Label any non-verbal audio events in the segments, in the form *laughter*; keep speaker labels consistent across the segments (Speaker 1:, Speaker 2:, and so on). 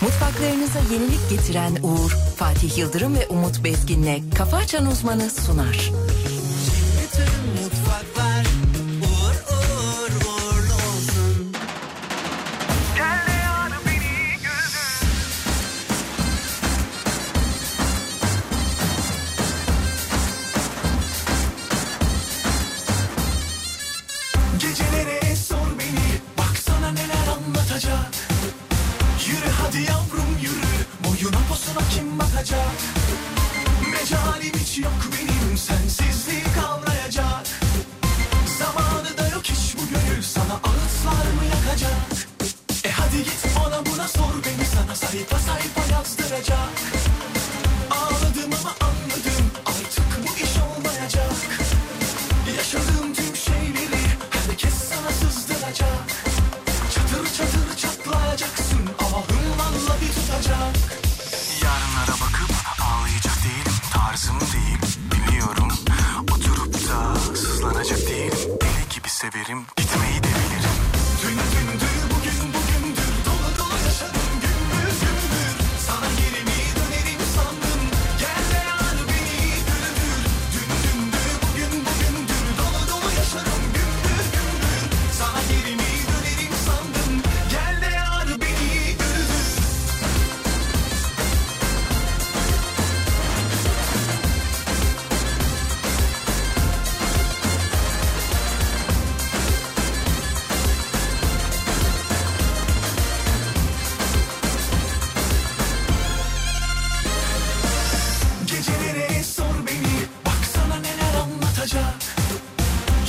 Speaker 1: Mutfaklarınıza yenilik getiren Uğur, Fatih Yıldırım ve Umut Bezgin'le Kafa Açan Uzmanı sunar.
Speaker 2: Bütün mutfaklar uğur uğur uğurlu olsun.
Speaker 3: Gecelere sor beni Baksana neler anlatacak Yürü hadi yavrum yürü Boyuna posuna kim bakacak Mecalim hiç yok benim Sensizliği kavrayacak Zamanı da yok hiç bu gönül Sana ağıtlar mı yakacak E hadi git ona buna sor beni Sana sayfa sayfa yazdıracak Ağladım ama anladım Artık bu iş olmayacak Yaşadığım tüm şeyleri herkes sana sızdıracak Çatır çatır çatlayacaksın ama hırmanla bir tutacak Yarınlara bakıp ağlayacak değilim Tarzım değil biliyorum Oturup da sızlanacak değilim Deli gibi severim gitmeyi de bilirim Dün dündü bugün bugündür Dolu dolu yaşadım gümbür gümbür Sana geri mi dönerim sandım Gel de al beni güldür Dün dündü bugün bugündür Dolu dolu yaşarım gümbür gümbür Sana geri mi dönerim sandım Gel de al beni güldür Gecelere sor beni Baksana neler anlatacak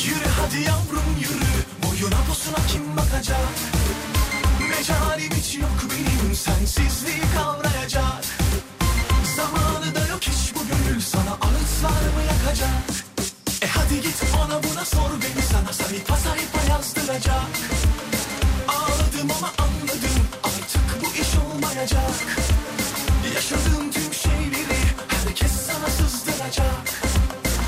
Speaker 3: Yürü hadi yavrum yürü Boyuna posuna kim bakacak Mecalim hiç yok benim Sensizliği kavrayacak Zamanı da yok hiç bu gönül Sana ağıtlar mı yakacak E hadi git ona buna sor beni Sana sayfa sayfa yazdıracak Ağladım ama anladım Artık bu iş olmayacak Yaşadığım tüm şeyleri herkes sana sızdıracak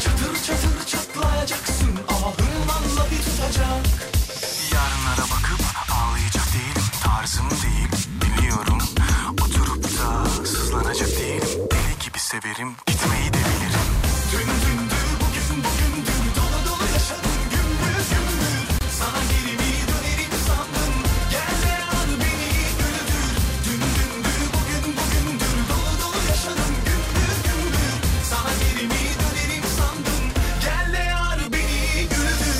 Speaker 3: Çatır çatır çatlayacaksın ama hırmanla bir tutacak Yarınlara bakıp ağlayacak değilim Tarzım değil biliyorum Oturup da sızlanacak değilim Deli gibi severim gitmeyi de bilirim Dün dündü bugün bugündür Dolu dolu yaşadım gümbür gümbür Sana geri mi dönerim sandım Gel de al beni güldür Dün dündü bugün bugündür Dolu dolu yaşadım gümbür gümbür Sana geri mi dönerim sandım Gel de al beni güldür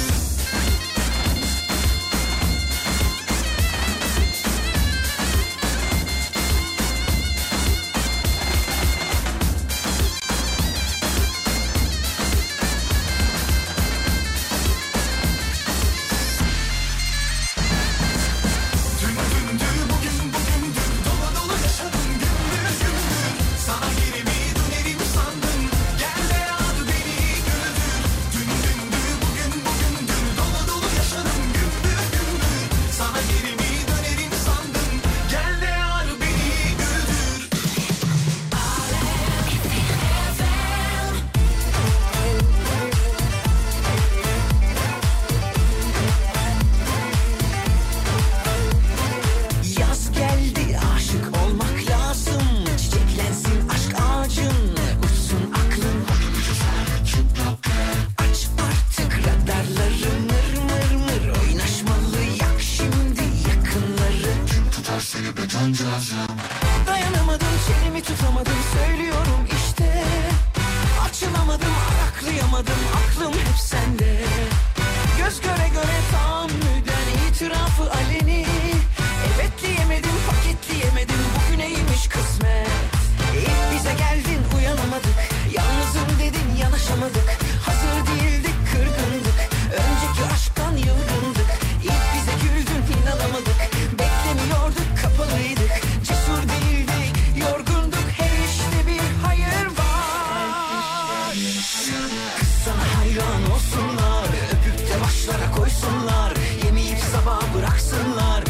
Speaker 3: Yaz geldi aşık olmak lazım Çiçeklensin aşk ağacın Uçsun aklın Aç artık radarları mır mır mır Oynaşmalı yak şimdi yakınları Kim tutar seni be Dayanamadım çenemi tutamadım söylüyorum işte Açılamadım araklayamadım aklım hep sende Göz göre göre tahammüden itirafı aleni Evet diyemedim paketleyemedim bugüneymiş kısmet İlk bize geldin uyanamadık Yalnızım dedin yanaşamadık Hazır değildik kırgındık Önceki aşktan yılgındık İlk bize güldün inanamadık Beklemiyorduk kapalıydık Cesur değildik yorgunduk Her işte bir hayır var Kız sana hayran olsunlar Öpüp de başlara koysunlar Yemeyip sabah bıraksınlar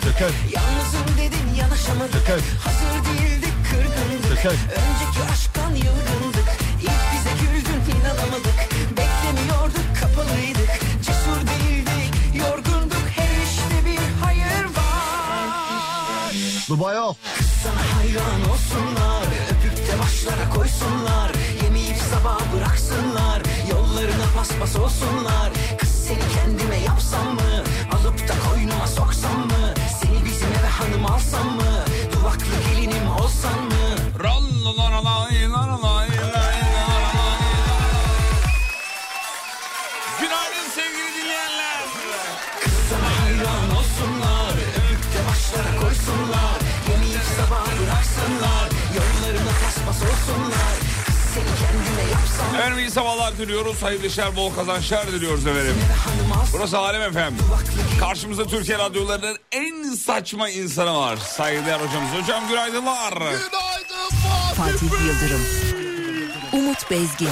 Speaker 4: Dikkat.
Speaker 2: Yalnızım dedin yanaşamadık
Speaker 4: Dikkat.
Speaker 2: Hazır değildik kırgındık
Speaker 4: Dikkat.
Speaker 2: Önceki aşktan yılgındık İlk bize güldün inanamadık Beklemiyorduk kapalıydık Cesur değildik yorgunduk Her işte bir hayır var
Speaker 4: Dubai off.
Speaker 2: sana hayran olsunlar Öpüp de başlara koysunlar Yemeyip sabah bıraksınlar Yollarına paspas olsunlar Kız seni kendime yapsam mı Alıp da koynuma soksam mı Seni bizim eve hanım alsam mı Duvaklı gelinim olsan mı
Speaker 5: Günaydın sevgili dinleyenler.
Speaker 2: Hayran olsunlar Öpüp de başlara koysunlar Yemeyip sabah bıraksınlar Yollarına paspas olsunlar Kız seni kendime yapsam mı
Speaker 5: Efendim iyi sabahlar diliyoruz. Hayırlı işler, bol kazançlar diliyoruz efendim.
Speaker 2: Hanım alsam
Speaker 5: Burası Alem Efem. Karşımızda Türkiye radyolarının en saçma insanı var. Saygıdeğer hocamız. Hocam günaydınlar.
Speaker 1: Fatih Yıldırım, Umut Bezgin,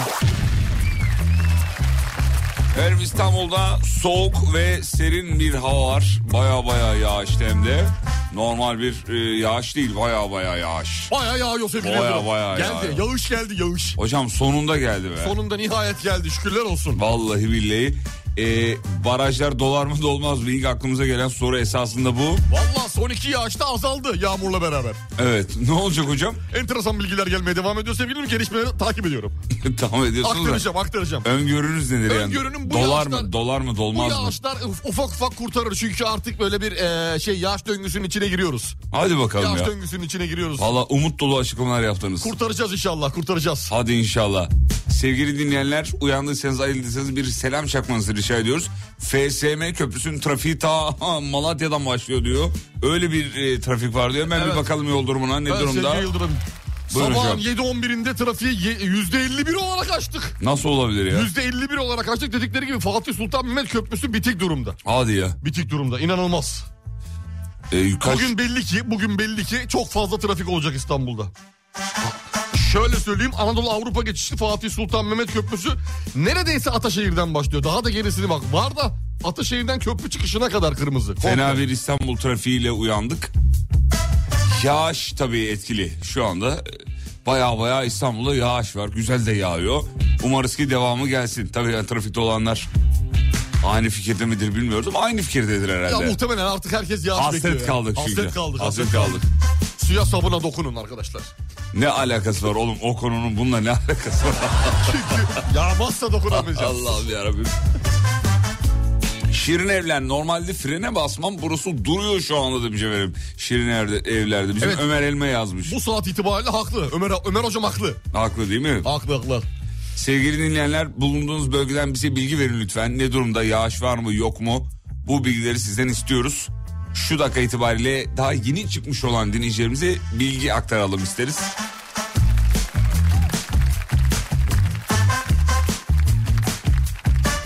Speaker 5: Efendim İstanbul'da soğuk ve serin bir hava var. Baya baya yağış hem de. Normal bir e, yağış değil baya baya yağış.
Speaker 4: Bayağı yağıyor sevgili
Speaker 5: Bayağı,
Speaker 4: Yıldırım.
Speaker 5: bayağı
Speaker 4: Geldi
Speaker 5: yağıyor.
Speaker 4: yağış geldi yağış.
Speaker 5: Hocam sonunda geldi be.
Speaker 4: Sonunda nihayet geldi şükürler olsun.
Speaker 5: Vallahi billahi. E, barajlar dolar mı dolmaz mı? İlk aklımıza gelen soru esasında bu.
Speaker 4: Valla son iki yağışta azaldı yağmurla beraber.
Speaker 5: Evet *laughs* ne olacak hocam?
Speaker 4: Enteresan bilgiler gelmeye devam ediyor sevgilim. Gelişmeleri takip ediyorum.
Speaker 5: Tahmin ediyorsunuz da.
Speaker 4: Aktaracağım aktaracağım.
Speaker 5: Öngörünüz nedir yani?
Speaker 4: Öngörünün bu
Speaker 5: dolar
Speaker 4: yağıştan-
Speaker 5: mı? Dolar mı?
Speaker 4: Bu
Speaker 5: Dolmaz mı?
Speaker 4: yağışlar uf- ufak ufak kurtarır çünkü artık böyle bir e, şey yağış döngüsünün içine giriyoruz.
Speaker 5: Hadi bakalım
Speaker 4: Yağış
Speaker 5: ya.
Speaker 4: döngüsünün içine giriyoruz.
Speaker 5: Valla umut dolu açıklamalar yaptınız.
Speaker 4: Kurtaracağız inşallah kurtaracağız.
Speaker 5: Hadi inşallah. Sevgili dinleyenler uyandıysanız ayıldıysanız bir selam çakmanızı rica ediyoruz. FSM köprüsünün trafiği ta *laughs* Malatya'dan başlıyor diyor. Öyle bir e, trafik var diyor. Hemen
Speaker 4: Evet.
Speaker 5: bir bakalım yol durumuna ne
Speaker 4: Evet,
Speaker 5: durumda.
Speaker 4: sevgili Yıldırım.
Speaker 5: Buyurun
Speaker 4: Sabahın
Speaker 5: hocam.
Speaker 4: 7.11'inde trafiği ye- %51 olarak açtık.
Speaker 5: Nasıl olabilir ya?
Speaker 4: %51 olarak açtık dedikleri gibi Fatih Sultan Mehmet Köprüsü bitik durumda.
Speaker 5: Hadi ya.
Speaker 4: Bitik durumda inanılmaz.
Speaker 5: E, kaç...
Speaker 4: Bugün belli ki bugün belli ki çok fazla trafik olacak İstanbul'da. Şöyle söyleyeyim Anadolu Avrupa geçişli Fatih Sultan Mehmet Köprüsü neredeyse Ataşehir'den başlıyor. Daha da gerisini bak var da Ataşehir'den köprü çıkışına kadar kırmızı.
Speaker 5: Fena
Speaker 4: Komple.
Speaker 5: bir İstanbul trafiğiyle uyandık. Yağış tabii etkili şu anda. Baya baya İstanbul'da yağış var. Güzel de yağıyor. Umarız ki devamı gelsin. Tabii yani trafikte olanlar aynı fikirde midir bilmiyoruz ama aynı fikirdedir herhalde.
Speaker 4: Ya muhtemelen artık herkes yağış bekliyor.
Speaker 5: Hasret
Speaker 4: ya.
Speaker 5: kaldık çünkü.
Speaker 4: Hasret kaldık.
Speaker 5: Hasret kaldık.
Speaker 4: Suya sabuna dokunun arkadaşlar.
Speaker 5: Ne alakası var oğlum o konunun bununla ne *laughs* alakası var?
Speaker 4: Çünkü yağmazsa dokunamayacağız.
Speaker 5: Allah'ım yarabbim. Şirin evler normalde frene basmam burası duruyor şu anda demiş efendim. Şirin evde- evlerde bizim
Speaker 4: Evet.
Speaker 5: Ömer Elme yazmış.
Speaker 4: Bu saat itibariyle haklı. Ömer, Ömer hocam haklı.
Speaker 5: Haklı değil mi?
Speaker 4: Haklı haklı.
Speaker 5: Sevgili dinleyenler bulunduğunuz bölgeden bize bilgi verin lütfen. Ne durumda yağış var mı yok mu? Bu bilgileri sizden istiyoruz. Şu dakika itibariyle daha yeni çıkmış olan dinleyicilerimize bilgi aktaralım isteriz.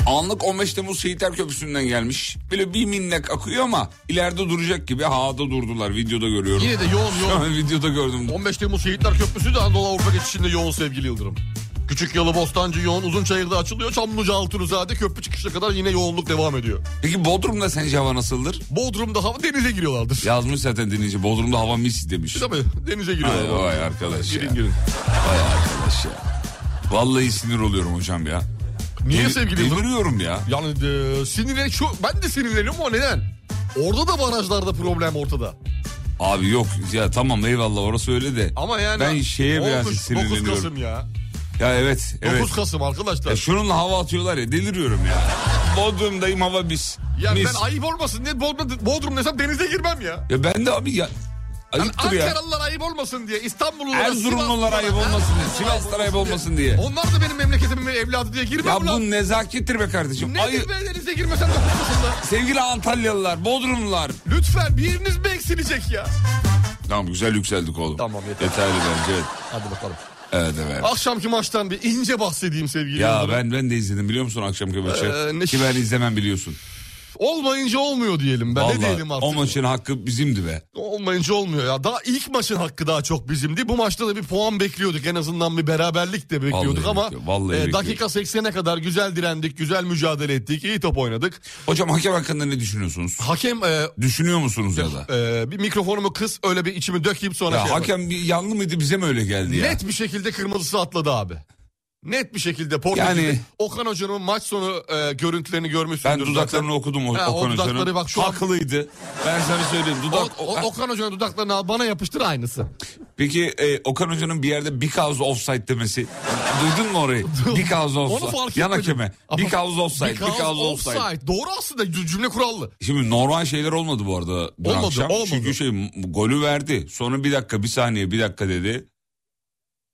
Speaker 5: Anlık 15 Temmuz Şehitler Köprüsü'nden gelmiş. Böyle bir minnek akıyor ama ileride duracak gibi havada durdular videoda görüyorum.
Speaker 4: Yine de yoğun yoğun.
Speaker 5: *laughs* videoda gördüm.
Speaker 4: 15 Temmuz Şehitler Köprüsü de Anadolu Avrupa geçişinde yoğun sevgili Yıldırım. Küçük Yalı Bostancı yoğun, Uzunçayır'da açılıyor. Çamlıca Altunizade köprü çıkışına kadar yine yoğunluk devam ediyor.
Speaker 5: Peki Bodrum'da sence hava nasıldır?
Speaker 4: Bodrum'da hava denize giriyorlardır. *laughs*
Speaker 5: Yazmış zaten dinleyici Bodrum'da hava mis demiş.
Speaker 4: Tabii denize
Speaker 5: Ay,
Speaker 4: giriyorlar.
Speaker 5: vay arkadaş ya.
Speaker 4: Girin girin.
Speaker 5: Vay arkadaş ya. Vallahi sinir oluyorum hocam ya.
Speaker 4: Niye
Speaker 5: Del-
Speaker 4: sevgili Yıldırım?
Speaker 5: Deliriyorum ya.
Speaker 4: Yani e, sinirlen şu ben de sinirleniyorum ama neden? Orada da barajlarda problem ortada.
Speaker 5: Abi yok ya tamam eyvallah orası öyle de.
Speaker 4: Ama yani
Speaker 5: Ben şeye biraz
Speaker 4: 9
Speaker 5: sinirleniyorum.
Speaker 4: Kasım ya.
Speaker 5: Ya evet E,
Speaker 4: 9
Speaker 5: evet.
Speaker 4: Kasım arkadaşlar.
Speaker 5: Ya şununla hava atıyorlar ya deliriyorum ya.
Speaker 4: *laughs*
Speaker 5: Bodrum'dayım hava mis.
Speaker 4: yani
Speaker 5: mis.
Speaker 4: ben ayıp olmasın diye Bodrum, Bodrum desem denize girmem ya.
Speaker 5: Ya ben de abi ya. Ayıptır ya.
Speaker 4: Ankaralılar ayıp olmasın diye, İstanbullular,
Speaker 5: Erzurumlular ayıp olmasın diye. Sivaslılar ayıp olmasın diye.
Speaker 4: Onlar da benim memleketimin evladı diye girmem
Speaker 5: Ya
Speaker 4: ya
Speaker 5: bu
Speaker 4: lan.
Speaker 5: nezakettir be kardeşim.
Speaker 4: Ne
Speaker 5: Ayı...
Speaker 4: Nedir be denize girmesen de kurtulsunlar.
Speaker 5: Sevgili Antalyalılar, Bodrumlular.
Speaker 4: Lütfen biriniz mi eksilecek ya?
Speaker 5: Tamam güzel yükseldik oğlum.
Speaker 4: Tamam, yeter.
Speaker 5: Yeterli bence. evet.
Speaker 4: Hadi bakalım.
Speaker 5: Evet evet.
Speaker 4: Akşamki maçtan bir ince bahsedeyim sevgili
Speaker 5: Ya
Speaker 4: Yıldırım.
Speaker 5: ben ben de izledim biliyor musun akşamki maçı?
Speaker 4: Ee, ne-
Speaker 5: Ki ben izlemem biliyorsun.
Speaker 4: Olmayınca olmuyor diyelim. Ben
Speaker 5: Vallahi
Speaker 4: ne diyelim artık.
Speaker 5: o maçın hakkı bizimdi be.
Speaker 4: Olmayınca olmuyor ya. Daha ilk maçın hakkı daha çok bizimdi. Bu maçta da bir puan bekliyorduk. En azından bir beraberlik de bekliyorduk
Speaker 5: Vallahi
Speaker 4: ama
Speaker 5: bekliyor- vallahi
Speaker 4: e,
Speaker 5: bekliyor.
Speaker 4: dakika 80'e kadar güzel direndik, güzel mücadele ettik, iyi top oynadık.
Speaker 5: Hocam hakem hakkında ne düşünüyorsunuz?
Speaker 4: Hakem e,
Speaker 5: Düşünüyor musunuz ya da?
Speaker 4: e, bir mikrofonumu kıs öyle bir içimi dökeyim sonra
Speaker 5: Ya
Speaker 4: şey yapalım.
Speaker 5: hakem bir yanlı mıydı bize mi öyle geldi ya?
Speaker 4: Net bir şekilde kırmızısı atladı abi. Net bir şekilde Portekiz'de
Speaker 5: Yani-
Speaker 4: Okan Hoca'nın maç sonu e, görüntülerini görmüşsündür.
Speaker 5: Ben dudaklarını
Speaker 4: zaten.
Speaker 5: okudum o,
Speaker 4: Ha, o
Speaker 5: Okan
Speaker 4: dudakları
Speaker 5: Hoca'nın.
Speaker 4: bak şu an-
Speaker 5: Haklıydı. Ben sana söyleyeyim. Dudak,
Speaker 4: O- o- Okan Hoca'nın dudaklarını al, bana yapıştır aynısı.
Speaker 5: Peki e, Okan Hoca'nın bir yerde because offside demesi. Duydun
Speaker 4: *laughs*
Speaker 5: mu orayı? because offside.
Speaker 4: Onu fark
Speaker 5: Yan
Speaker 4: etmedim.
Speaker 5: hakeme.
Speaker 4: Ama-
Speaker 5: Because offside. Because, offside.
Speaker 4: Doğru aslında cü- cümle kurallı.
Speaker 5: Şimdi normal şeyler olmadı bu arada dün
Speaker 4: Olmadı,
Speaker 5: akşam.
Speaker 4: olmadı.
Speaker 5: Çünkü şey m- golü verdi. Sonra bir dakika bir saniye bir dakika dedi.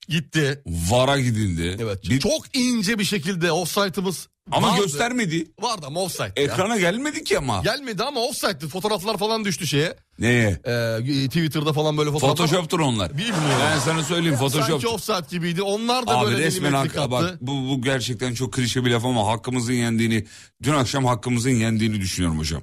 Speaker 4: Gitti.
Speaker 5: Vara gidildi.
Speaker 4: Evet.
Speaker 5: Bir-
Speaker 4: Çok ince bir şekilde offside'ımız
Speaker 5: ama
Speaker 4: vardı.
Speaker 5: göstermedi.
Speaker 4: Vardı ama offside. ya.
Speaker 5: Ekrana gelmedi ki ama.
Speaker 4: Gelmedi ama offside'di. Fotoğraflar falan düştü şeye.
Speaker 5: Neye?
Speaker 4: Ee, Twitter'da falan böyle fotoğraflar.
Speaker 5: Photoshop'tur onlar.
Speaker 4: Bilmiyorum.
Speaker 5: Ben sana söyleyeyim Photoshop.
Speaker 4: Sanki offside gibiydi. Onlar da
Speaker 5: Abi
Speaker 4: böyle
Speaker 5: resmen
Speaker 4: milimetrik
Speaker 5: hak, bak
Speaker 4: attı.
Speaker 5: bu, bu gerçekten çok klişe bir laf ama hakkımızın yendiğini dün akşam hakkımızın yendiğini düşünüyorum hocam.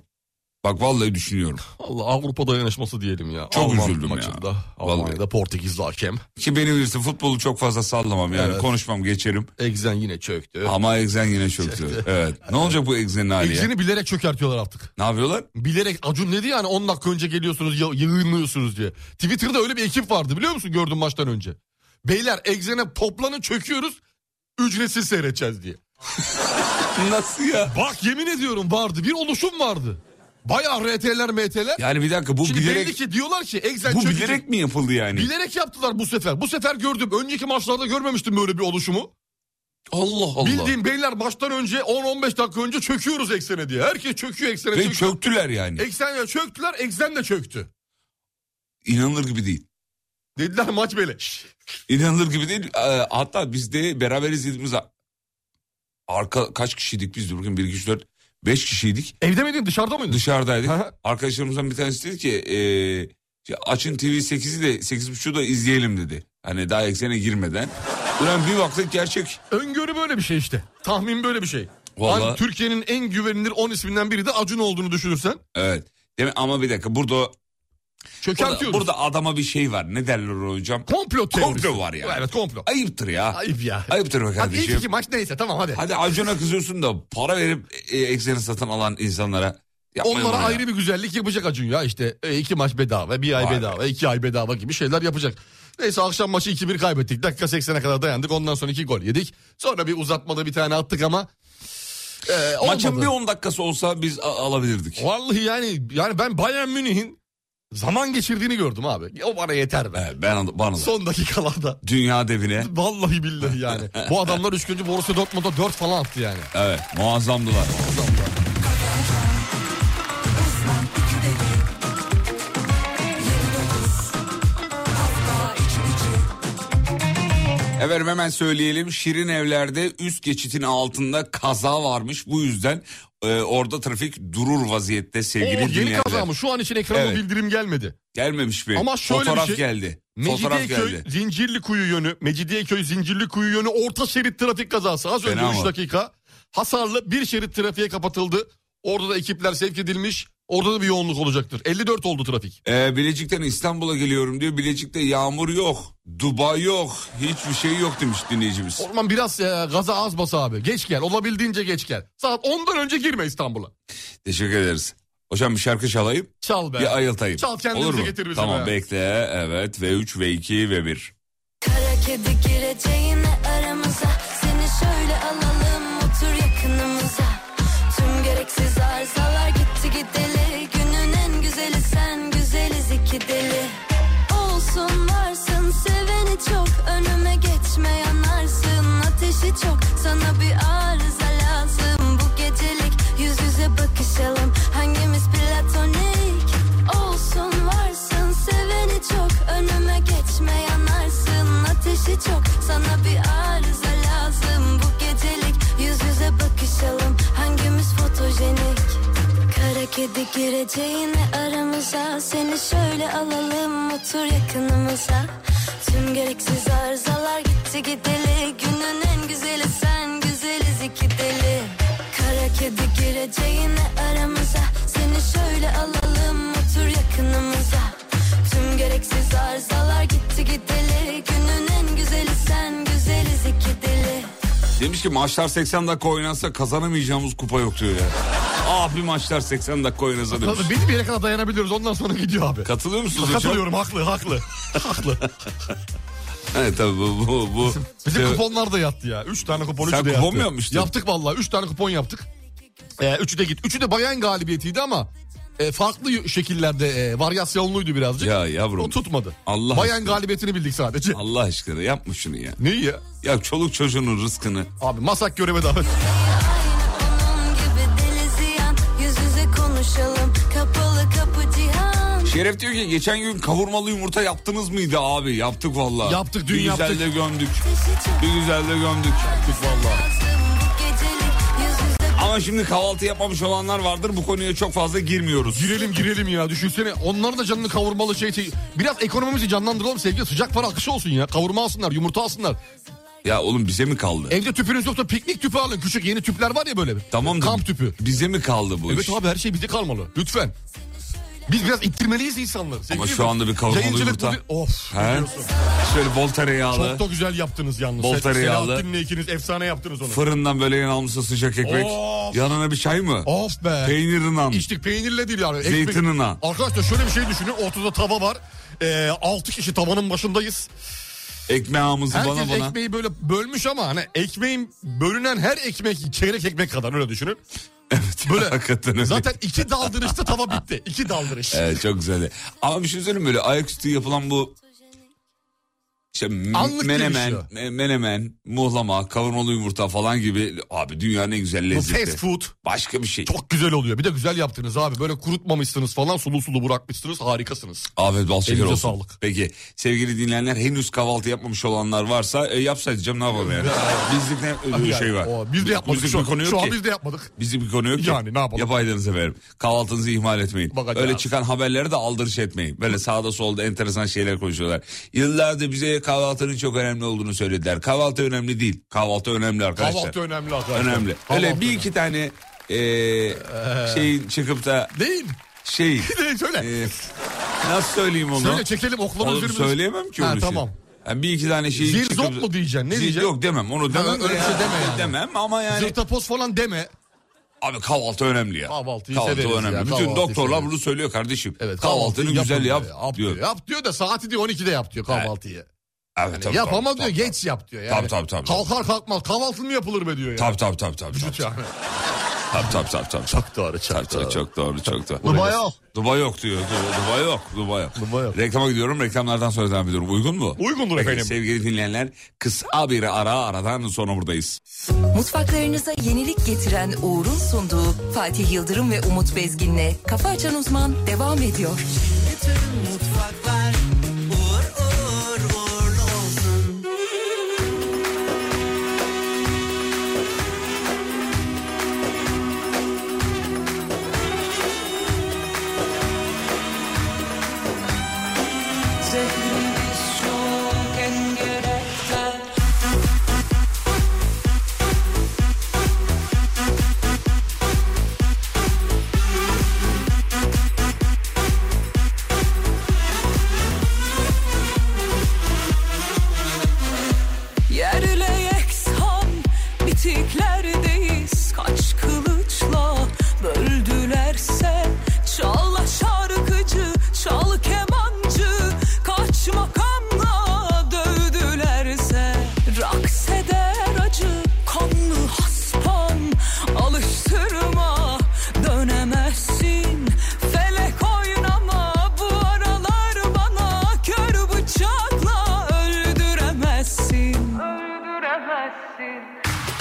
Speaker 5: Bak vallahi düşünüyorum.
Speaker 4: Allah Avrupa dayanışması diyelim ya.
Speaker 5: Çok
Speaker 4: Alman
Speaker 5: üzüldüm ya.
Speaker 4: maçında,
Speaker 5: Vallahi.
Speaker 4: Almanya'da Portekizli hakem.
Speaker 5: Ki beni bilirsin futbolu çok fazla sallamam yani
Speaker 4: Evet.
Speaker 5: konuşmam geçerim.
Speaker 4: Egzen yine çöktü.
Speaker 5: Ama egzen yine çöktü. evet. Ne olacak bu egzenin hali ya?
Speaker 4: Egzeni bilerek çökertiyorlar artık.
Speaker 5: Ne yapıyorlar?
Speaker 4: Bilerek Acun dedi yani 10 dakika önce geliyorsunuz ya- yığınıyorsunuz diye. Twitter'da öyle bir ekip vardı biliyor musun gördüm maçtan önce. Beyler egzene toplanın çöküyoruz ücretsiz seyredeceğiz diye.
Speaker 5: Nasıl ya?
Speaker 4: Bak yemin ediyorum vardı bir oluşum vardı. Bayağı RT'ler MT'ler.
Speaker 5: Yani bir dakika bu
Speaker 4: Şimdi
Speaker 5: bilerek
Speaker 4: belli ki diyorlar ki egzen
Speaker 5: bu
Speaker 4: çökecek.
Speaker 5: bilerek mi yapıldı yani?
Speaker 4: Bilerek yaptılar bu sefer. Bu sefer gördüm. Önceki maçlarda görmemiştim böyle bir oluşumu.
Speaker 5: Allah Allah.
Speaker 4: Bildiğim beyler maçtan önce 10-15 dakika önce çöküyoruz eksene diye. Herkes çöküyor eksene.
Speaker 5: Ve
Speaker 4: Çöküyor.
Speaker 5: çöktüler yani.
Speaker 4: Eksenle çöktüler, eksen de çöktü.
Speaker 5: İnanılır gibi değil.
Speaker 4: Dediler maç böyle. Şşş.
Speaker 5: İnanılır gibi değil. Ee, hatta biz de beraber izlediğimiz arka kaç kişiydik biz de bugün 1 2 3 4 5 kişiydik.
Speaker 4: Evde miydin, dışarıda mıydın?
Speaker 5: dışarıdaydık.
Speaker 4: Aha.
Speaker 5: Arkadaşlarımızdan bir tanesi dedi ki e, ya açın TV 8'i de 8.30'u da izleyelim dedi. Hani daha eksene girmeden. Ulan bir baktık gerçek.
Speaker 4: Öngörü böyle bir şey işte. Tahmin böyle bir şey.
Speaker 5: Vallahi-
Speaker 4: Hani Türkiye'nin en güvenilir 10 isminden biri de Acun olduğunu düşünürsen
Speaker 5: Evet. Değil mi? Ama bir dakika burada, burada
Speaker 4: çökertiyoruz.
Speaker 5: burada adama bir şey var. Ne derler ona hocam?
Speaker 4: komplo teorisi.
Speaker 5: Komplo var yani.
Speaker 4: Evet komplo.
Speaker 5: Ayıptır ya.
Speaker 4: Ayıp ya.
Speaker 5: Ayıptır be
Speaker 4: Hadi ilk
Speaker 5: kardeşim.
Speaker 4: iki maç neyse tamam hadi.
Speaker 5: Hadi Acun'a kızıyorsun da para verip e, ekseni satın alan insanlara yapmayın
Speaker 4: Onlara
Speaker 5: bunu ya.
Speaker 4: ayrı bir güzellik yapacak Acun ya işte e, iki maç bedava, bir ay
Speaker 5: Vay be.
Speaker 4: bedava, iki ay bedava gibi şeyler yapacak. Neyse akşam maçı 2-1 kaybettik. Dakika 80'e kadar dayandık. Ondan sonra iki gol yedik. Sonra bir uzatmada bir tane attık ama e,
Speaker 5: Maçın
Speaker 4: olmadı.
Speaker 5: bir 10 dakikası olsa biz a- alabilirdik.
Speaker 4: Vallahi yani yani ben Bayern Münih'in zaman geçirdiğini gördüm abi. O bana yeter be.
Speaker 5: Evet, ben bana da.
Speaker 4: Son dakikalarda.
Speaker 5: Dünya devine.
Speaker 4: Vallahi billahi yani. Bu adamlar 3. Borussia Dortmund'a 4 falan attı yani.
Speaker 5: Evet muazzamdılar. Efendim hemen söyleyelim Şirin Evler'de üst geçitin altında kaza varmış bu yüzden e, orada trafik durur vaziyette sevgili
Speaker 4: Oo, yeni
Speaker 5: dinleyenler.
Speaker 4: kaza mı? Şu an için ekranda
Speaker 5: Evet.
Speaker 4: bildirim gelmedi.
Speaker 5: Gelmemiş mi?
Speaker 4: Ama şöyle bir
Speaker 5: Fotoğraf
Speaker 4: şey.
Speaker 5: geldi. Fotoğraf
Speaker 4: Mecidiyeköy
Speaker 5: geldi.
Speaker 4: Zincirlikuyu yönü, Mecidiyeköy Zincirlikuyu yönü orta şerit trafik kazası. Az önce
Speaker 5: Fena
Speaker 4: 3
Speaker 5: mı?
Speaker 4: dakika hasarlı bir şerit trafiğe kapatıldı. Orada da ekipler sevk edilmiş. Orada da bir yoğunluk olacaktır. 54 oldu trafik.
Speaker 5: Ee, Bilecik'ten İstanbul'a geliyorum diyor. Bilecik'te yağmur yok, Dubai yok, hiçbir şey yok demiş dinleyicimiz.
Speaker 4: Orman biraz e, gaza az bas abi. Geç gel. Olabildiğince geç gel. Saat 10'dan önce girme İstanbul'a.
Speaker 5: Teşekkür ederiz. Hocam bir şarkı çalayım,
Speaker 4: Çal be.
Speaker 5: bir ayıltayım.
Speaker 4: Çal, kendimizi getir bizi
Speaker 5: Tamam
Speaker 4: be.
Speaker 5: bekle. Evet V3, V2, V1.
Speaker 6: Kara kedi gireceğine aramıza Seni şöyle alalım otur yakınımıza Tüm gereksiz arzalar gitti gideli Günün en güzeli sen güzeliz iki deli Olsun varsın seveni çok Önüme geçme yanarsın ateşi çok Sana bir arıza lazım bu gecelik Yüz yüze bakışalım hangimiz platonik Olsun varsın seveni çok Önüme geçme yanarsın ateşi çok Sana bir arıza lazım bu gecelik Yüz yüze bakışalım hangimiz fotojenik Kara kedi gireceğine aramıza Seni şöyle alalım otur yakınımıza Tüm gereksiz arızalar gitti gideli Günün en güzeli sen güzeliz iki deli Kara kedi gireceğine aramıza
Speaker 5: ki maçlar 80 dakika oynansa kazanamayacağımız kupa yok
Speaker 4: *laughs*
Speaker 5: diyor ya. Abi maçlar 80 dakika oynasa demiş.
Speaker 4: Tabii belli bir yere kadar dayanabiliyoruz ondan sonra gidiyor abi.
Speaker 5: Katılıyor musunuz hocam?
Speaker 4: Katılıyorum haklı haklı. haklı.
Speaker 5: Evet tabii bu. bu, bu.
Speaker 4: Bizim
Speaker 5: Ee,
Speaker 4: kuponlar da yattı ya. Üç tane kupon,
Speaker 5: Sen
Speaker 4: üçü de
Speaker 5: kupon
Speaker 4: yattı.
Speaker 5: mu yapmıştın?
Speaker 4: Yaptık vallahi. Üç tane kupon yaptık. Ee, üçü de git. Üçü de bayan galibiyetiydi ama e, farklı şekillerde e, varyasyonluydu birazcık.
Speaker 5: Ya yavrum.
Speaker 4: O tutmadı.
Speaker 5: Allah
Speaker 4: bayan
Speaker 5: aşkına.
Speaker 4: galibiyetini bildik sadece.
Speaker 5: Allah aşkına yapma şunu ya.
Speaker 4: Neyi ya?
Speaker 5: Ya çoluk çocuğunun rızkını.
Speaker 4: Abi masak göreve davet.
Speaker 6: Aynı onun gibi deli ziyan Yüz yüze konuşalım kapalı kapı cihan
Speaker 5: Şeref diyor ki geçen gün kavurmalı yumurta yaptınız mıydı abi? Yaptık vallahi.
Speaker 4: Yaptık, dün
Speaker 5: Bir
Speaker 4: yaptık.
Speaker 5: güzel de gömdük.
Speaker 6: Ateşi çok
Speaker 5: Bir güzel de gömdük. Yaptık vallahi.
Speaker 6: lazım bu gecelik Yüz yüze
Speaker 5: Ama şimdi kahvaltı yapmamış olanlar vardır. Bu konuya çok fazla girmiyoruz.
Speaker 4: Girelim girelim ya düşünsene. Onlar da canını kavurmalı şey. şey. Biraz ekonomimizi canlandıralım sevgili. Sıcak para akışı olsun ya. Kavurma alsınlar, yumurta alsınlar.
Speaker 5: Ya oğlum bize mi kaldı?
Speaker 4: Evde tüpünüz yoksa piknik tüpü alın. Küçük yeni tüpler var ya böyle.
Speaker 5: Tamam da
Speaker 4: Kamp tüpü.
Speaker 5: Bize mi kaldı bu iş?
Speaker 4: Evet abi her şey bize kalmalı. Lütfen. Biz biraz ittirmeliyiz insanları.
Speaker 5: Ama
Speaker 4: Sevgili
Speaker 5: şu anda bir kavurmalı
Speaker 4: yayıncılık
Speaker 5: yumurta.
Speaker 4: bu bir- Of.
Speaker 5: He? Şöyle bol tereyağlı.
Speaker 4: Çok da güzel yaptınız yalnız.
Speaker 5: Bol
Speaker 4: Sen-
Speaker 5: tereyağlı.
Speaker 4: Selahattin'le ikiniz efsane yaptınız onu.
Speaker 5: Fırından böyle yanılmışsa sıcak ekmek.
Speaker 4: Of.
Speaker 5: Yanına bir çay mı?
Speaker 4: Of be.
Speaker 5: Peynirinden.
Speaker 4: İçtik peynirle değil yani. Ekmek-
Speaker 5: Zeytinine.
Speaker 4: Arkadaşlar şöyle bir şey düşünün. Ortada tava var. Ee, 6 kişi tavanın başındayız.
Speaker 5: Ekmeğimizi
Speaker 4: Herkes
Speaker 5: bana *laughs* bana.
Speaker 4: ekmeği böyle bölmüş ama hani ekmeğin bölünen her ekmek çeyrek ekmek kadar öyle düşünün.
Speaker 5: Evet.
Speaker 4: Böyle.
Speaker 5: Hakikaten öyle.
Speaker 4: Zaten iki daldırışta tava bitti. İki daldırış.
Speaker 5: *laughs* Evet çok güzeldi. Ama bir şey söyleyeyim mi? böyle ayaküstü yapılan bu işte m-
Speaker 4: Anlık gibi
Speaker 5: menemen,
Speaker 4: bir
Speaker 5: me- menemen, muhlama, kavurmalı yumurta falan gibi abi dünyanın en güzel
Speaker 4: Bu
Speaker 5: lezzeti.
Speaker 4: fast food.
Speaker 5: Başka bir şey.
Speaker 4: Çok güzel oluyor. Bir de güzel yaptınız abi. Böyle kurutmamışsınız falan sulu sulu bırakmışsınız. Harikasınız.
Speaker 5: Afiyet bal şeker
Speaker 4: Elinize
Speaker 5: olsun.
Speaker 4: sağlık.
Speaker 5: Peki sevgili dinleyenler henüz kahvaltı yapmamış olanlar varsa e, yapsaydı canım ne
Speaker 4: *laughs*
Speaker 5: yapalım yani. Bizlik ne öyle
Speaker 4: Yani
Speaker 5: şey var.
Speaker 4: o, biz de yapmadık.
Speaker 5: Bizlik
Speaker 4: şu,
Speaker 5: bir konu yok
Speaker 4: şu
Speaker 5: ki.
Speaker 4: an biz de yapmadık.
Speaker 5: Bizim bir konu yok ki.
Speaker 4: Yani ne yapalım?
Speaker 5: Yapaydınız efendim. Kahvaltınızı ihmal etmeyin.
Speaker 4: Bakacağız.
Speaker 5: Öyle çıkan haberlere de aldırış etmeyin. Böyle sağda solda enteresan şeyler konuşuyorlar. Yıllardır bize kahvaltının çok önemli olduğunu söylediler. Kahvaltı önemli değil. Kahvaltı önemli arkadaşlar.
Speaker 4: Kahvaltı önemli arkadaşlar.
Speaker 5: Önemli.
Speaker 4: Kahvaltı Ee.
Speaker 5: Öyle bir iki tane e, şeyin çıkıp da
Speaker 4: Değil. *laughs*
Speaker 5: şey
Speaker 4: Değil söyle.
Speaker 5: e, nasıl söyleyeyim onu?
Speaker 4: söyle çekelim oklama
Speaker 5: Oğlum
Speaker 4: üzerimiz.
Speaker 5: söyleyemem ki onu.
Speaker 4: Ha,
Speaker 5: şimdi.
Speaker 4: tamam.
Speaker 5: Yani bir iki tane şey
Speaker 4: Zil zop mu diyeceksin? Ne
Speaker 5: Zil-
Speaker 4: diyeceksin?
Speaker 5: Yok demem onu demem.
Speaker 4: öyle bir şey
Speaker 5: ya.
Speaker 4: deme yani.
Speaker 5: Demem ama yani.
Speaker 4: Zırtapoz falan deme.
Speaker 5: Abi kahvaltı önemli ya.
Speaker 4: Kahvaltıyı
Speaker 5: kahvaltı
Speaker 4: severiz
Speaker 5: önemli.
Speaker 4: ya,
Speaker 5: Bütün
Speaker 4: kahvaltıyı
Speaker 5: doktorlar
Speaker 4: severiz.
Speaker 5: bunu söylüyor kardeşim.
Speaker 4: Evet,
Speaker 5: Kahvaltının
Speaker 4: kahvaltıyı
Speaker 5: güzel yap, diyor.
Speaker 4: diyor. Yap diyor da saati diyor 12'de yap diyor kahvaltıyı.
Speaker 5: Evet, tabii,
Speaker 4: yap
Speaker 5: tabii,
Speaker 4: ama
Speaker 5: tabii,
Speaker 4: diyor
Speaker 5: tabii.
Speaker 4: geç yap diyor. Yani.
Speaker 5: Tabii, tabii, tabii.
Speaker 4: Kalkar kalkmaz kahvaltı mı yapılır be diyor ya.
Speaker 5: Tabii tabii tabii tabii. Tabii
Speaker 4: Yani.
Speaker 5: tabii tabii tabii. tabii.
Speaker 4: Çok doğru
Speaker 5: Tabii,
Speaker 4: çok
Speaker 5: tabii,
Speaker 4: doğru.
Speaker 5: Çok doğru çok doğru.
Speaker 4: Duba yok.
Speaker 5: Duba yok diyor. Du- Duba yok. Duba yok.
Speaker 4: Duba yok.
Speaker 5: Reklama gidiyorum. Reklamlardan sonra devam ediyorum. Uygun mu?
Speaker 4: Uygundur
Speaker 5: Peki,
Speaker 4: efendim.
Speaker 5: Sevgili dinleyenler kısa bir ara aradan sonra buradayız.
Speaker 1: Mutfaklarınıza yenilik getiren Uğur'un sunduğu Fatih Yıldırım ve Umut Bezgin'le Kafa Açan Uzman devam ediyor.
Speaker 7: Bütün mutfaklar uğur uğur uğurlu olsun. Zehrimiz çok engerekler
Speaker 3: Yerle yeksan bitiklerdeyiz Kaç kılıçla böldülerse Çal şarkıcı, çal kemancı Kaç makamla dövdülerse Raks eder acı, kanlı haspan Alıştırma, dönemezsin Felek oynama, bu aralar bana Kör bıçakla öldüremezsin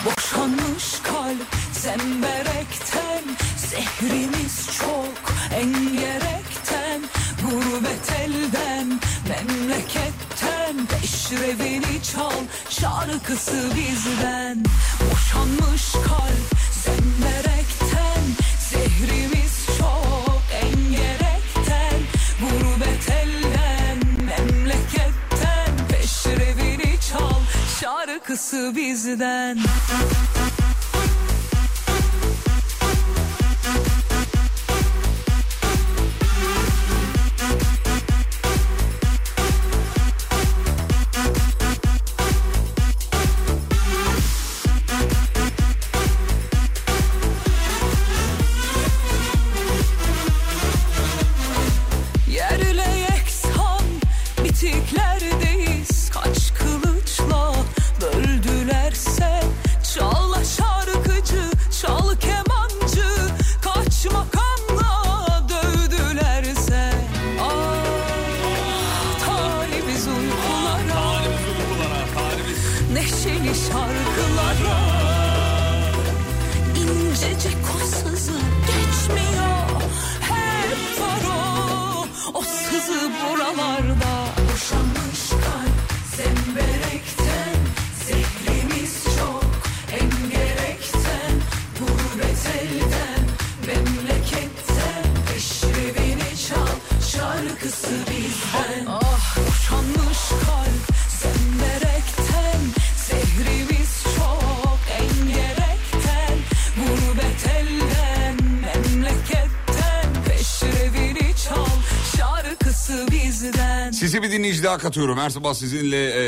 Speaker 3: Boşanmış kalp zemberekten Zehrimiz çok engerekten Gurbet elden memleketten Peşrevini çal şarkısı bizden Boşanmış kalp zemberekten Zehrimiz çok engerekten Gurbet elden memleketten Peşrevini çal şarkısı bizden
Speaker 8: düşmüyor Hep var o O sızı buralarda Boşanmış kalp zemberekten Zehrimiz çok engerekten Gurbet elden memleketten Eşrevini çal şarkısı bizden Ah boşanmış kalp zemberekten Zehrimiz çok engerekten Gurbet elden memleketten Eşrevini çal şarkısı bizden
Speaker 5: Sizi bir dinleyici daha katıyorum. Her sabah sizinle... Ee,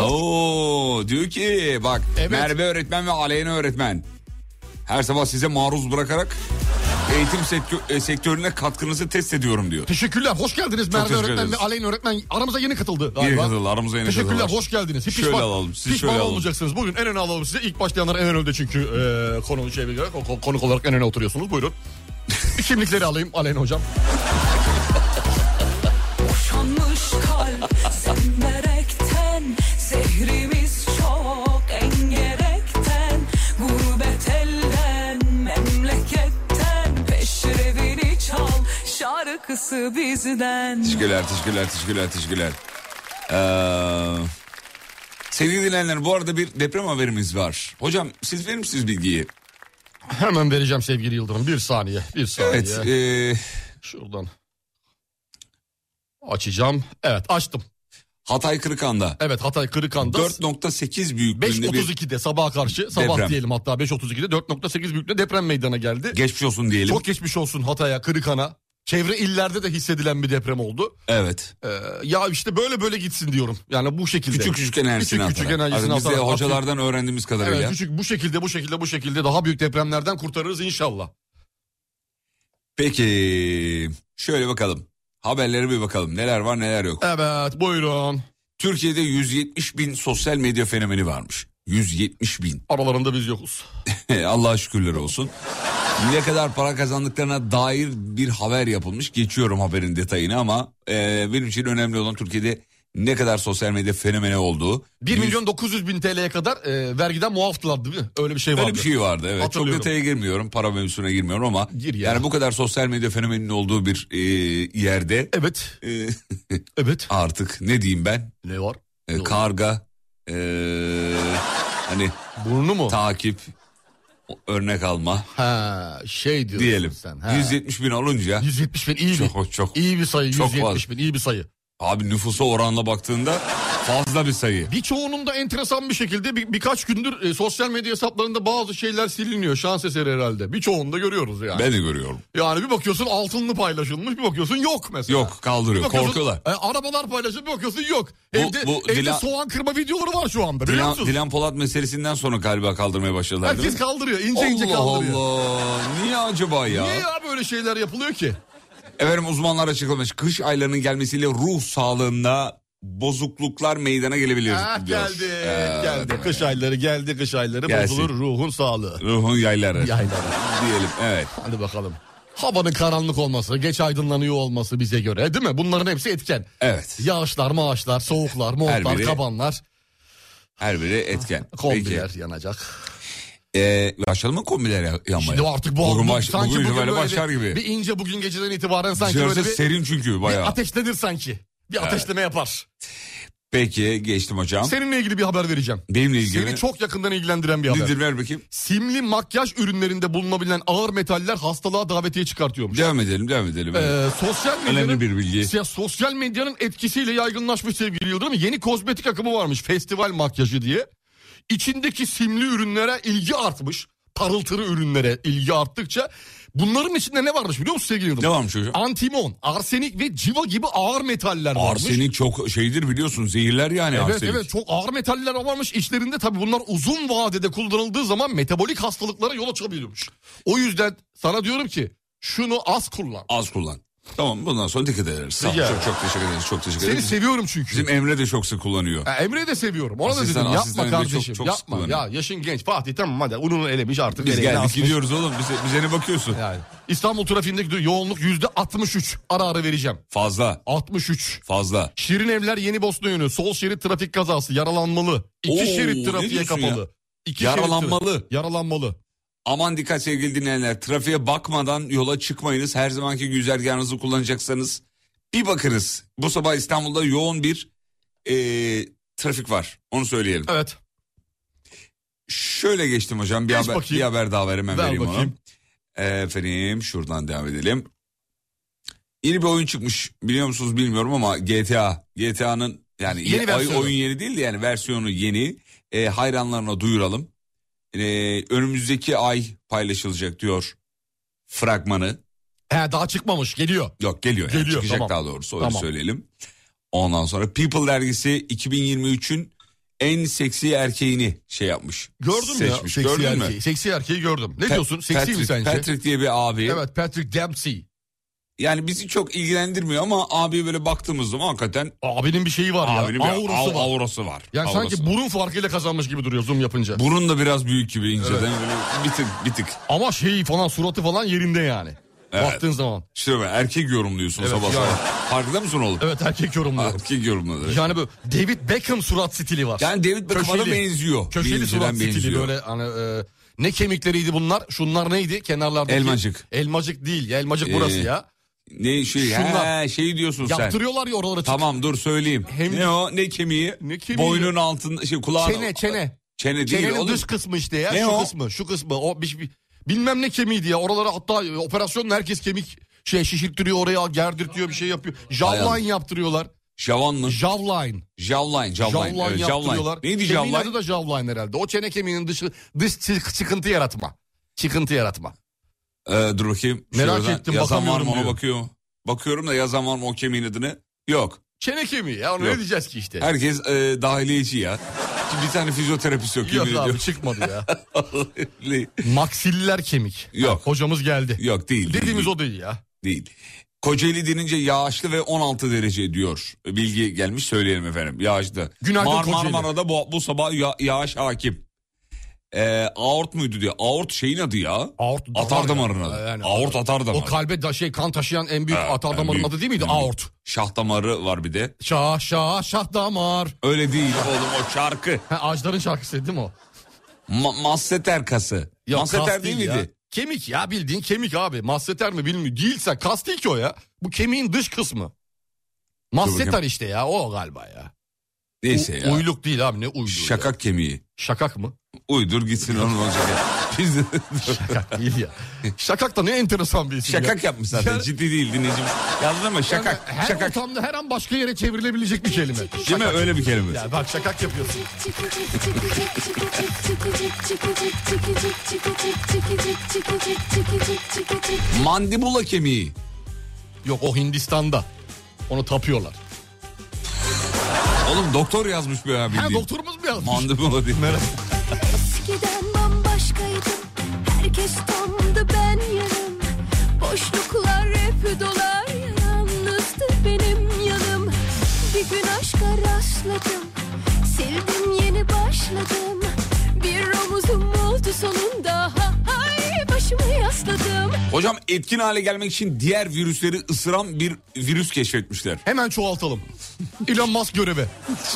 Speaker 5: Oo, diyor ki bak
Speaker 4: Evet.
Speaker 5: Merve öğretmen ve Aleyna öğretmen. Her sabah size maruz bırakarak eğitim sektö- e, sektörüne katkınızı test ediyorum diyor.
Speaker 4: Teşekkürler. Hoş geldiniz Merve
Speaker 5: teşekkür
Speaker 4: öğretmen
Speaker 5: ederiz.
Speaker 4: ve Aleyna öğretmen. Aramıza yeni katıldı galiba.
Speaker 5: Yeni katıldı, aramıza yeni
Speaker 4: Teşekkürler.
Speaker 5: katıldılar.
Speaker 4: Hoş geldiniz. Hiç
Speaker 5: Şöyle
Speaker 4: pişman,
Speaker 5: alalım, sizi
Speaker 4: pişman
Speaker 5: şöyle alalım.
Speaker 4: olmayacaksınız. Bugün en öne alalım size. İlk başlayanlar en önde çünkü e, konu şey biliyor. ko- konuk olarak en öne oturuyorsunuz. Buyurun. Bir Kimlikleri alayım Aleyna hocam.
Speaker 8: Boşanmış kalp zemberekten Zehrimiz çok engerekten Gurbet elden memleketten Peşrevini çal şarkısı bizden
Speaker 5: Teşekkürler, teşekkürler, teşekkürler, teşekkürler. Ee, sevgili dinleyenler bu arada bir deprem haberimiz var. Hocam siz verir misiniz bilgiyi?
Speaker 4: Hemen vereceğim sevgili Yıldırım. Bir saniye. Bir saniye.
Speaker 5: Evet. ee,
Speaker 4: Şuradan. Açacağım. Evet açtım.
Speaker 5: Hatay Kırıkan'da
Speaker 4: Evet Hatay Kırıkan'da
Speaker 5: 4.8 büyüklüğünde bir
Speaker 4: 5.32'de sabaha karşı sabah
Speaker 5: Deprem.
Speaker 4: diyelim hatta 5.32'de 4.8 büyüklüğünde deprem meydana geldi.
Speaker 5: geçmiş olsun diyelim.
Speaker 4: Çok geçmiş olsun Hatay'a, Kırıkan'a. Çevre illerde de hissedilen bir deprem oldu.
Speaker 5: Evet.
Speaker 4: Ee, ya işte böyle böyle gitsin diyorum. Yani bu şekilde.
Speaker 5: Küçük küçük enerjisini
Speaker 4: Küçük küçük
Speaker 5: atarak.
Speaker 4: enerjisini
Speaker 5: Abi Biz de
Speaker 4: atarak.
Speaker 5: hocalardan öğrendiğimiz kadarıyla.
Speaker 4: Evet, küçük bu şekilde bu şekilde bu şekilde daha büyük depremlerden kurtarırız inşallah.
Speaker 5: Peki şöyle bakalım. Haberlere bir bakalım. Neler var neler yok.
Speaker 4: Evet buyurun.
Speaker 5: Türkiye'de 170 bin sosyal medya fenomeni varmış. 170 bin. *laughs*
Speaker 4: Aralarında biz yokuz.
Speaker 5: Allah'a şükürler olsun. ne kadar para kazandıklarına dair bir haber yapılmış. Geçiyorum haberin detayını ama e, benim için önemli olan Türkiye'de ne kadar sosyal medya fenomeni olduğu.
Speaker 4: 1
Speaker 5: Yüz-
Speaker 4: milyon 900 bin TL'ye kadar e, vergiden muaftılar değil mi? Öyle bir şey vardı.
Speaker 5: Öyle bir şey vardı evet. Çok
Speaker 4: Hatırlıyorum.
Speaker 5: detaya girmiyorum. Para mevzusuna girmiyorum ama.
Speaker 4: Gir ya.
Speaker 5: Yani bu kadar sosyal medya fenomeninin olduğu bir e, yerde
Speaker 4: Evet,
Speaker 5: e, *laughs*
Speaker 4: evet.
Speaker 5: artık ne diyeyim ben?
Speaker 4: Ne var?
Speaker 5: E,
Speaker 4: Ne oldu?
Speaker 5: karga, e, hani
Speaker 4: Burnu mu?
Speaker 5: takip, o- örnek alma
Speaker 4: ha, şey diyorsun
Speaker 5: diyelim.
Speaker 4: sen. Ha.
Speaker 5: 170 bin olunca
Speaker 4: 170 bin iyi bir.
Speaker 5: çok çok.
Speaker 4: İyi bir sayı
Speaker 5: Çok
Speaker 4: 170
Speaker 5: fazla.
Speaker 4: bin iyi bir sayı.
Speaker 5: Abi nüfusa oranla baktığında fazla bir sayı.
Speaker 4: Birçoğunun da enteresan bir şekilde bir, birkaç gündür e, sosyal medya hesaplarında bazı şeyler siliniyor şans eseri herhalde. Birçoğunu da görüyoruz yani.
Speaker 5: Ben de görüyorum.
Speaker 4: Yani bir bakıyorsun altınlı paylaşılmış bir bakıyorsun yok mesela.
Speaker 5: Yok
Speaker 4: Bir
Speaker 5: kaldırıyor
Speaker 4: bakıyorsun,
Speaker 5: korkuyorlar.
Speaker 4: e, arabalar paylaşılmış bir bakıyorsun yok.
Speaker 5: Bu-
Speaker 4: evde
Speaker 5: bu
Speaker 4: evde
Speaker 5: Dilan-
Speaker 4: soğan kırma videoları var şu anda biliyor
Speaker 5: Dilan,
Speaker 4: musunuz?
Speaker 5: Dilan Polat meselesinden sonra galiba kaldırmaya başladılar değil mi?
Speaker 4: Herkes kaldırıyor ince ince
Speaker 5: Allah
Speaker 4: kaldırıyor.
Speaker 5: Allah. Niye acaba ya?
Speaker 4: Niye ya böyle şeyler yapılıyor ki?
Speaker 5: Efendim uzmanlar açıklamış. Kış aylarının gelmesiyle ruh sağlığında bozukluklar meydana gelebilir.
Speaker 4: Ah
Speaker 5: diyor.
Speaker 4: geldi
Speaker 5: Ee,
Speaker 4: geldi kış ayları geldi kış ayları
Speaker 5: Gelsin.
Speaker 4: bozulur ruhun sağlığı.
Speaker 5: Ruhun yayları.
Speaker 4: Yayları.
Speaker 5: Diyelim evet.
Speaker 4: Hadi bakalım. Havanın karanlık olması, geç aydınlanıyor olması bize göre değil mi? Bunların hepsi etken.
Speaker 5: Evet.
Speaker 4: Yağışlar, maaşlar, soğuklar, montlar,
Speaker 5: biri-
Speaker 4: kabanlar,
Speaker 5: Her biri etken.
Speaker 4: *laughs* kombiler yanacak.
Speaker 5: Peki. Ee, başlayalım mı kombiler ya- yanmaya?
Speaker 4: Şimdi artık bu
Speaker 5: bugün,
Speaker 4: bu-
Speaker 5: baş, bugün itibariyle
Speaker 4: böyle
Speaker 5: başlar
Speaker 4: bir-
Speaker 5: gibi.
Speaker 4: Bir ince bugün geceden itibaren sanki
Speaker 5: Dışarısı
Speaker 4: böyle bir,
Speaker 5: serin çünkü
Speaker 4: bir
Speaker 5: bayağı.
Speaker 4: ateşlenir sanki. Bir ateşleme yapar.
Speaker 5: Peki geçtim hocam.
Speaker 4: Seninle ilgili bir haber vereceğim.
Speaker 5: Benimle ilgili.
Speaker 4: Seni çok yakından ilgilendiren bir haber.
Speaker 5: Nedir ver bakayım.
Speaker 4: Simli makyaj ürünlerinde bulunabilen ağır metaller hastalığa davetiye çıkartıyormuş.
Speaker 5: Devam edelim devam edelim.
Speaker 4: Ee, sosyal medyanın
Speaker 5: Önemli bir şey. bilgi.
Speaker 4: Ya sosyal medyanın etkisiyle yaygınlaşmış sevgili Yıldırım. Yeni kozmetik akımı varmış festival makyajı diye. İçindeki simli ürünlere ilgi artmış. Parıltılı ürünlere ilgi arttıkça bunların içinde ne varmış biliyor musun sevgili Yıldırım?
Speaker 5: Ne varmış hocam?
Speaker 4: Antimon, arsenik ve civa gibi ağır metaller varmış.
Speaker 5: Arsenik çok şeydir biliyorsun zehirler yani
Speaker 4: Evet
Speaker 5: arsenik.
Speaker 4: evet çok ağır metaller varmış içlerinde tabii bunlar uzun vadede kullanıldığı zaman metabolik hastalıklara yol açabiliyormuş. O yüzden sana diyorum ki şunu az kullan.
Speaker 5: Az kullan. Tamam bundan sonra dikkat ederiz. Sağ ol.
Speaker 4: Rica
Speaker 5: Çok, çok teşekkür ederiz. Çok teşekkür
Speaker 4: Seni
Speaker 5: ederiz.
Speaker 4: seviyorum çünkü.
Speaker 5: Bizim Emre de çok sık kullanıyor.
Speaker 4: Ya Emre'yi de seviyorum. Ona
Speaker 5: Asistan-
Speaker 4: da dedim
Speaker 5: asistan
Speaker 4: yapma
Speaker 5: Emre çok-
Speaker 4: kardeşim
Speaker 5: çok sık
Speaker 4: yapma.
Speaker 5: kullanıyor.
Speaker 4: Ya yaşın genç Fatih tamam hadi ununu elemiş artık.
Speaker 5: Biz
Speaker 4: eleğini
Speaker 5: geldik
Speaker 4: asmış.
Speaker 5: gidiyoruz oğlum. Bize, bize ne bakıyorsun?
Speaker 4: Yani. İstanbul trafiğindeki yoğunluk yüzde 63 ara ara vereceğim.
Speaker 5: Fazla.
Speaker 4: 63.
Speaker 5: Fazla.
Speaker 4: Şirin evler yeni Bosna yönü. Sol şerit trafik kazası yaralanmalı. İki
Speaker 5: Oo,
Speaker 4: şerit
Speaker 5: ne
Speaker 4: trafiğe
Speaker 5: diyorsun
Speaker 4: kapalı.
Speaker 5: ya?
Speaker 4: İki şerit tra-
Speaker 5: Yaralanmalı.
Speaker 4: yaralanmalı.
Speaker 5: Aman dikkat sevgili dinleyenler trafiğe bakmadan yola çıkmayınız. Her zamanki güzergahınızı kullanacaksanız bir bakınız. Bu sabah İstanbul'da yoğun bir eee, trafik var onu söyleyelim.
Speaker 4: Evet.
Speaker 5: Şöyle geçtim hocam bir,
Speaker 4: Geç
Speaker 5: haber,
Speaker 4: bakayım.
Speaker 5: bir haber daha ver hemen
Speaker 4: Ver
Speaker 5: vereyim
Speaker 4: bakayım.
Speaker 5: onu. Efendim şuradan devam edelim. Yeni bir oyun çıkmış biliyor musunuz bilmiyorum ama GTA. GTA'nın yani
Speaker 4: Yeni
Speaker 5: ye-
Speaker 4: versiyonu.
Speaker 5: oyun yeni değil de yani versiyonu yeni. E, hayranlarına duyuralım. E, önümüzdeki ay paylaşılacak diyor fragmanı.
Speaker 4: He daha çıkmamış geliyor.
Speaker 5: Yok geliyor yani
Speaker 4: Geliyor,
Speaker 5: çıkacak
Speaker 4: tamam.
Speaker 5: daha doğrusu öyle
Speaker 4: Tamam.
Speaker 5: söyleyelim. Ondan sonra People dergisi 2023'ün en seksi erkeğini şey yapmış.
Speaker 4: Gördün mü ya?
Speaker 5: seçmiş.
Speaker 4: Seksi
Speaker 5: Gördün mü?
Speaker 4: erkeği. Seksi erkeği gördüm. Ne
Speaker 5: Pe-
Speaker 4: diyorsun? Seksi
Speaker 5: Patrick,
Speaker 4: mi sence?
Speaker 5: Patrick diye bir abi.
Speaker 4: Evet Patrick Dempsey.
Speaker 5: Yani bizi çok ilgilendirmiyor ama abi böyle baktığımız zaman hakikaten
Speaker 4: Abinin bir şeyi var
Speaker 5: abinin
Speaker 4: ya.
Speaker 5: bir
Speaker 4: Aurası
Speaker 5: av-
Speaker 4: var.
Speaker 5: aurası var.
Speaker 4: yani
Speaker 5: Aurası
Speaker 4: sanki
Speaker 5: var.
Speaker 4: burun farkıyla kazanmış gibi duruyor zoom yapınca.
Speaker 5: burun da biraz büyük gibi inceden böyle bir tık bir tık.
Speaker 4: Ama şeyi falan suratı falan yerinde yani.
Speaker 5: Evet.
Speaker 4: Baktığın zaman.
Speaker 5: İşte böyle erkek yorumluyorsun
Speaker 4: Evet,
Speaker 5: sabah
Speaker 4: yani.
Speaker 5: sabah. Farkında mısın oğlum?
Speaker 4: Evet erkek yorumluyor.
Speaker 5: Erkek yorumluyor. Yani,
Speaker 4: Yani böyle David Beckham surat stili var.
Speaker 5: David Beckham'a da
Speaker 4: Köşeli.
Speaker 5: benziyor. Oh, Bir
Speaker 4: Köşeli
Speaker 5: inceden
Speaker 4: surat stili böyle hani e, ne kemikleriydi bunlar? Şunlar neydi? Kenarlardaki.
Speaker 5: Elmacık.
Speaker 4: Elmacık değil. ya, Elmacık burası
Speaker 5: Ee,
Speaker 4: ya.
Speaker 5: Ne şey
Speaker 4: Şunlar.
Speaker 5: he, şey diyorsun sen.
Speaker 4: Yaptırıyorlar ya oraları.
Speaker 5: Tamam dur söyleyeyim.
Speaker 4: Hem-
Speaker 5: ne o ne kemiği?
Speaker 4: Ne kemiği?
Speaker 5: Boynun altında şey kulağın.
Speaker 4: Çene çene.
Speaker 5: Çene değil
Speaker 4: Çenenin
Speaker 5: oğlum.
Speaker 4: dış kısmı işte ya.
Speaker 5: Ne
Speaker 4: şu
Speaker 5: o?
Speaker 4: kısmı şu kısmı. O bir, bir- bilmem ne kemiğiydi ya. Oralara hatta e, operasyonla herkes kemik şey şişirtiyor oraya gerdirtiyor bir şey yapıyor.
Speaker 5: Dayan.
Speaker 4: Jawline yaptırıyorlar.
Speaker 5: Javan mı?
Speaker 4: Jawline.
Speaker 5: Javline, javline.
Speaker 4: Jawline
Speaker 5: evet,
Speaker 4: yaptırıyorlar.
Speaker 5: javline. Neydi
Speaker 4: Kemiğin
Speaker 5: javline?
Speaker 4: adı da jawline herhalde. O çene kemiğinin dışı dış çı- çıkıntı yaratma. Çıkıntı yaratma.
Speaker 5: Ee, dur bakayım.
Speaker 4: Merak
Speaker 5: Şuradan
Speaker 4: ettim,
Speaker 5: Yazan var mı
Speaker 4: bakamıyorum
Speaker 5: ona
Speaker 4: diyor.
Speaker 5: bakıyor. mu? Bakıyorum da yazan var mı o kemiğin adını? Yok.
Speaker 4: Çene kemiği ya onu
Speaker 5: Yok.
Speaker 4: ne diyeceğiz ki işte.
Speaker 5: Herkes e, dahiliyeci ya. Şimdi bir tane fizyoterapist yok.
Speaker 4: Yok
Speaker 5: yemin
Speaker 4: abi
Speaker 5: ediyorum. *laughs*
Speaker 4: çıkmadı ya.
Speaker 5: Vallahi
Speaker 4: Maksiller kemik.
Speaker 5: Yok.
Speaker 4: Hocamız geldi.
Speaker 5: yok değil.
Speaker 4: Dediğimiz
Speaker 5: değil,
Speaker 4: o değil ya.
Speaker 5: Değil. Kocaeli denince yağışlı ve 16 derece diyor. Bilgi gelmiş söyleyelim efendim. Yağışlı.
Speaker 4: Günaydın
Speaker 5: Mar-
Speaker 4: Kocaeli.
Speaker 5: Marmara'da bu, bu sabah ya- yağış hakim. Ee, aort muydu diye. Aort şeyin adı ya.
Speaker 4: Aort
Speaker 5: Atar
Speaker 4: damar ya.
Speaker 5: damarın adı.
Speaker 4: Yani-
Speaker 5: aort atar damarı.
Speaker 4: O kalbe da şey kan taşıyan en büyük
Speaker 5: Ha,
Speaker 4: atar
Speaker 5: en
Speaker 4: damarın
Speaker 5: büyük,
Speaker 4: adı değil miydi?
Speaker 5: en büyük.
Speaker 4: Aort.
Speaker 5: Şah damarı var bir de.
Speaker 4: Şah şah şah damar.
Speaker 5: Öyle değil oğlum o şarkı.
Speaker 4: Ha, ağaçların şarkısı değil mi o?
Speaker 5: Ma- masseter kası.
Speaker 4: Ya,
Speaker 5: masseter
Speaker 4: kas
Speaker 5: değil
Speaker 4: ya.
Speaker 5: miydi?
Speaker 4: Kemik ya bildiğin kemik abi. Masseter mi bilmiyorum. Değilse kas değil ki o ya. Bu kemiğin dış kısmı. Masseter
Speaker 5: bakayım.
Speaker 4: işte ya o galiba ya.
Speaker 5: Neyse ya.
Speaker 4: U- Uyluk değil abi ne uyluğu ya.
Speaker 5: Şakak kemiği.
Speaker 4: Şakak mı? *laughs*
Speaker 5: Uydur gitsin onun olacak. Biz de-
Speaker 4: Şakak değil ya. Şakak da ne enteresan bir isim ya.
Speaker 5: şakak yapmış zaten.
Speaker 4: Yani-
Speaker 5: Ciddi değil dinleyicimiz. Yazdın ama
Speaker 4: Yani
Speaker 5: şakak.
Speaker 4: her
Speaker 5: şakak.
Speaker 4: ortamda her an başka yere çevrilebilecek bir kelime.
Speaker 5: Değil mi? Öyle bir kelime.
Speaker 4: Ya bak şakak yapıyorsun.
Speaker 5: Mandibula kemiği.
Speaker 4: Yok o Hindistan'da. Onu tapıyorlar.
Speaker 5: Oğlum doktor yazmış be abi.
Speaker 4: Ha doktorumuz mu yazmış?
Speaker 5: Mandibula değil.
Speaker 4: Merak-
Speaker 6: Eskiden bambaşkaydım Herkes tamdı ben yarım Boşluklar hep dolar Yalnızdı benim yanım Bir gün aşka rastladım Sildim yeni başladım Bir omuzum oldu sonunda Ha- Hay başımı yasladım
Speaker 5: Hocam etkin hale gelmek için diğer virüsleri ısıran bir
Speaker 4: *laughs*
Speaker 5: virüs keşfetmişler.
Speaker 4: Hemen çoğaltalım. Elon Musk görevi.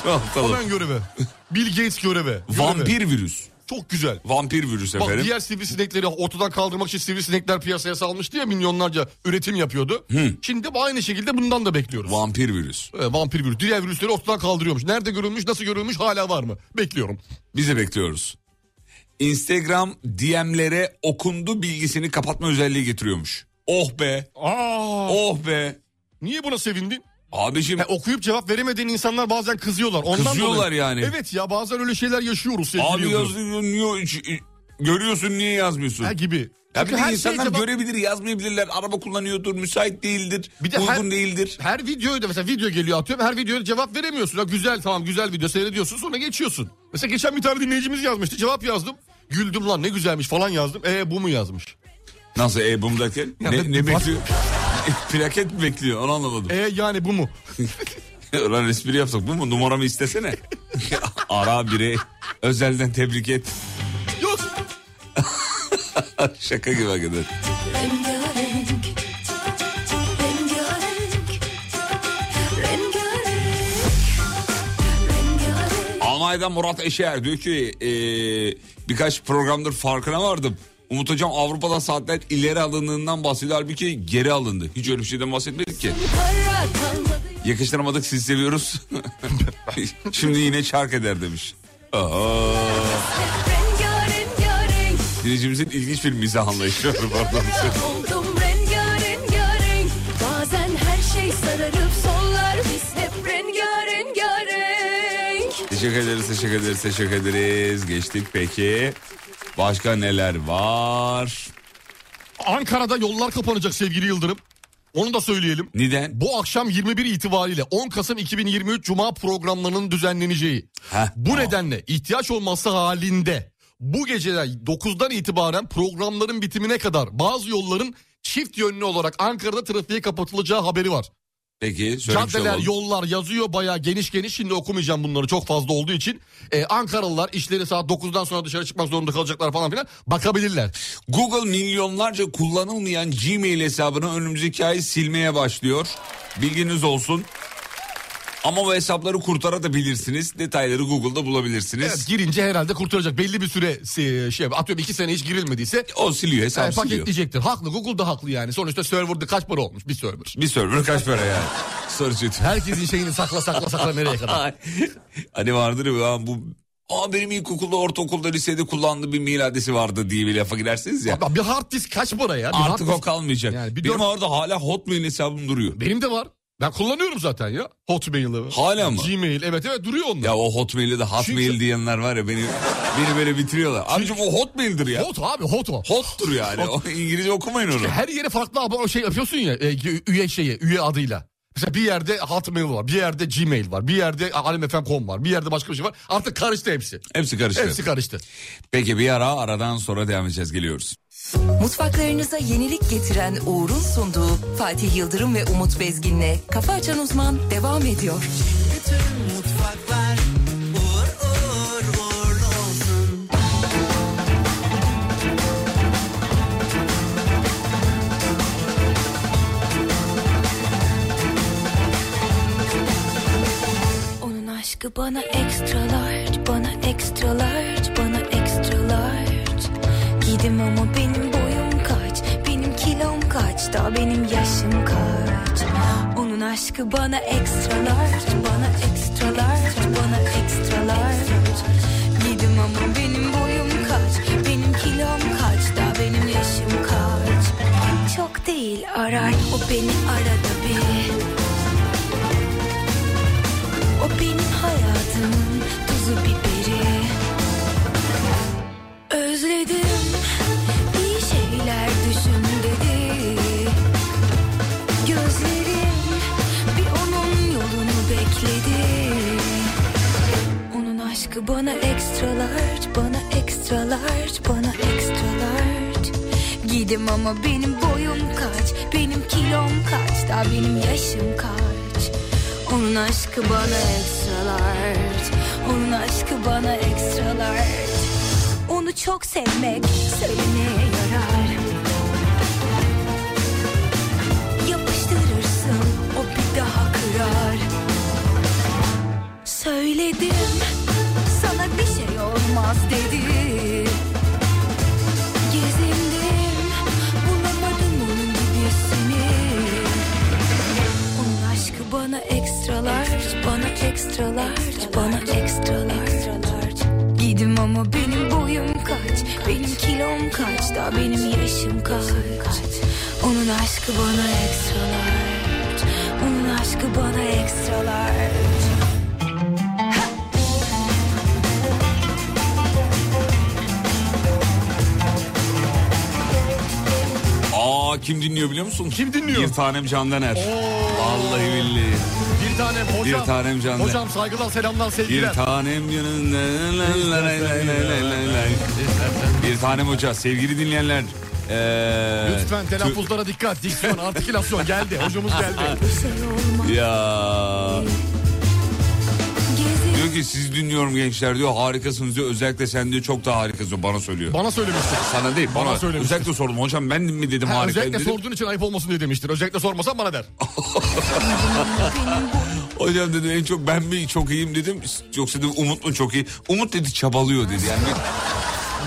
Speaker 5: Çoğaltalım.
Speaker 4: Hemen görevi. Bill Gates görevi. Görevi.
Speaker 5: Vampir virüs.
Speaker 4: Çok güzel.
Speaker 5: Vampir virüs
Speaker 4: Bak
Speaker 5: efendim.
Speaker 4: diğer sivrisinekleri ortadan kaldırmak için sivrisinekler piyasaya salmıştı ya milyonlarca üretim yapıyordu. Şimdi de aynı şekilde bundan da bekliyoruz.
Speaker 5: Vampir virüs.
Speaker 4: Ee, vampir virüs. Diğer virüsleri ortadan kaldırıyormuş. Nerede görülmüş, nasıl görülmüş hala var mı? Bekliyorum.
Speaker 5: Biz de bekliyoruz. Instagram DM'lere okundu bilgisini kapatma özelliği getiriyormuş. Oh be.
Speaker 4: Aa,
Speaker 5: Oh be.
Speaker 4: niye buna sevindin?
Speaker 5: Abicim
Speaker 4: Ha, okuyup cevap veremediğin insanlar bazen kızıyorlar. Ondan
Speaker 5: Kızıyorlar
Speaker 4: dolayı.
Speaker 5: yani.
Speaker 4: Evet ya bazen öyle şeyler yaşıyoruz. sevgili
Speaker 5: abi
Speaker 4: Yıldırım.
Speaker 5: yazıyorsun niye hiç- görüyorsun niye yazmıyorsun?
Speaker 4: Ha gibi.
Speaker 5: Ya bir
Speaker 4: Çünkü
Speaker 5: de
Speaker 4: her
Speaker 5: insanlar
Speaker 4: şey cevap-
Speaker 5: görebilir yazmayabilirler. Araba kullanıyordur, müsait değildir,
Speaker 4: Bir de
Speaker 5: uygun
Speaker 4: her-
Speaker 5: değildir.
Speaker 4: Her videoyu da mesela video geliyor atıyorum. Her videoya cevap veremiyorsun. Ha, güzel tamam güzel video seyrediyorsun sonra geçiyorsun. Mesela geçen bir tane dinleyicimiz yazmıştı. Cevap yazdım. Güldüm lan ne güzelmiş falan yazdım. E bu mu yazmış?
Speaker 5: Nasıl e bunu derken?
Speaker 4: Ya
Speaker 5: ne,
Speaker 4: ben-
Speaker 5: ne
Speaker 4: bas-
Speaker 5: bekliyor? E, Plaket mi bekliyor onu anlamadım.
Speaker 4: E yani bu mu? *laughs* E-
Speaker 5: *laughs* Lan espri yapsak bu mu?
Speaker 4: *laughs*
Speaker 5: Numaramı istesene. Ara biri özelden tebrik et. *laughs*
Speaker 4: Yok.
Speaker 5: Şaka gibi hakikaten.
Speaker 6: Rengarenk Rengarenk Rengarenk Rengarenk
Speaker 5: Almanya'dan Murat Eşer diyor ki e, birkaç programdır farkına vardım. Umut Hocam Avrupa'dan saatler ileri alındığından bahsediyor. Halbuki geri alındı. Hiç öyle bir şeyden bahsetmedik ki.
Speaker 6: Para kalmadı
Speaker 5: Yakıştıramadık sizi seviyoruz. *laughs* Şimdi yine çark eder demiş. Aa,
Speaker 6: rengarenk
Speaker 5: dinleyicimizin ilginç bir mizah anlayışı var. Pardon.
Speaker 6: Oldum rengarenk Bazen her şey sararıp sollar Biz hep rengarenk
Speaker 5: Teşekkür ederiz, teşekkür ederiz, teşekkür ederiz. Geçtik peki. Başka neler var?
Speaker 4: Ankara'da yollar kapanacak sevgili Yıldırım. Onu da söyleyelim.
Speaker 5: Neden?
Speaker 4: Bu akşam 21 itibariyle 10 Kasım 2023 Cuma programlarının düzenleneceği.
Speaker 5: Heh,
Speaker 4: Bu nedenle ihtiyaç olması halinde bu geceden 9'dan itibaren programların bitimine kadar bazı yolların çift yönlü olarak Ankara'da trafiğe kapatılacağı haberi var.
Speaker 5: Peki söylemiş
Speaker 4: Caddeler,
Speaker 5: olalım.
Speaker 4: yollar yazıyor bayağı geniş geniş. Şimdi okumayacağım bunları çok fazla olduğu için. Ee, Ankaralılar işleri saat 9'dan sonra dışarı çıkmak zorunda kalacaklar falan filan. Bakabilirler.
Speaker 5: Google milyonlarca kullanılmayan Gmail hesabını önümüzdeki ay silmeye başlıyor. Bilginiz olsun. Ama bu hesapları kurtarabilirsiniz. Detayları Google'da bulabilirsiniz.
Speaker 4: Evet, girince herhalde kurtaracak. Belli bir süre e, şey atıyorum 2 sene hiç girilmediyse
Speaker 5: O siliyor hesap
Speaker 4: e,
Speaker 5: siliyor.
Speaker 4: paketleyecektir. Haklı Google da haklı yani. Sonuçta serverda kaç para olmuş bir server.
Speaker 5: Bir server kaç para yani? Soru çetin. *laughs*
Speaker 4: Herkesin şeyini sakla sakla sakla nereye kadar.
Speaker 5: hani vardır ya bu Aa benim ilkokulda, ortaokulda, lisede kullandığım bir mail adresi vardı diye bir lafa girersiniz ya.
Speaker 4: Abi, bir hard disk kaç para ya? Bir hard
Speaker 5: Artık
Speaker 4: disk-
Speaker 5: o kalmayacak.
Speaker 4: Yani bir
Speaker 5: benim
Speaker 4: dört-
Speaker 5: orada hala Hotmail hesabım duruyor.
Speaker 4: Benim de var. Ben kullanıyorum zaten ya. Hotmail'ı.
Speaker 5: Hala mı?
Speaker 4: Gmail evet evet duruyor onlar.
Speaker 5: Ya o Hotmail'de de Hotmail
Speaker 4: Çünkü-
Speaker 5: diyenler var ya beni beni böyle bitiriyorlar. Abicim o Hotmail'dir ya.
Speaker 4: Hot abi hot o.
Speaker 5: Hottur yani. O İngilizce okumayın onu.
Speaker 4: Her yere farklı abi o şey yapıyorsun ya e, üye şeyi üye adıyla. Mesela bir yerde Hotmail var, bir yerde Gmail var, bir yerde alemfm.com var, bir yerde başka bir şey var. Artık karıştı hepsi.
Speaker 5: Hepsi karıştı.
Speaker 4: Hepsi karıştı.
Speaker 5: Peki bir ara aradan sonra devam edeceğiz geliyoruz.
Speaker 1: Mutfaklarınıza yenilik getiren Uğur'un sunduğu Fatih Yıldırım ve Umut Bezgin'le Kafa Açan Uzman devam ediyor.
Speaker 6: Onun aşkı bana extra large, bana extra large, bana extra large. Gidim ama benim boyum kaç, benim kilom kaç, da benim yaşım kaç. Onun aşkı bana extra large, bana extra large, bana extra large. Gidim ama benim boyum kaç, benim kilom kaç, da benim yaşım kaç. Çok değil arar, o beni arada bir. O benim hayatımın tuzu biberi Özledim iyi şeyler düşün dedi Gözlerim bir onun yolunu bekledi Onun aşkı bana extra large, bana extra large, bana extra large Gidim ama benim boyum kaç, benim kilom kaç, daha benim yaşım kaç onun aşkı bana extra large Onun aşkı bana extra large Onu çok sevmek söylemeye yarar Yapıştırırsın o bir daha kırar Söyledim sana bir şey olmaz dedi Gezindim bulamadım onun gibisini onun aşkı bana extra large, bana extra large, bana extra large. Gidim ama benim boyum kaç, benim kilom kaç, da benim yaşım kaç. Onun aşkı bana extra large, onun aşkı bana extra large.
Speaker 5: Aa kim dinliyor biliyor musun?
Speaker 4: Kim dinliyor?
Speaker 5: Bir tanem Candaner. Vallahi billahi.
Speaker 4: Bir tanem hocam.
Speaker 5: Bir tanem canlı.
Speaker 4: Hocam saygılar, selamlar,
Speaker 5: Bir
Speaker 4: sevgiler.
Speaker 5: tanem canım. la, la, la, la, la, la, la. Bir tanem hoca. Sevgili dinleyenler. ee,
Speaker 4: Lütfen telaffuzlara dikkat. Diksiyon, artikülasyon geldi. Hocamız geldi.
Speaker 6: Bir şey olmaz.
Speaker 5: Ya
Speaker 6: Gezin
Speaker 5: diyor ki siz dinliyorum gençler diyor harikasınız diyor özellikle sen diyor çok daha harikasın diyor. bana söylüyor.
Speaker 4: Bana söylemişti.
Speaker 5: Sana değil bana,
Speaker 4: Bana söylemişti.
Speaker 5: özellikle sordum hocam ben mi dedim
Speaker 4: Ha,
Speaker 5: harika
Speaker 4: özellikle
Speaker 5: dedim.
Speaker 4: sorduğun için ayıp olmasın diye demiştir. Özellikle sormasan bana der.
Speaker 5: Hocam dedi en çok ben mi çok iyiyim dedim yoksa dedim Umut mu çok iyi. Umut dedi çabalıyor dedi yani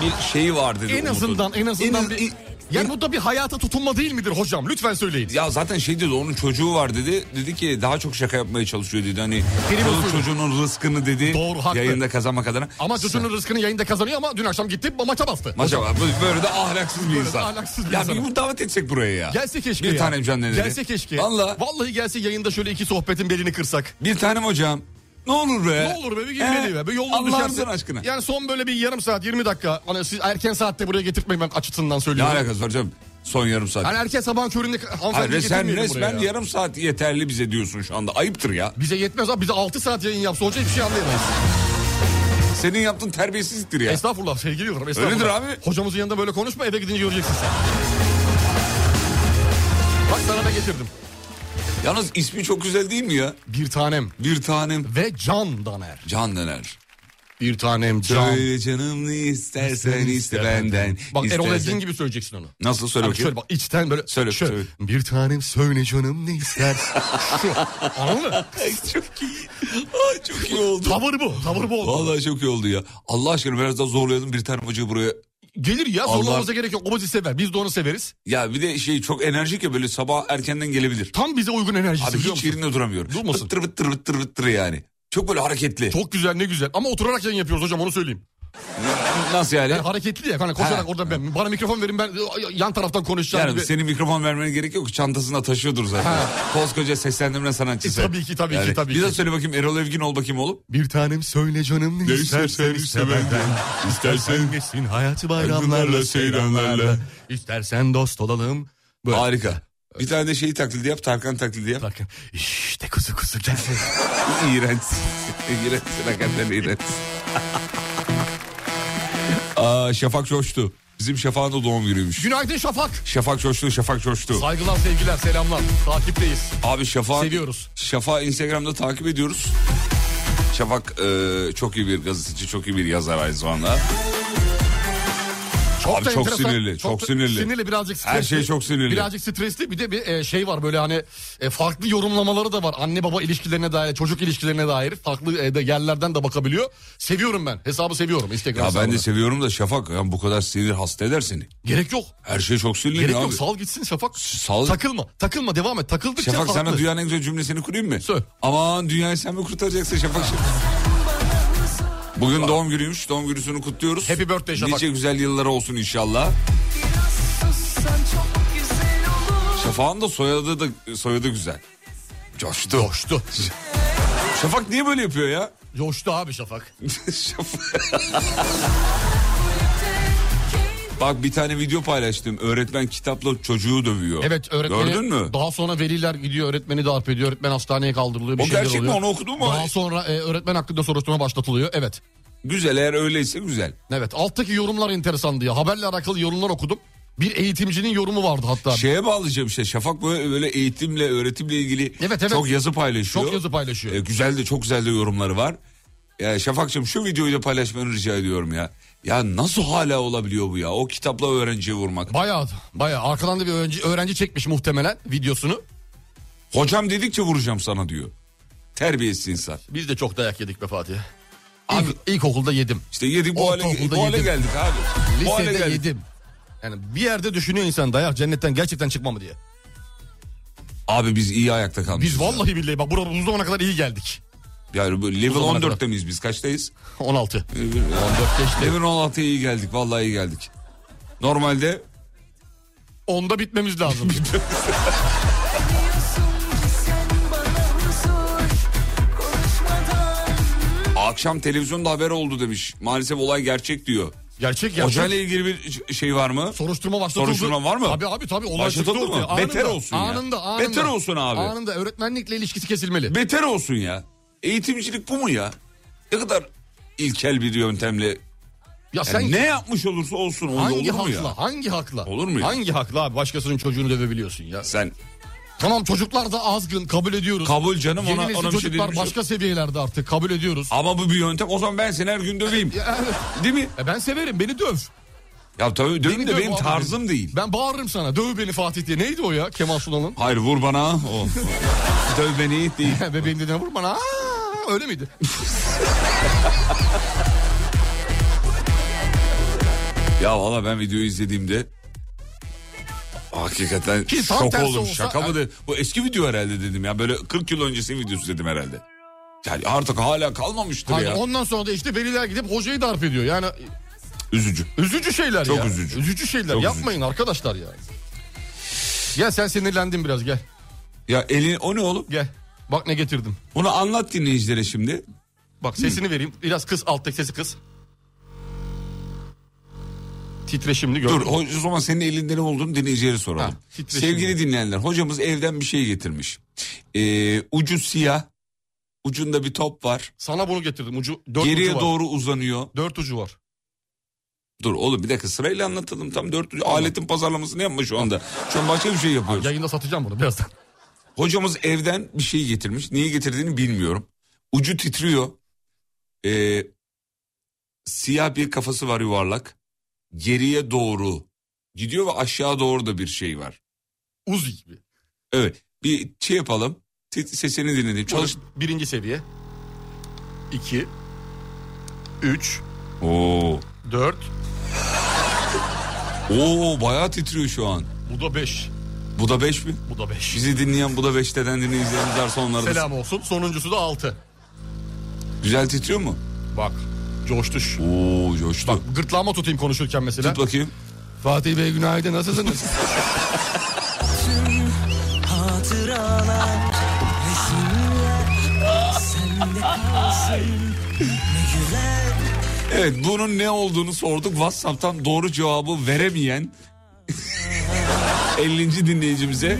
Speaker 5: bir şeyi var dedi
Speaker 4: En
Speaker 5: Umut'un.
Speaker 4: azından en azından
Speaker 5: En-
Speaker 4: bir... Ya bu da bir hayata tutunma değil midir hocam? Lütfen söyleyin.
Speaker 5: Ya zaten şey dedi onun çocuğu var dedi. Dedi ki daha çok şaka yapmaya çalışıyor dedi. Hani
Speaker 4: Benim
Speaker 5: çoluk
Speaker 4: usulüm.
Speaker 5: çocuğunun rızkını dedi.
Speaker 4: Doğru, haklı.
Speaker 5: Yayında kazanmak adına.
Speaker 4: Ama çocuğunun rızkını yayında kazanıyor ama dün akşam gitti maça bastı.
Speaker 5: Maşa bak, bu- böyle de ahlaksız bir insan.
Speaker 4: ahlaksız bir
Speaker 5: ya
Speaker 4: insan.
Speaker 5: bir bunu davet etsek buraya ya.
Speaker 4: Gelse keşke
Speaker 5: Bir
Speaker 4: ya.
Speaker 5: tanem can dedi.
Speaker 4: Gelse keşke.
Speaker 5: Valla
Speaker 4: Vallahi gelse yayında şöyle iki sohbetin belini kırsak.
Speaker 5: bir tanem hocam. Ne olur be.
Speaker 4: Ne olur be bir girmeli
Speaker 5: Ee,
Speaker 4: be. Bir yolunu
Speaker 5: Allah'ın
Speaker 4: düşersin.
Speaker 5: aşkına.
Speaker 4: Yani son böyle bir yarım saat 20 dakika. Hani siz erken saatte buraya getirtmeyin ben açısından
Speaker 5: ne
Speaker 4: söylüyorum.
Speaker 5: alakası var canım? Son yarım saat.
Speaker 4: Hani erken sabahın köründe hanımefendi
Speaker 5: Hayır, sen
Speaker 4: getirmeyelim buraya
Speaker 5: resmen
Speaker 4: ya.
Speaker 5: yarım saat yeterli bize diyorsun şu anda. Ayıptır ya.
Speaker 4: Bize yetmez abi bize 6 saat yayın yapsa hoca hiçbir şey anlayamayız.
Speaker 5: Senin yaptığın terbiyesizliktir ya.
Speaker 4: Estağfurullah sevgili Yıldırım estağfurullah.
Speaker 5: abi.
Speaker 4: Hocamızın yanında böyle konuşma eve gidince göreceksin sen. Bak sana da getirdim.
Speaker 5: Yalnız ismi çok güzel değil mi ya?
Speaker 4: Bir tanem
Speaker 5: Bir tanem
Speaker 4: ve Can Daner.
Speaker 5: Can Döner.
Speaker 4: Bir tanem Can.
Speaker 5: Söyle canım ne istersen iste benden.
Speaker 4: Bak Erol
Speaker 5: İstersen-
Speaker 4: Ezgin gibi söyleyeceksin onu.
Speaker 5: Nasıl söyle
Speaker 4: Bak
Speaker 5: bakayım?
Speaker 4: şöyle bak içten böyle.
Speaker 5: Söyle,
Speaker 4: şöyle,
Speaker 5: söyle.
Speaker 4: Bir tanem söyle canım ne
Speaker 5: *laughs*
Speaker 4: istersin. Şu anladın mı?
Speaker 5: Ay, çok iyi. Ay, çok iyi oldu.
Speaker 4: Tavır bu. Tavır bu. oldu.
Speaker 5: Vallahi çok iyi oldu ya. Allah aşkına biraz daha zorlayalım bir tane bacı buraya.
Speaker 4: Gelir ya
Speaker 5: Allah-
Speaker 4: zorlamamıza gerek yok. O bizi sever. Biz de onu severiz.
Speaker 5: Ya bir de şey çok enerjik ya böyle sabah erkenden gelebilir.
Speaker 4: Tam bize uygun enerjisi
Speaker 5: Abi
Speaker 4: biliyor
Speaker 5: hiç
Speaker 4: musun?
Speaker 5: yerinde duramıyorum.
Speaker 4: Durmasın.
Speaker 5: Vıttır vıttır vıttır vıttır yani. Çok böyle hareketli.
Speaker 4: Çok güzel ne güzel. Ama oturarak yayın yapıyoruz hocam onu söyleyeyim.
Speaker 5: Nasıl yani?
Speaker 4: Yani hareketli ya. Hani koşarak
Speaker 5: Ha.
Speaker 4: orada ben, bana mikrofon verin ben yan taraftan konuşacağım.
Speaker 5: Yani
Speaker 4: gibi.
Speaker 5: senin mikrofon vermene gerek yok. Çantasında taşıyordur zaten. Koskoca seslendirme sanatçısı.
Speaker 4: E, tabii ki, tabii ki, tabii
Speaker 5: Bir de
Speaker 4: ki.
Speaker 5: söyle bakayım Erol Evgin ol bakayım oğlum.
Speaker 4: Bir tanem söyle canım ne istersen iste benden. İstersen geçsin hayatı bayramlarla seyranlarla. İstersen dost olalım. Böyle.
Speaker 5: Harika. Bir tane de şeyi taklidi yap. Tarkan taklidi *laughs* yap.
Speaker 4: Bakın işte kuzu kuzu gel.
Speaker 5: İğrençsin. İğrençsin.
Speaker 4: *laughs*
Speaker 5: Hakikaten iğrençsin. Aa, Şafak coştu. Bizim Şafak'ın da doğum
Speaker 4: *laughs*
Speaker 5: günüymüş.
Speaker 4: Günaydın Şafak.
Speaker 5: Şafak coştu, Şafak coştu.
Speaker 4: Saygılar sevgiler selamlar. Takipteyiz.
Speaker 5: Abi Şafak...
Speaker 4: Seviyoruz.
Speaker 5: Şafak'ı Instagram'da takip ediyoruz. Şafak e, çok iyi bir gazeteci, çok iyi bir yazar aynı zamanda. Abi
Speaker 4: da
Speaker 5: çok
Speaker 4: enteresan,
Speaker 5: sinirli, çok
Speaker 4: da-
Speaker 5: sinirli.
Speaker 4: Sinirli birazcık stresli.
Speaker 5: Her şey çok sinirli.
Speaker 4: Birazcık stresli bir de bir e, şey var böyle hani e, farklı yorumlamaları da var. Anne baba ilişkilerine dair, çocuk ilişkilerine dair farklı e, de yerlerden de bakabiliyor. Seviyorum ben. Hesabı seviyorum Instagram
Speaker 5: Ya ben
Speaker 4: hesabını.
Speaker 5: de seviyorum da Şafak ya bu kadar sinir hasta eder seni.
Speaker 4: Gerek yok.
Speaker 5: Her şey çok sinirli
Speaker 4: Gerek
Speaker 5: ya
Speaker 4: yok
Speaker 5: abi.
Speaker 4: sal gitsin Şafak.
Speaker 5: Sal-
Speaker 4: Takılma takılma devam et. Takıldıkça
Speaker 5: Şafak
Speaker 4: farklı.
Speaker 5: sana dünyanın en güzel cümlesini kurayım mı?
Speaker 4: Söyle.
Speaker 5: Aman dünyayı sen mi kurtaracaksın Şafak? Bugün doğum günüymüş. Doğum gününü kutluyoruz.
Speaker 4: Happy birthday Şafak.
Speaker 5: Nice güzel yılları olsun inşallah. Şafak'ın da soyadı da soyadı güzel. Coştu. *laughs*
Speaker 4: Coştu.
Speaker 5: Şafak niye böyle yapıyor ya?
Speaker 4: Coştu abi Şafak.
Speaker 5: Şafak. *laughs* Bak bir tane video paylaştım. Öğretmen kitapla çocuğu dövüyor.
Speaker 4: Evet öğretmeni
Speaker 5: Gördün mü?
Speaker 4: daha sonra veliler gidiyor öğretmeni darp ediyor. Öğretmen hastaneye kaldırılıyor. Bir
Speaker 5: O
Speaker 4: şeyler
Speaker 5: gerçek mi?
Speaker 4: oluyor.
Speaker 5: Onu okudun mu?
Speaker 4: Daha sonra e, öğretmen hakkında soruşturma başlatılıyor. Evet.
Speaker 5: Güzel eğer öyleyse güzel.
Speaker 4: Evet alttaki yorumlar enteresandı ya. Haberle alakalı yorumlar okudum. Bir eğitimcinin yorumu vardı hatta.
Speaker 5: Şeye bağlayacağım işte Şafak böyle, böyle eğitimle öğretimle ilgili
Speaker 4: Evet, evet.
Speaker 5: çok yazı paylaşıyor.
Speaker 4: Çok yazı paylaşıyor.
Speaker 5: E, güzel de çok güzel de yorumları var. Ya Şafak'cığım şu videoyu da paylaşmanı rica ediyorum ya. Ya nasıl hala olabiliyor bu ya? O kitapla öğrenciye vurmak.
Speaker 4: Bayağı bayağı arkadan da bir öğrenci, öğrenci çekmiş muhtemelen videosunu.
Speaker 5: Hocam dedikçe vuracağım sana diyor. Terbiyesiz insan.
Speaker 4: Biz de çok dayak yedik be Fatih.
Speaker 5: Abi-
Speaker 4: İlk, ilkokulda yedim.
Speaker 5: İşte yedik bu hale,
Speaker 4: Ortaokulda
Speaker 5: bu hale
Speaker 4: yedim.
Speaker 5: geldik abi. Bu hale
Speaker 4: Lisede
Speaker 5: geldik.
Speaker 4: yedim. Yani bir yerde düşünüyor insan dayak cennetten gerçekten çıkma mı diye.
Speaker 5: Abi biz iyi ayakta kalmışız.
Speaker 4: Biz vallahi billahi bak burada bu zamana kadar iyi geldik. *laughs*
Speaker 5: Yani bu level
Speaker 4: zamana
Speaker 5: 14'te miyiz biz? Kaçtayız?
Speaker 4: 16.
Speaker 5: 14 geçti. Level 16'ya iyi geldik. Vallahi iyi geldik. Normalde
Speaker 4: Onda bitmemiz *laughs* lazım.
Speaker 5: Akşam televizyonda haber oldu demiş. Maalesef olay gerçek diyor.
Speaker 4: gerçek gerçek.
Speaker 5: Hocayla ilgili bir şey var mı?
Speaker 4: Soruşturma başlatıldı.
Speaker 5: Soruşturma var mı?
Speaker 4: Tabii abi tabii. Olay
Speaker 5: Başlatıldı
Speaker 4: çıktı
Speaker 5: mı?
Speaker 4: ortaya.
Speaker 5: Beter olsun ya.
Speaker 4: Anında, anında.
Speaker 5: Beter olsun abi.
Speaker 4: Anında öğretmenlikle ilişkisi kesilmeli.
Speaker 5: Beter olsun ya. Eğitimcilik bu mu ya? Ne kadar ilkel bir yöntemle. Yani
Speaker 4: ya sen
Speaker 5: ne yapmış olursa olsun onda
Speaker 4: hangi
Speaker 5: olur mu
Speaker 4: hakla?
Speaker 5: ya?
Speaker 4: Hangi hakla?
Speaker 5: Olur mu ya?
Speaker 4: Hangi hakla abi başkasının çocuğunu dövebiliyorsun ya?
Speaker 5: Sen
Speaker 4: Tamam çocuklar da azgın kabul ediyoruz.
Speaker 5: kabul canım
Speaker 4: Yeni
Speaker 5: ona,
Speaker 4: nesil
Speaker 5: ona bir şey
Speaker 4: çocuklar
Speaker 5: demiyorum.
Speaker 4: başka seviyelerde artık kabul ediyoruz.
Speaker 5: Ama bu bir yöntem. O zaman ben seni her gün döveyim.
Speaker 4: Ya, evet.
Speaker 5: Değil mi?
Speaker 4: E ben severim beni döv.
Speaker 5: Ya tabii döveyim de
Speaker 4: döv
Speaker 5: benim
Speaker 4: abi.
Speaker 5: tarzım değil.
Speaker 4: Ben bağırırım sana döv beni Fatih diye. Neydi o ya Kemal Sunal'ın? *laughs*
Speaker 5: Hayır vur bana. O. Döv beni değil.
Speaker 4: Bebeğin dediğine vurma lan. Aa, Öyle miydi?
Speaker 5: Ya valla ben videoyu izlediğimde hakikaten
Speaker 4: Ki tam
Speaker 5: şok
Speaker 4: tersi
Speaker 5: oldum.
Speaker 4: olsa-
Speaker 5: Şaka mı dedi? Bu eski video herhalde dedim ya. Böyle 40 yıl öncesinin videosu dedim herhalde. Yani artık hala kalmamıştır
Speaker 4: Hani
Speaker 5: ya.
Speaker 4: ondan sonra da işte veliler gidip hocayı darp ediyor. Yani
Speaker 5: Üzücü.
Speaker 4: üzücü şeyler
Speaker 5: Çok
Speaker 4: ya.
Speaker 5: üzücü.
Speaker 4: şeyler.
Speaker 5: Çok
Speaker 4: Yapmayın arkadaşlar ya. Gel sen sinirlendin biraz gel.
Speaker 5: Ya elin o ne oğlum?
Speaker 4: Gel. Bak ne getirdim.
Speaker 5: Bunu anlat dinleyicilere şimdi.
Speaker 4: Bak sesini vereyim. Biraz kız alttaki sesi kız. Titreşimli gör.
Speaker 5: Dur o zaman senin elinde ne olduğunu dinleyicilere soralım.
Speaker 4: Ha, şey titreşim.
Speaker 5: Sevgili dinleyenler hocamız evden bir şey getirmiş. Ee, ucu siyah. Ucunda bir top var.
Speaker 4: Sana bunu getirdim. Ucu dört
Speaker 5: geriye
Speaker 4: ucu var.
Speaker 5: doğru uzanıyor.
Speaker 4: Dört ucu var.
Speaker 5: Dur oğlum bir dakika sırayla anlatalım. Tam dört aletin pazarlamasını yapma şu anda. Şu an başka bir şey yapıyoruz.
Speaker 4: Yayında satacağım bunu birazdan.
Speaker 5: Hocamız evden bir şey getirmiş. Niye getirdiğini bilmiyorum. Ucu titriyor. Ee, siyah bir kafası var yuvarlak. Geriye doğru gidiyor ve aşağı doğru da bir şey var.
Speaker 4: Uzi gibi.
Speaker 5: Evet bir şey yapalım. Ti- Sesini dinledim. Çalış.
Speaker 4: Birinci seviye. İki. Üç.
Speaker 5: Oo.
Speaker 4: Dört.
Speaker 5: Oo bayağı titriyor şu an.
Speaker 4: Bu da beş.
Speaker 5: Bu da 5 mi?
Speaker 4: Bu da beş.
Speaker 5: Bizi dinleyen bu da 5'teden dinleyicilerimiz varsa onlara da-
Speaker 4: Selam olsun. Sonuncusu da altı.
Speaker 5: Güzel titriyor mu?
Speaker 4: Bak. Coştuş.
Speaker 5: Oo coştu.
Speaker 4: Bak gırtlağıma tutayım konuşurken mesela.
Speaker 5: Tut bakayım.
Speaker 4: Fatih Bey günaydın nasılsınız?
Speaker 2: Hatıralar Resimler Sende kalsın Ne güzel
Speaker 5: Evet bunun ne olduğunu sorduk. WhatsApp'tan doğru cevabı veremeyen *laughs* 50. dinleyicimize.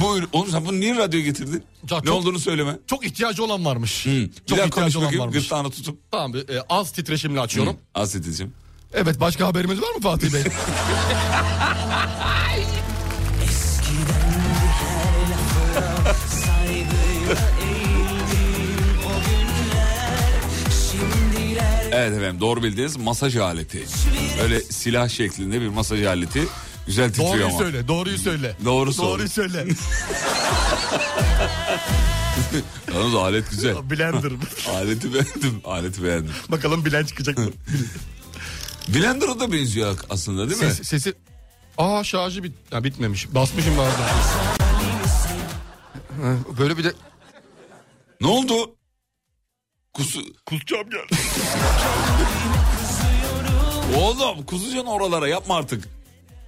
Speaker 5: Buyur. Oğlum sen bunu niye radyoya getirdin?
Speaker 4: Ya
Speaker 5: ne
Speaker 4: çok-
Speaker 5: olduğunu söyleme.
Speaker 4: *laughs* Çok ihtiyacı olan varmış.
Speaker 5: Hı. Bir
Speaker 4: Çok
Speaker 5: daha konuş
Speaker 4: ihtiyacı olan
Speaker 5: bakayım.
Speaker 4: varmış.
Speaker 5: Gırtlağını tutup.
Speaker 4: Tamam bir, e, az titreşimle açıyorum.
Speaker 5: Aseteciğim.
Speaker 4: Evet başka haberimiz var mı Fatih *laughs* Bey?
Speaker 5: Evet efendim doğru bildiniz. Masaj aleti. Öyle silah şeklinde bir masaj aleti. Güzel titriyor
Speaker 4: doğruyu
Speaker 5: ama.
Speaker 4: söyle, doğruyu söyle.
Speaker 5: Doğru
Speaker 4: Doğruyu *laughs*
Speaker 5: doğru.
Speaker 4: söyle.
Speaker 5: Yalnız alet güzel.
Speaker 4: Blender.
Speaker 5: Aleti beğendim. Aleti beğendim.
Speaker 4: *laughs* Bakalım bilen çıkacak mı?
Speaker 5: Blender'a da benziyor aslında değil mi?
Speaker 4: Ses, sesi... Aa şarjı bit ha, bitmemiş. Basmışım bazen. Ha, Böyle bir de...
Speaker 5: Ne oldu? Kusu...
Speaker 4: Kusacağım geldi.
Speaker 5: Oğlum kusacaksın oralara yapma artık.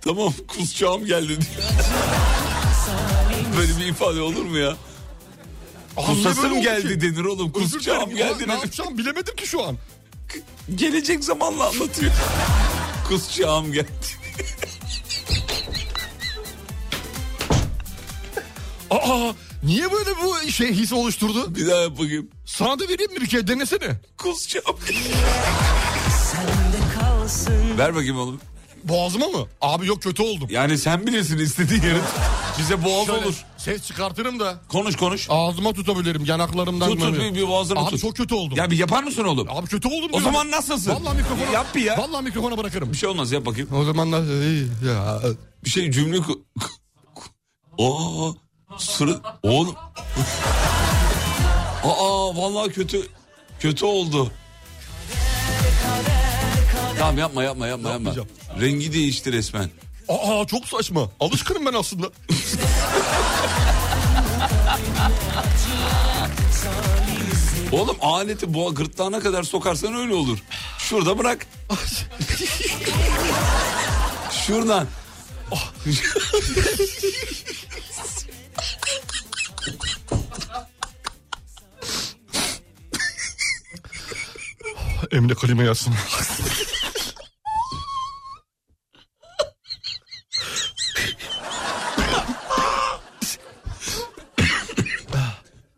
Speaker 5: Tamam kusacağım geldi diyor. Böyle bir ifade olur mu ya? Kusasım geldi denir oğlum.
Speaker 4: Özür dilerim.
Speaker 5: Kusacağım geldi
Speaker 4: Ne
Speaker 5: denir.
Speaker 4: yapacağım bilemedim ki şu an.
Speaker 5: Gelecek zamanla anlatıyor. Kusacağım geldi.
Speaker 4: Aa niye böyle bu şey his oluşturdu?
Speaker 5: Bir daha yap bakayım.
Speaker 4: Sana da vereyim mi bir kere denesene.
Speaker 5: Kusacağım.
Speaker 2: Sende kalsın
Speaker 5: Ver bakayım oğlum.
Speaker 4: Boğazıma mı? Abi yok kötü oldum.
Speaker 5: Yani sen bilirsin istediğin yeri. Bize boğaz
Speaker 4: Şöyle
Speaker 5: olur.
Speaker 4: Ses çıkartırım da
Speaker 5: Konuş konuş.
Speaker 4: ağzıma tutabilirim yanaklarımdan.
Speaker 5: Tut tut
Speaker 4: böyle.
Speaker 5: bir, bir boğazını
Speaker 4: Abi
Speaker 5: tut.
Speaker 4: çok kötü oldum.
Speaker 5: Ya bir yapar mısın oğlum?
Speaker 4: Abi kötü oldum.
Speaker 5: o
Speaker 4: diyorum.
Speaker 5: zaman nasılsın?
Speaker 4: Vallahi mikrofona,
Speaker 5: Yap bir ya.
Speaker 4: Vallahi mikrofona bırakırım.
Speaker 5: Bir şey olmaz yap bakayım.
Speaker 4: O zaman da ya.
Speaker 5: bir şey cümle ku- ku- ku- Aa sırı oğlum. *laughs* Aa vallahi kötü kötü oldu. Tamam yapma yapma yapma yapma.
Speaker 4: Yapmayacağım.
Speaker 5: Rengi değişti resmen.
Speaker 4: Aa çok saçma. Alışkınım ben aslında.
Speaker 5: Oğlum aleti boğa gırtlağına kadar sokarsan öyle olur. Şurada bırak. Şuradan. Ah.
Speaker 4: Emre kaleme *laughs* yazsın.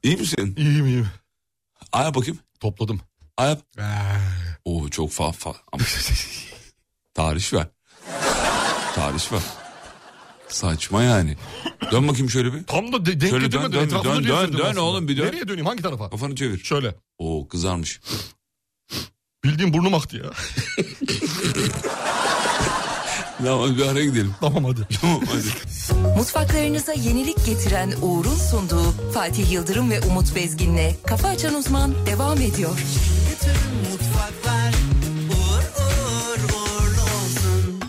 Speaker 5: İyi misin?
Speaker 4: iyiyim iyiyim.
Speaker 5: Aya bakayım.
Speaker 4: Topladım.
Speaker 5: Aya yap. Oo çok fa fa. Ama Tarih var. Tarih var. Saçma yani. Dön bakayım şöyle bir.
Speaker 4: Tam da de- denk
Speaker 5: Şöyle dön,
Speaker 4: getirmedim.
Speaker 5: dön,
Speaker 4: Etrafını
Speaker 5: dön,
Speaker 4: gezdirdim
Speaker 5: dön, dön
Speaker 4: aslında.
Speaker 5: oğlum, bir dön.
Speaker 4: Nereye döneyim hangi tarafa?
Speaker 5: Kafanı çevir.
Speaker 4: Şöyle.
Speaker 5: Oo kızarmış.
Speaker 4: Bildiğim burnum aktı ya. *laughs*
Speaker 5: Tamam bir araya gidelim.
Speaker 4: tamam hadi.
Speaker 5: Tamam hadi.
Speaker 1: Mutfaklarınıza yenilik getiren Uğur'un sunduğu Fatih Yıldırım ve Umut Bezgin'le Kafa Açan Uzman devam ediyor.
Speaker 2: Mutfaklar Uğur uğur uğurlu olsun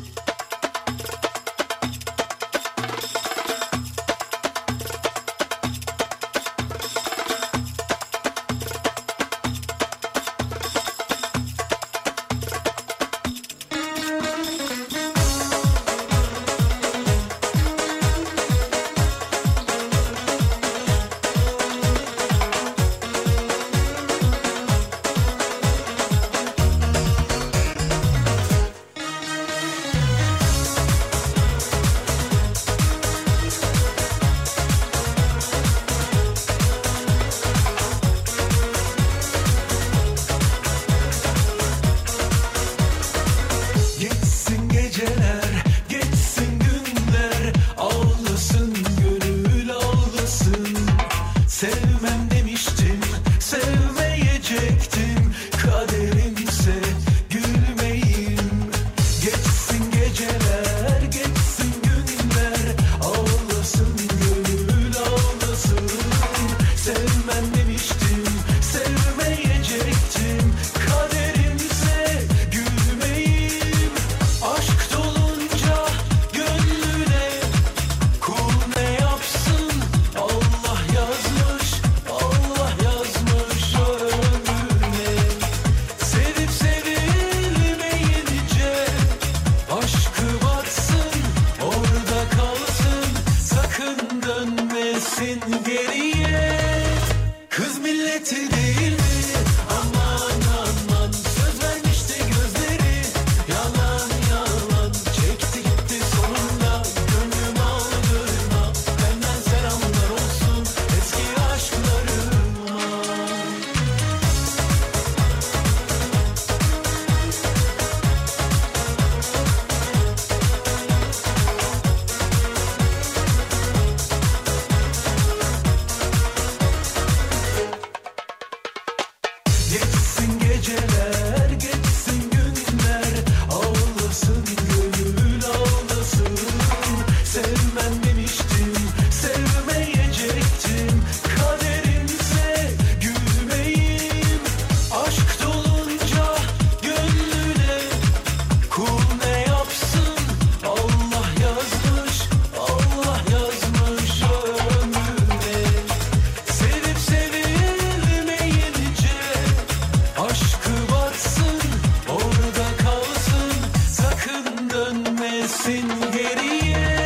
Speaker 3: gitsin geriye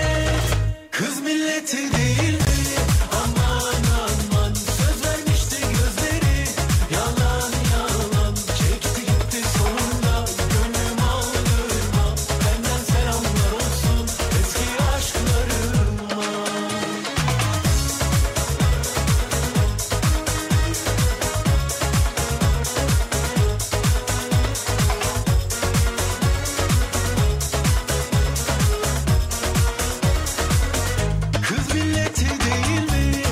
Speaker 3: Kız milleti değil mi? Aman aman söz vermişti gözleri Yalan yalan çekti gitti sonunda Gönlüm ağlarıma benden selamlar olsun Eski aşklarıma Kız milleti değil mi?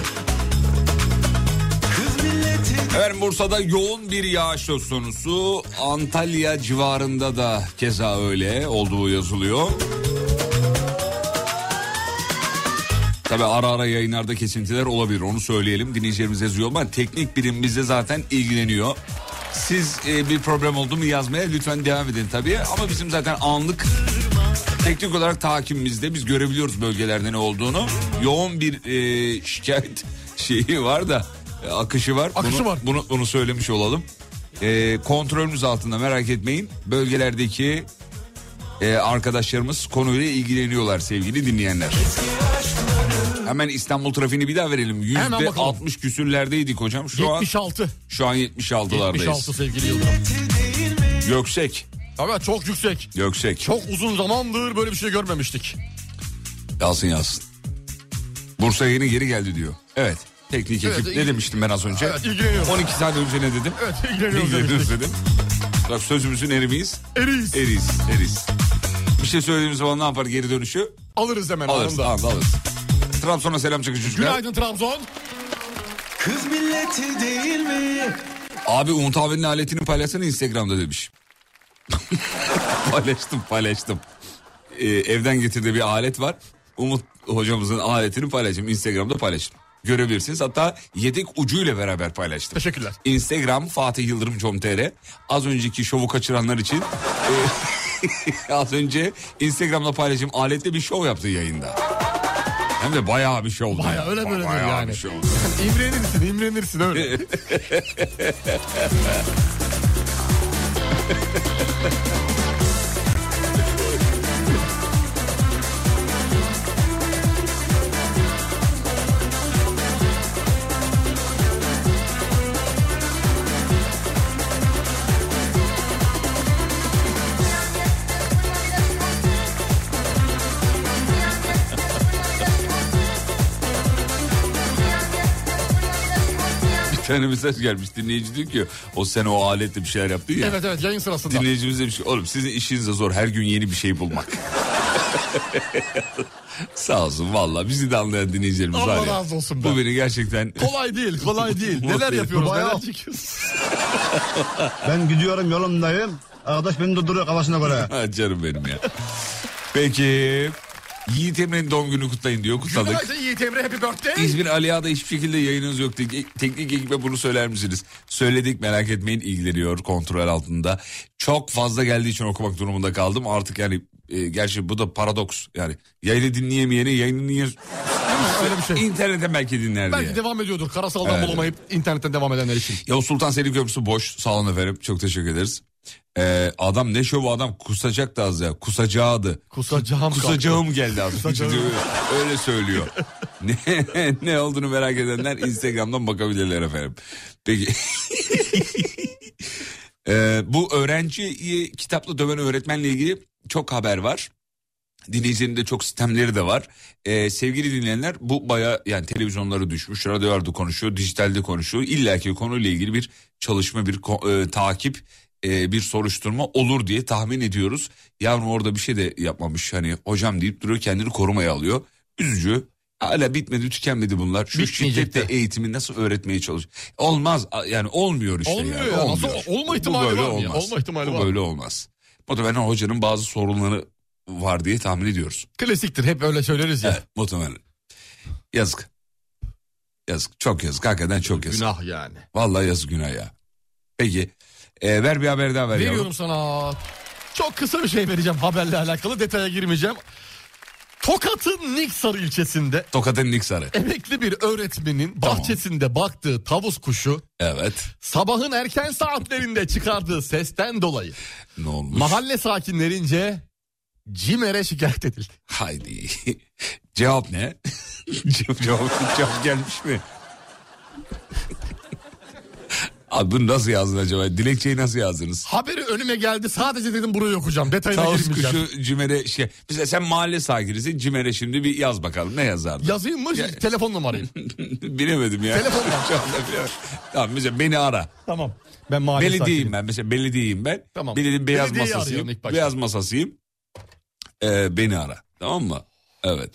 Speaker 3: Kız milleti
Speaker 5: Efendim Bursa'da yoğun bir yağış söz konusu. Antalya civarında da keza öyle olduğu yazılıyor. Tabi ara ara yayınlarda kesintiler olabilir onu söyleyelim. Dinleyicilerimiz yazıyor ama teknik bilim bizde zaten ilgileniyor. Siz e, bir problem oldu mu yazmaya lütfen devam edin tabii. Ama bizim zaten anlık teknik olarak takibimizde biz görebiliyoruz bölgelerde ne olduğunu. Yoğun bir e, şikayet *laughs* şeyi var da e, akışı var.
Speaker 4: Akışı
Speaker 5: bunu,
Speaker 4: var.
Speaker 5: Bunu, bunu söylemiş olalım. E, kontrolümüz altında merak etmeyin. Bölgelerdeki e, arkadaşlarımız konuyla ilgileniyorlar sevgili dinleyenler. Hemen İstanbul trafiğini bir daha verelim.
Speaker 4: Hemen
Speaker 5: Yüzde
Speaker 4: bakalım.
Speaker 5: 60 küsürlerdeydik hocam. Şu an
Speaker 4: 76.
Speaker 5: şu an 76'lardayız.
Speaker 4: 76 sevgili Yıldırım.
Speaker 5: Göksek.
Speaker 4: Tabii çok yüksek.
Speaker 5: Göksek.
Speaker 4: Çok uzun zamandır böyle bir şey görmemiştik.
Speaker 5: Yazsın yazsın. Bursa yeni geri geldi diyor. Evet. Teknik
Speaker 4: Evet,
Speaker 5: ekip.
Speaker 4: ilgi-
Speaker 5: ne demiştim ben az önce?
Speaker 4: Evet, ilgileniyoruz.
Speaker 5: 12 saat önce ne dedim?
Speaker 4: Evet
Speaker 5: Ne
Speaker 4: ilgileniyoruz
Speaker 5: dedim,
Speaker 4: demiştik.
Speaker 5: dedim. Bak sözümüzün eri miyiz?
Speaker 4: Eriyiz.
Speaker 5: Eriyiz, eriyiz. Bir şey söylediğimiz zaman ne yapar geri dönüşü?
Speaker 4: Alırız hemen
Speaker 5: Alırız,
Speaker 4: anında.
Speaker 5: anında alırız. Trabzon'a selam çakın çocuklar.
Speaker 4: Günaydın Trabzon.
Speaker 3: Kız milleti değil mi?
Speaker 5: Abi Umut abinin aletini paylaşsana Instagram'da demiş. *laughs* paylaştım paylaştım. Ee, evden getirdiği bir alet var. Umut hocamızın aletini paylaştım. Instagram'da paylaştım. Görebilirsiniz. Hatta yedek ucuyla beraber paylaştım.
Speaker 4: Teşekkürler.
Speaker 5: Instagram Fatih Yıldırım com.tr. Az önceki şovu kaçıranlar için e, *laughs* az önce Instagram'da paylaşım aletle bir şov yaptı yayında. Hem de bayağı bir şovdu.
Speaker 4: Bayağı öyle böyle
Speaker 5: Bayağı
Speaker 4: yani.
Speaker 5: bir şovdu.
Speaker 4: İmrenirsin, imrenirsin öyle.
Speaker 5: Bir tane mesaj gelmiş dinleyici diyor ki o sene o aletle bir şeyler yaptı ya.
Speaker 4: evet evet yayın sırasında.
Speaker 5: Dinleyicimiz demiş ki oğlum sizin işiniz de zor her gün yeni bir şey bulmak. *laughs* Sağ olsun valla bizi de anlayan dinleyicilerimiz
Speaker 4: Allah
Speaker 5: var ya.
Speaker 4: razı olsun be.
Speaker 5: Bu beni gerçekten
Speaker 4: Kolay değil, *laughs* kolay değil. Neler
Speaker 5: Vallahi
Speaker 4: yapıyoruz,
Speaker 9: bayağı-
Speaker 4: *laughs* neler çekiyoruz.
Speaker 9: Ben gidiyorum yolumdayım. Arkadaş beni durduruyor kafasına göre.
Speaker 5: Ha, *laughs* canım benim ya. Peki Yiğit Emre'nin doğum günü kutlayın diyor kutladık.
Speaker 4: Günaydın Yiğit Emre, happy birthday.
Speaker 5: İzmir Aliağa'da hiçbir şekilde yayınınız yok. Tek- Teknik ekibe bunu söyler misiniz? Söyledik merak etmeyin ilgileniyor kontrol altında. Çok fazla geldiği için okumak durumunda kaldım. Artık yani e, gerçi bu da paradoks. Yani yayını dinleyemeyeni yayını niye...
Speaker 4: Öyle bir şey.
Speaker 5: İnternetten belki dinler diye.
Speaker 4: Belki devam ediyordur. Karasaldan
Speaker 5: Evet.
Speaker 4: bulamayıp internetten devam edenler için.
Speaker 5: Yavuz Sultan Selim Köprüsü boş. Sağ olun efendim. Çok teşekkür ederiz. Ee, adam ne şovu adam kusacak da az ya. Kusacağıdı.
Speaker 4: Kusacağım.
Speaker 5: Kusacağım geldi az. Öyle söylüyor. ne, ne olduğunu merak edenler Instagram'dan bakabilirler efendim. Peki. Ee, bu öğrenciyi kitapla döven öğretmenle ilgili çok haber var. Dinleyicilerin de çok sistemleri de var. Ee, sevgili dinleyenler bu baya yani televizyonlara düşmüş, radyolarda konuşuyor, dijitalde konuşuyor. İlla ki konuyla ilgili bir çalışma, bir ko- e, takip, e, bir soruşturma olur diye tahmin ediyoruz. Yavrum orada bir şey de yapmamış hani hocam deyip duruyor kendini korumaya alıyor. Üzücü. Hala bitmedi tükenmedi bunlar. Şu
Speaker 4: Bitmeyecek
Speaker 5: şiddetle
Speaker 4: de.
Speaker 5: eğitimi nasıl öğretmeye çalış? Olmaz a- yani olmuyor işte.
Speaker 4: Olmuyor
Speaker 5: yani,
Speaker 4: ya. Nasıl- olma
Speaker 5: Bu
Speaker 4: ihtimali
Speaker 5: böyle
Speaker 4: var mı ya? Olma ihtimali
Speaker 5: Bu
Speaker 4: var.
Speaker 5: Böyle olmaz. Muhtemelen hocanın bazı sorunları var diye tahmin ediyoruz.
Speaker 4: Klasiktir, hep öyle söyleriz ya.
Speaker 5: Evet, muhtemelen. Yazık. Yazık. Çok yazık. Hakikaten çok yazık.
Speaker 4: Günah yani.
Speaker 5: Vallahi yazık günah ya. Peki. e, ver bir haber daha ver yavrum.
Speaker 4: Veriyorum sana. Çok kısa bir şey vereceğim haberle alakalı. Detaya girmeyeceğim. Tokat'ın Niksar ilçesinde
Speaker 5: Tokat'ın Niksar'ı.
Speaker 4: emekli bir öğretmenin bahçesinde baktığı tavus kuşu
Speaker 5: Evet.
Speaker 4: sabahın erken saatlerinde çıkardığı sesten dolayı
Speaker 5: Ne olmuş?
Speaker 4: mahalle sakinlerince CİMER'e şikayet edildi.
Speaker 5: Haydi. *laughs* Cevap ne? *laughs* cevap, cevap, cevap gelmiş mi? *laughs* Abi bunu nasıl yazdın acaba? Dilekçeyi nasıl yazdınız?
Speaker 4: Haberi önüme geldi sadece dedim burayı okuyacağım detayına
Speaker 5: Tavus
Speaker 4: girmeyeceğim.
Speaker 5: kuşu cimere şey. Mesela sen mahalle sakinisin cimere şimdi bir yaz bakalım ne yazardın? *laughs*
Speaker 4: Yazayım mı telefon numarayı?
Speaker 5: Bilemedim ya.
Speaker 4: Telefon var.
Speaker 5: Şu anda bilemedim. *laughs* tamam mesela beni ara.
Speaker 4: tamam. Ben mahalle
Speaker 5: Belediyeyim
Speaker 4: sakiniyim.
Speaker 5: ben mesela belediyeyim ben.
Speaker 4: Tamam.
Speaker 5: Belediye beyaz
Speaker 4: Belediyeyi
Speaker 5: masasıyım.
Speaker 4: arıyorum ilk başta.
Speaker 5: Beyaz masasıyım. Ee, beni ara. Tamam mı? Evet.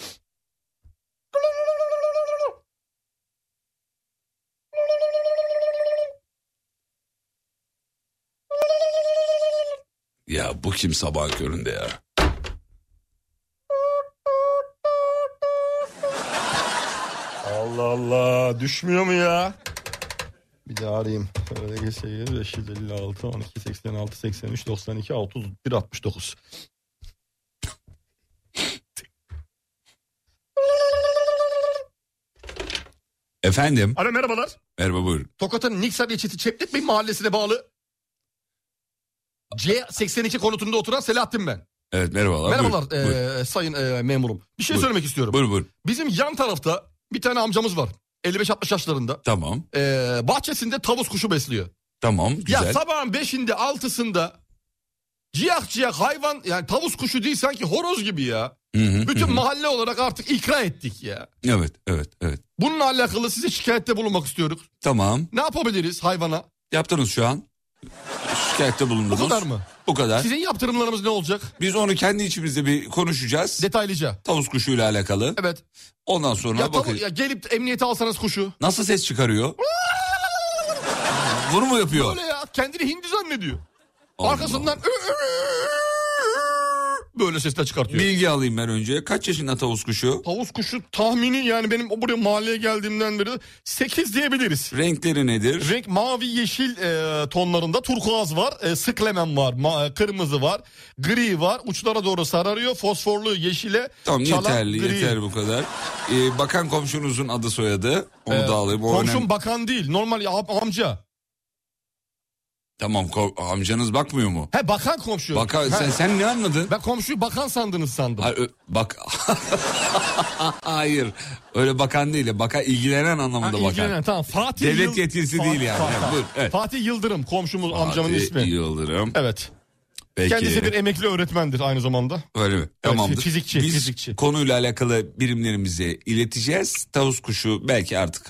Speaker 5: Ya bu kim sabah köründe ya?
Speaker 4: Allah Allah düşmüyor mu ya? Bir de arayayım. Öyle geçeyim. 556 12 86 83 92 31 69.
Speaker 5: Efendim.
Speaker 4: Alo merhabalar.
Speaker 5: Merhaba buyurun.
Speaker 4: Tokat'ın Niksar ilçesi Çeplik Bey mahallesine bağlı C82 konutunda oturan Selahattin ben.
Speaker 5: Evet merhabalar.
Speaker 4: Merhabalar e,
Speaker 5: Buyurun, buyurun.
Speaker 4: eee, sayın eee, memurum. Bir şey
Speaker 5: Buyur.
Speaker 4: söylemek istiyorum.
Speaker 5: Buyurun, buyurun.
Speaker 4: Bizim yan tarafta bir tane amcamız var. 55-60 yaşlarında.
Speaker 5: Tamam.
Speaker 4: Eee, bahçesinde tavus kuşu besliyor.
Speaker 5: Tamam güzel.
Speaker 4: Ya sabahın 5'inde 6'sında ciyak ciyak hayvan yani tavus kuşu değil sanki horoz gibi ya.
Speaker 5: Hı hı,
Speaker 4: Bütün
Speaker 5: *laughs* hı hı.
Speaker 4: mahalle olarak artık ikra ettik ya.
Speaker 5: Evet evet evet.
Speaker 4: Bununla alakalı size şikayette bulunmak istiyoruz.
Speaker 5: Tamam.
Speaker 4: Ne yapabiliriz hayvana?
Speaker 5: Yaptınız şu an. Şikayette bulundunuz.
Speaker 4: Bu kadar mı?
Speaker 5: Bu kadar.
Speaker 4: Sizin yaptırımlarımız ne olacak?
Speaker 5: Biz onu kendi içimizde bir konuşacağız.
Speaker 4: Detaylıca.
Speaker 5: Tavus kuşuyla alakalı.
Speaker 4: Evet.
Speaker 5: Ondan sonra
Speaker 4: Ya, tavu-
Speaker 5: bakın.
Speaker 4: ya gelip de emniyete alsanız kuşu.
Speaker 5: Nasıl ses çıkarıyor? Bunu mu yapıyor?
Speaker 4: Böyle ya kendini hindi zannediyor.
Speaker 5: Allah
Speaker 4: Arkasından *laughs* böyle sesler çıkartıyor.
Speaker 5: Bilgi alayım ben önce. Kaç yaşında tavus kuşu?
Speaker 4: Tavus kuşu tahmini yani benim o buraya mahalleye geldiğimden beri 8 diyebiliriz.
Speaker 5: Renkleri nedir?
Speaker 4: Renk mavi yeşil e, tonlarında turkuaz var, e, sık lemen var, ma- e, kırmızı var, gri var. Uçlara doğru sararıyor. Fosforlu yeşile
Speaker 5: Tamam
Speaker 4: çalan
Speaker 5: yeterli
Speaker 4: gri.
Speaker 5: yeter bu kadar. Ee, bakan komşunuzun adı soyadı. Onu
Speaker 4: Ee,
Speaker 5: da alayım. O
Speaker 4: Komşum
Speaker 5: önemli.
Speaker 4: bakan değil. Normal ya- amca.
Speaker 5: Tamam ko- amcanız bakmıyor mu?
Speaker 4: He bakan komşu.
Speaker 5: Baka,
Speaker 4: He.
Speaker 5: sen, sen ne anladın?
Speaker 4: Ben komşuyu bakan sandınız sandım.
Speaker 5: Hayır, ö- bak *laughs* hayır öyle bakan değil ya, baka ilgilenen
Speaker 4: Ha,
Speaker 5: anlamında
Speaker 4: ilgilenen,
Speaker 5: bakan.
Speaker 4: tamam. Fatih
Speaker 5: Devlet yetkilisi değil yani.
Speaker 4: Fatih,
Speaker 5: Buyur, evet.
Speaker 4: Fatih Yıldırım komşumuz amcamın
Speaker 5: Fatih
Speaker 4: ismi.
Speaker 5: Yıldırım.
Speaker 4: Evet.
Speaker 5: Peki.
Speaker 4: Kendisi bir emekli öğretmendir aynı zamanda.
Speaker 5: Öyle mi? Tamamdır.
Speaker 4: fizikçi,
Speaker 5: Biz
Speaker 4: fizikçi.
Speaker 5: konuyla alakalı birimlerimize ileteceğiz. Tavus kuşu belki artık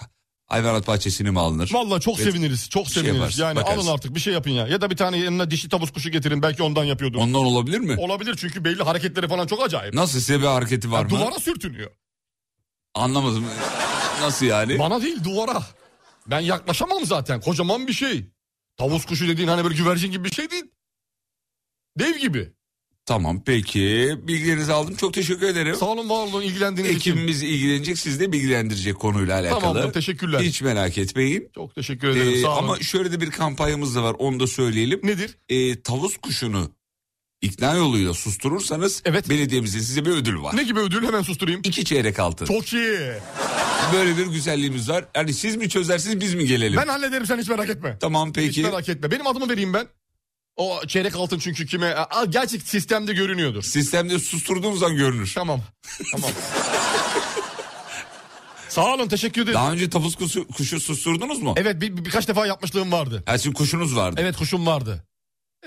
Speaker 5: hayvanat bahçesine mi alınır?
Speaker 4: Vallahi çok
Speaker 5: Evet.
Speaker 4: seviniriz. Çok
Speaker 5: şey
Speaker 4: seviniriz.
Speaker 5: yaparsın,
Speaker 4: yani
Speaker 5: bakarsın.
Speaker 4: alın artık bir şey yapın ya. Ya da bir tane yanına dişi tavus kuşu getirin belki ondan yapıyordur.
Speaker 5: Ondan olabilir mi?
Speaker 4: Olabilir çünkü belli hareketleri falan çok acayip.
Speaker 5: Nasıl size bir hareketi var
Speaker 4: Ya
Speaker 5: mı?
Speaker 4: duvara sürtünüyor.
Speaker 5: Anlamadım. Nasıl yani?
Speaker 4: Bana değil duvara. Ben yaklaşamam zaten. Kocaman bir şey. Tavus kuşu dediğin hani böyle güvercin gibi bir şey değil. Dev gibi.
Speaker 5: tamam peki. Bilgilerinizi aldım. Çok teşekkür ederim.
Speaker 4: Sağ olun var olun ilgilendiğiniz için.
Speaker 5: Ekibimiz ilgilenecek, siz de bilgilendirecek konuyla alakalı.
Speaker 4: Tamamdır teşekkürler.
Speaker 5: Hiç merak etmeyin.
Speaker 4: Çok teşekkür ederim
Speaker 5: Ee,
Speaker 4: sağ olun.
Speaker 5: ama şöyle de bir kampanyamız da var onu da söyleyelim.
Speaker 4: Nedir?
Speaker 5: Ee, tavus kuşunu ikna yoluyla susturursanız
Speaker 4: Evet.
Speaker 5: belediyemizin size bir ödül var.
Speaker 4: Ne gibi ödül hemen susturayım.
Speaker 5: İki çeyrek altın.
Speaker 4: Çok iyi.
Speaker 5: Böyle bir güzelliğimiz var. Yani siz mi çözersiniz biz mi gelelim?
Speaker 4: Ben hallederim sen hiç merak etme.
Speaker 5: Tamam
Speaker 4: Hiç
Speaker 5: peki.
Speaker 4: merak etme. Benim adımı vereyim ben. O çeyrek altın çünkü kime? Aa, Gerçi sistemde görünüyordur.
Speaker 5: Sistemde susturduğunuz an görünür.
Speaker 4: Tamam.
Speaker 5: *laughs*
Speaker 4: Tamam. Sağ olun teşekkür ederim.
Speaker 5: Daha önce tavus kuşu, kuşu susturdunuz mu?
Speaker 4: Evet bir, bir- birkaç defa yapmışlığım vardı.
Speaker 5: Ha, sizin kuşunuz vardı.
Speaker 4: Evet kuşum vardı.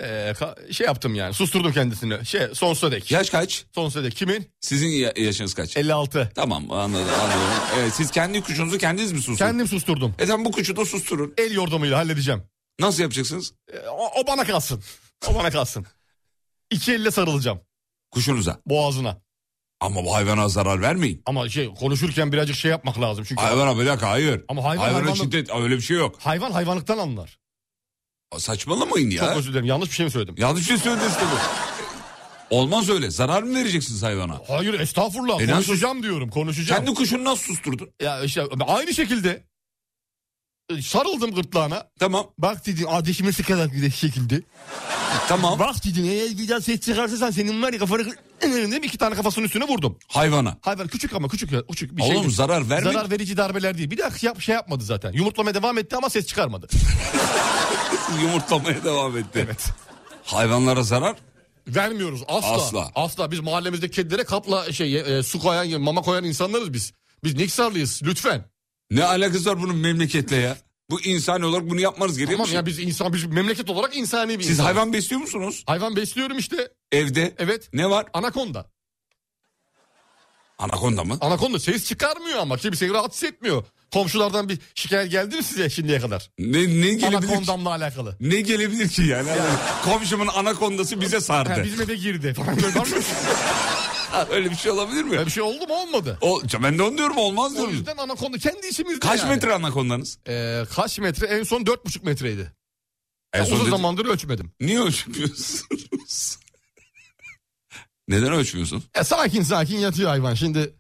Speaker 4: Ee, ka- şey yaptım yani susturdum kendisini. Şey sonsuza dek.
Speaker 5: Yaş kaç?
Speaker 4: Sonsuza dek. Kimin?
Speaker 5: Sizin ya- yaşınız kaç?
Speaker 4: 56.
Speaker 5: Tamam anladım. anladım. Evet, siz kendi kuşunuzu kendiniz mi susturdunuz?
Speaker 4: Kendim susturdum.
Speaker 5: E tamam bu kuşu da susturun.
Speaker 4: El yordamıyla halledeceğim.
Speaker 5: Nasıl yapacaksınız?
Speaker 4: Ee, o, o bana kalsın. O bana kalsın. İki elle sarılacağım
Speaker 5: Kuşunuza.
Speaker 4: boğazına.
Speaker 5: Ama bu hayvana zarar vermeyin.
Speaker 4: Ama şey konuşurken birazcık şey yapmak lazım. Çünkü
Speaker 5: Hayvana bir dakika hayır.
Speaker 4: Ama hayvan
Speaker 5: Hayvana
Speaker 4: hayvanla-
Speaker 5: şiddet öyle bir şey yok.
Speaker 4: hayvan hayvanlıktan anlar.
Speaker 5: Saçmalamayın ya.
Speaker 4: Çok özür dilerim yanlış bir şey mi söyledim?
Speaker 5: Yanlış bir şey söylediniz tabii. Olmaz öyle. Zarar mı vereceksiniz hayvana?
Speaker 4: Hayır estağfurullah
Speaker 5: E, nasıl-
Speaker 4: konuşacağım diyorum konuşacağım.
Speaker 5: Kendi kuşunu nasıl susturdun?
Speaker 4: Ya işte aynı şekilde e, sarıldım gırtlağına.
Speaker 5: Tamam.
Speaker 4: Bak dedi ateşime sıkarak bir de şekilde.
Speaker 5: Tamam.
Speaker 4: Bak dedi eğer bir daha ses çıkartırsan senin var ya kafanı kırarım dedim. iki tane kafasının üstüne vurdum.
Speaker 5: Hayvana.
Speaker 4: Hayvan küçük ama küçük ya, küçük bir şey.
Speaker 5: Oğlum zarar vermeyin.
Speaker 4: Zarar verici darbeler değil. Bir daha yap, şey yapmadı zaten. Yumurtlamaya devam etti ama ses çıkarmadı.
Speaker 5: *laughs* Yumurtlamaya devam etti.
Speaker 4: evet.
Speaker 5: Hayvanlara zarar
Speaker 4: Vermiyoruz asla.
Speaker 5: Asla.
Speaker 4: Asla. Biz mahallemizde kedilere kapla şey e, su koyan, mama koyan insanlarız biz. Biz Niksarlıyız lütfen.
Speaker 5: Ne alakası var bunun memleketle ya? Bu insan olarak bunu yapmanız gerekiyor.
Speaker 4: Tamam
Speaker 5: mu?
Speaker 4: ya biz insan biz memleket olarak insani bir şey
Speaker 5: Siz
Speaker 4: insanız.
Speaker 5: hayvan besliyor musunuz?
Speaker 4: hayvan besliyorum işte.
Speaker 5: Evde.
Speaker 4: Evet.
Speaker 5: Ne var?
Speaker 4: Anakonda.
Speaker 5: Anakonda mı?
Speaker 4: Anakonda ses çıkarmıyor ama kimseyi rahatsız etmiyor. Komşulardan bir şikayet geldi mi size şimdiye kadar?
Speaker 5: Ne, ne gelebilir ki?
Speaker 4: Anakondamla alakalı.
Speaker 5: Ne gelebilir ki yani? Komşumun anakondası bize
Speaker 4: Ha,
Speaker 5: sardı.
Speaker 4: bizim eve girdi falan. Böyle var mı?
Speaker 5: Öyle bir şey olabilir mi?
Speaker 4: Böyle bir şey oldu mu olmadı.
Speaker 5: O, ben de onu diyorum olmaz
Speaker 4: O
Speaker 5: diyorum.
Speaker 4: yüzden anakonda kendi işimizde
Speaker 5: Kaç
Speaker 4: yani.
Speaker 5: metre anakondanız?
Speaker 4: Ee, kaç metre? En son dört buçuk metreydi.
Speaker 5: En son
Speaker 4: E, Uzun
Speaker 5: dedi-
Speaker 4: zamandır ölçmedim.
Speaker 5: Niye ölçmüyorsunuz? *laughs* Neden ölçmüyorsun?
Speaker 4: E, sakin sakin yatıyor hayvan. Şimdi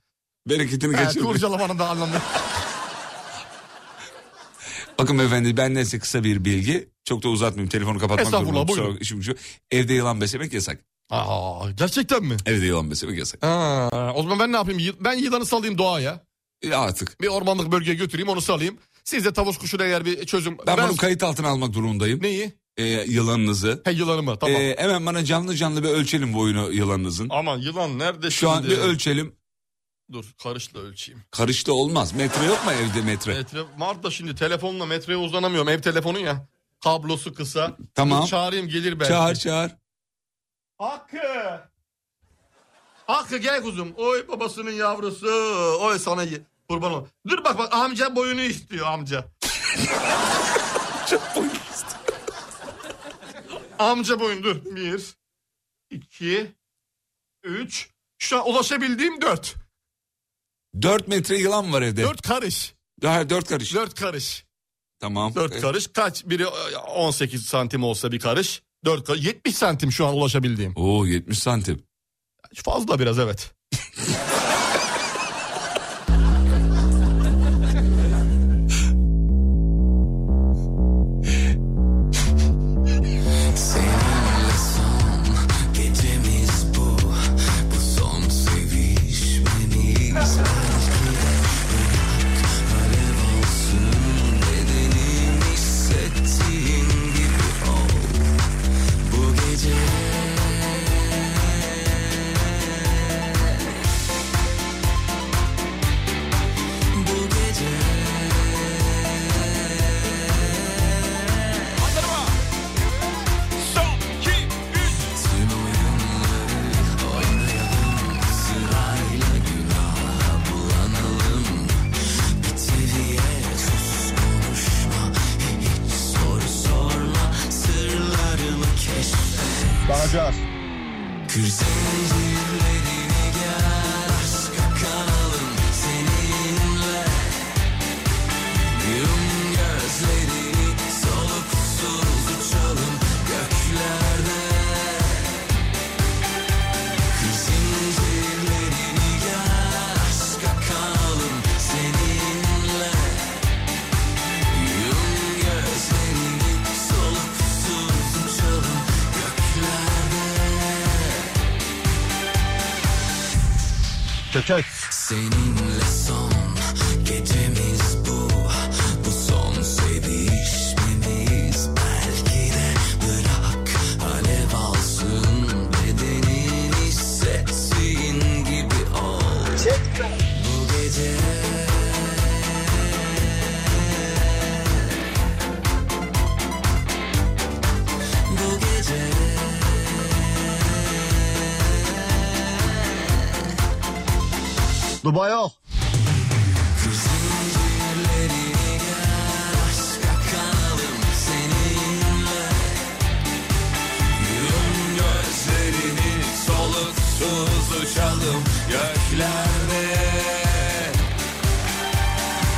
Speaker 5: Bereketini
Speaker 4: e,
Speaker 5: kaçırmış.
Speaker 4: kurcalamanın da anlamı. yok.
Speaker 5: Bakın beyefendi ben neyse kısa bir bilgi. Çok da uzatmayayım. Telefonu kapatmak
Speaker 4: Estağfurullah,
Speaker 5: zorundayım. Kusura
Speaker 4: buyurun.
Speaker 5: bakma, işim şu. Evde yılan beslemek yasak.
Speaker 4: Aa, gerçekten mi?
Speaker 5: Evde yılan beslemek yasak.
Speaker 4: Ha, o zaman ben ne yapayım? Yı- Ben yılanı salayım doğaya.
Speaker 5: E, artık.
Speaker 4: Bir ormanlık bölgeye götüreyim onu salayım. Siz de tavus kuşuna eğer bir çözüm...
Speaker 5: Ben, bunu kayıt altına almak durumundayım.
Speaker 4: Neyi?
Speaker 5: E, yılanınızı.
Speaker 4: He yılanımı tamam.
Speaker 5: E, hemen bana canlı canlı bir ölçelim boyunu yılanınızın.
Speaker 4: Aman yılan nerede
Speaker 5: Şu an
Speaker 4: şimdi?
Speaker 5: bir ölçelim.
Speaker 4: Dur karışla ölçeyim.
Speaker 5: Karıştı olmaz. Metre yok mu evde metre?
Speaker 4: Metre var da şimdi telefonla metreye uzanamıyorum. Ev telefonu ya. Kablosu kısa.
Speaker 5: Tamam.
Speaker 4: Dur çağırayım gelir belki.
Speaker 5: Çağır çağır.
Speaker 4: Hakkı. Hakkı gel kuzum. Oy babasının yavrusu. Oy sana ye- kurban ol. Dur bak bak amca boyunu istiyor
Speaker 5: *laughs*
Speaker 4: amca. amca boyun dur. Bir, iki, üç. Şu an ulaşabildiğim dört.
Speaker 5: 4 metre yılan var evde. 4,
Speaker 4: Dört karış.
Speaker 5: 4 karış.
Speaker 4: Dört karış.
Speaker 5: Tamam.
Speaker 4: Dört
Speaker 5: E,
Speaker 4: karış. Kaç? Biri e, 18 santim olsa bir karış. Dört karış. 70 santim şu an ulaşabildiğim.
Speaker 5: Oo 70 santim.
Speaker 4: Fazla biraz evet.
Speaker 2: Seninle son gecemiz bu Bu son sevişmemiz Belki alev olsun Bedenim hissettiğin gibi ol Bu gece Bu gece
Speaker 9: Bakacağız. Çöçek.
Speaker 2: Seninle son gecemiz bu Bu son sevişmemiz Belki de bırak alev alsın Bedenin hissetsin gibi ol Bu gece Bu gece
Speaker 9: Dubai yok.
Speaker 2: Gözlerini soluksuz uçalım göklerde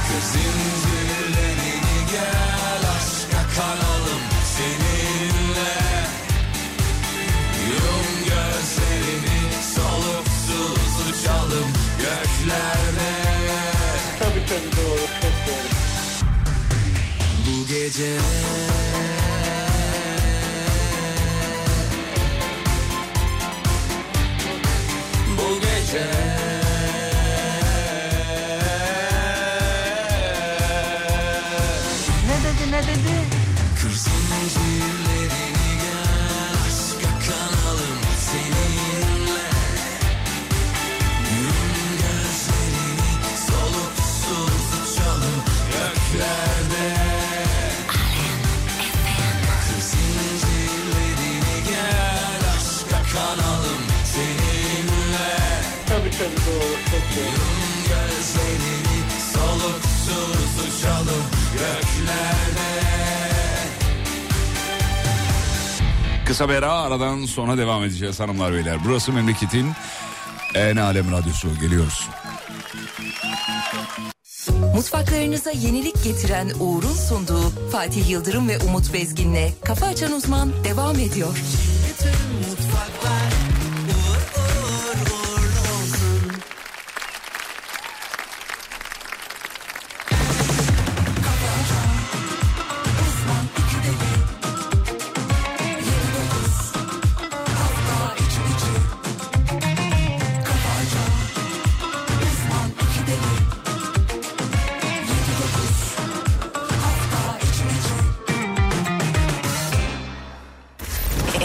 Speaker 2: Kızın zincirlerini gel aşka kanalım seninle Yum gözlerini soluksuz uçalım göklerde Bu gece bu gece
Speaker 8: Ne dedi ne dedi?
Speaker 2: Kır zincirlerini gel aşka kanalım
Speaker 10: Tabii tabii doğru. Çok doğru.
Speaker 5: Kısa bir ara aradan sonra devam edeceğiz hanımlar beyler. Burası memleketin en alem radyosu geliyoruz.
Speaker 1: Mutfaklarınıza yenilik getiren Uğur'un sunduğu Fatih Yıldırım ve Umut Bezgin'le Kafa Açan Uzman devam ediyor.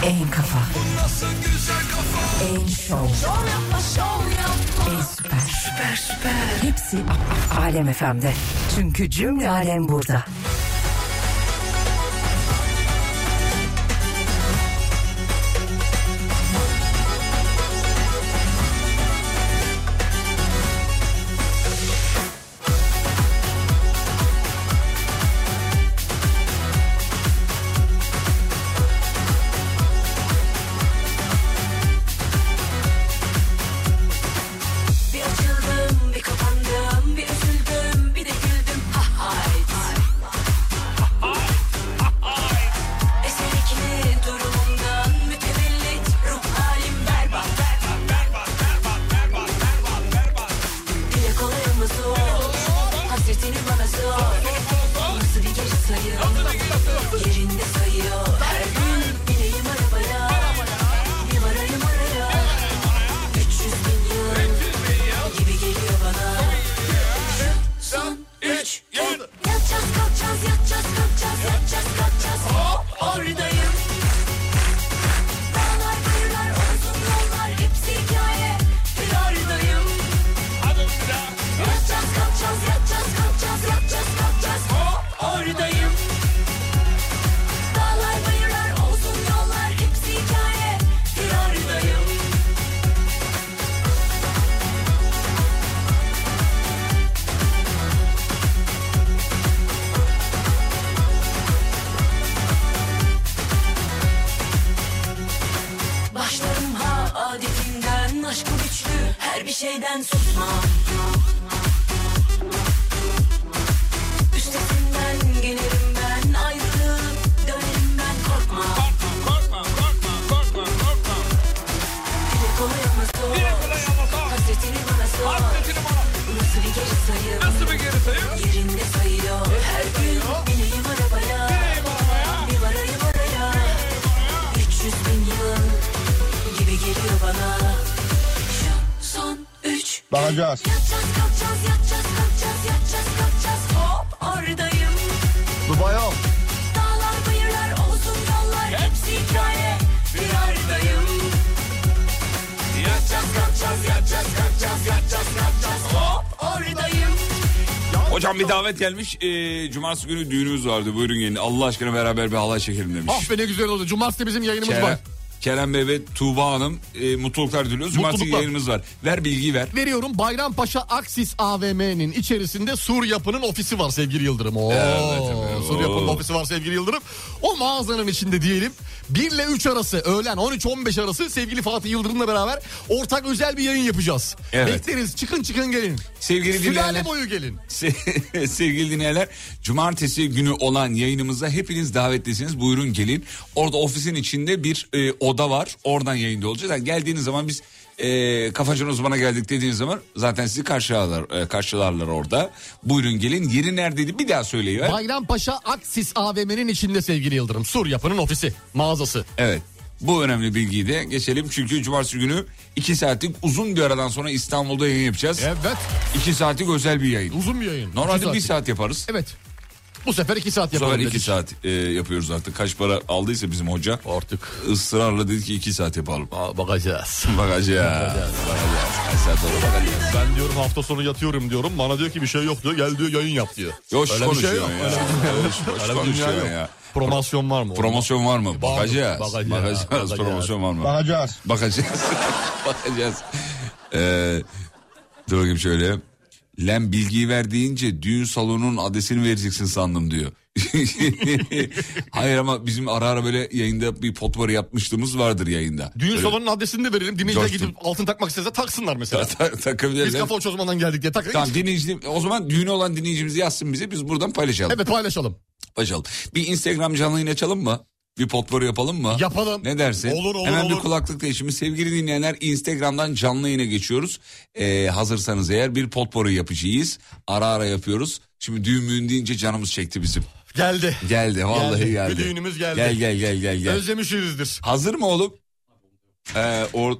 Speaker 1: En kafa. En şov. En süper. Süper süper. Hepsi A- A- Alem FM'de. Çünkü cümle alem burada.
Speaker 6: Bir açıldım, bir kapandım, bir üzüldüm, bir de güldüm. Ha hay. Eserikli durumumdan mütevellit ruh halim berbat. Berbat, berbat, berbat, berbat, berbat, berbat. Dile kolayımı zor, hasretini bana zor. Nasıl bir geri sayım, yerinde sayıyor. Her gün bineyim arabaya, bir varayım araya. 300 bin yıl gibi geliyor bana. Son üç gün. Yatacağız kalkacağız yatacağız kalkacağız yatacağız kalkacağız. Hop oradayım. Dağlar kırlar uzun yollar hepsi hikaye. Bir oradayım. Yatacağız kalkacağız yatacağız kalkacağız yatacağız kalkacağız. Hop oradayım. Dağlar bayırlar uzun yollar hepsi hikaye. Bir oradayım. Başlarım ha adetinden Aşkı güçlü her bir şeyden susmam Üstesinden gelirim ben Ayrılıp dönerim ben korkma Korkma korkma korkma korkma korkma Dile kolay ama zor Dile kolay ama zor Hasretini bana sor Hasretini bana Nasıl bir geri sayım Nasıl bir geri sayım Yerinde sayıyor Her gün bineyim arabaya Bineyim arabaya Bir varayım araya 300 bin yıl gibi geliyor bana Şu son üç
Speaker 11: Bakacağız.
Speaker 6: Yatacağız kalkacağız yatacağız kalkacağız yatacağız kalkacağız Hop oradayım
Speaker 11: Dubai ol.
Speaker 6: Dağlar bayırlar olsun yollar hepsi hikaye Bir aradayım Yatacağız kalkacağız yatacağız kalkacağız yatacağız kalkacağız Hop oradayım
Speaker 5: Hocam bir davet gelmiş. Ee, cumartesi günü düğünümüz vardı. Buyurun gelin. Allah aşkına beraber bir halay çekelim demiş.
Speaker 4: Ah be ne güzel oldu. Cumartesi bizim yayınımız var.
Speaker 5: Kerem, Kerem Bey ve Tuğba Hanım e, mutluluklar diliyoruz. Cumartesi
Speaker 4: Mutluluklar.
Speaker 5: yayınımız var. Ver bilgiyi ver.
Speaker 4: Veriyorum Bayrampaşa Aksis AVM'nin içerisinde Sur Yapı'nın ofisi var sevgili Yıldırım. Oo,
Speaker 5: evet.
Speaker 4: Sur Yapı'nın
Speaker 5: Oo.
Speaker 4: ofisi var sevgili Yıldırım. O mağazanın içinde diyelim 1 ile 3 arası öğlen 13-15 arası sevgili Fatih Yıldırım'la beraber ortak özel bir yayın yapacağız.
Speaker 5: Evet.
Speaker 4: Bekleriz çıkın çıkın gelin.
Speaker 5: Sevgili dinleyenler.
Speaker 4: Sülale boyu gelin.
Speaker 5: *laughs* Se- Sevgili dinleyenler, cumartesi günü olan yayınımıza hepiniz davetlisiniz. Buyurun gelin. Orada ofisin içinde bir e, oda var. Oradan yayında olacağız. Yani geldiğiniz zaman biz e, kafacan uzmana geldik dediğiniz zaman zaten sizi karşılarlar, e, karşılarlar orada. Buyurun gelin. Yeri neredeydi bir daha söyleyiver.
Speaker 4: Bayrampaşa Aksis AVM'nin içinde sevgili Yıldırım. Sur Yapı'nın ofisi, mağazası.
Speaker 5: Evet. Bu önemli bilgiyi de geçelim. Çünkü cumartesi günü 2 saatlik uzun bir aradan sonra İstanbul'da yayın yapacağız.
Speaker 4: Evet.
Speaker 5: 2 saatlik özel bir yayın.
Speaker 4: Uzun bir yayın. İki
Speaker 5: Normalde 1
Speaker 4: saatlik.
Speaker 5: saat yaparız.
Speaker 4: Evet. Bu sefer 2 saat
Speaker 5: Bu
Speaker 4: yapalım
Speaker 5: sefer 2
Speaker 4: dedik.
Speaker 5: saat e, yapıyoruz artık. Kaç para aldıysa bizim hoca
Speaker 4: Artık
Speaker 5: ısrarla dedi ki 2 saat yapalım.
Speaker 4: ba- bakacağız.
Speaker 5: Bakacağız. Bakacağız. Kaç saat olur bakacağız.
Speaker 4: Ben diyorum hafta sonu yatıyorum diyorum. Bana diyor ki bir şey yok diyor. Gel diyor yayın yap diyor.
Speaker 5: Yoş
Speaker 4: Öyle bir şey
Speaker 5: konuşuyor
Speaker 4: yok.
Speaker 5: ya.
Speaker 4: Öyle
Speaker 5: Yoş, yoş
Speaker 4: Öyle bir
Speaker 5: konuşuyor
Speaker 4: dünya yok.
Speaker 5: ya.
Speaker 4: Promosyon var mı?
Speaker 5: Promosyon var mı? Bakacağız.
Speaker 4: bakacağız,
Speaker 5: Bakacağız.
Speaker 4: bakacağız.
Speaker 5: Promosyon var mı?
Speaker 11: Bakacağız.
Speaker 5: *laughs* Bakacağız. Bakacağız. Ee, dur bakayım şöyle. Lem bilgiyi ver deyince düğün salonunun adresini vereceksin sandım diyor. *laughs* Hayır ama bizim ara ara böyle yayında bir potpourri yapmışlığımız vardır yayında.
Speaker 4: Düğün
Speaker 5: Böyle
Speaker 4: salonunun adresini de verelim. Dinleyiciler
Speaker 5: Coştum.
Speaker 4: gidip altın takmak istese taksınlar mesela.
Speaker 5: *laughs* ta- ta- takabilirler.
Speaker 4: Biz kafa uçurmadan geldik diye takın.
Speaker 5: Tamam dinleyici, o zaman düğünü olan dinleyicimizi yazsın bize biz buradan paylaşalım.
Speaker 4: Evet paylaşalım.
Speaker 5: Paylaşalım. Bir Instagram canlı yayın açalım mı? Bir potpourri yapalım mı?
Speaker 4: Yapalım.
Speaker 5: Ne dersin?
Speaker 4: Olur, olur,
Speaker 5: Hemen
Speaker 4: olur.
Speaker 5: bir kulaklık değişimi. Sevgili dinleyenler Instagram'dan canlı yayına geçiyoruz. Ee, hazırsanız eğer bir potpourri yapacağız. Ara ara yapıyoruz. Şimdi düğün müğün deyince canımız çekti bizim.
Speaker 4: Geldi.
Speaker 5: Geldi vallahi
Speaker 4: Geldi.
Speaker 5: geldi.
Speaker 4: Bir düğünümüz geldi.
Speaker 5: Gel gel gel gel gel.
Speaker 4: Özlemişizdir.
Speaker 5: Hazır mı oğlum? Ee, or-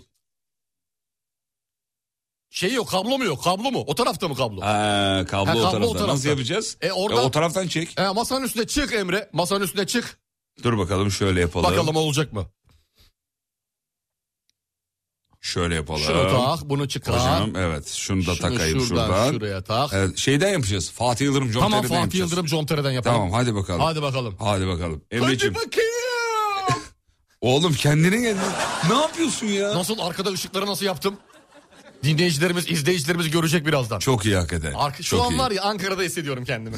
Speaker 4: Şey yok kablo mu yok kablo mu? O tarafta mı kablo?
Speaker 5: Ha, kablo,
Speaker 4: Ha, kablo
Speaker 5: o
Speaker 4: o
Speaker 5: tarafta. Nasıl
Speaker 4: tarafta.
Speaker 5: yapacağız?
Speaker 4: E, oradan-
Speaker 5: E, o taraftan çek.
Speaker 4: He, masanın üstüne çık Emre. Masanın üstüne çık.
Speaker 5: Dur bakalım şöyle yapalım.
Speaker 4: Bakalım olacak mı?
Speaker 5: Şöyle yapalım.
Speaker 4: Şunu tak bunu çıkar.
Speaker 5: Hocam evet şunu da
Speaker 4: Şunu
Speaker 5: takayım
Speaker 4: şuradan,
Speaker 5: şuradan.
Speaker 4: şuraya tak.
Speaker 5: Evet, şeyden yapacağız. Fatih Yıldırım John
Speaker 4: Tamam
Speaker 5: Terry'den
Speaker 4: Fatih
Speaker 5: yapacağız.
Speaker 4: Yıldırım John Terry'den yapalım.
Speaker 5: Tamam hadi bakalım. Hadi,
Speaker 4: Hadi bakalım.
Speaker 5: bakalım.
Speaker 4: Hadi
Speaker 5: Emre'ciğim.
Speaker 4: bakayım.
Speaker 5: *laughs* Oğlum kendine gel. ne yapıyorsun ya?
Speaker 4: Nasıl arkada ışıkları nasıl yaptım? Dinleyicilerimiz, izleyicilerimiz görecek birazdan.
Speaker 5: Çok iyi hakikaten.
Speaker 4: Arka, şu
Speaker 5: Çok
Speaker 4: an
Speaker 5: iyi.
Speaker 4: var ya Ankara'da hissediyorum
Speaker 5: *laughs*
Speaker 4: kendimi.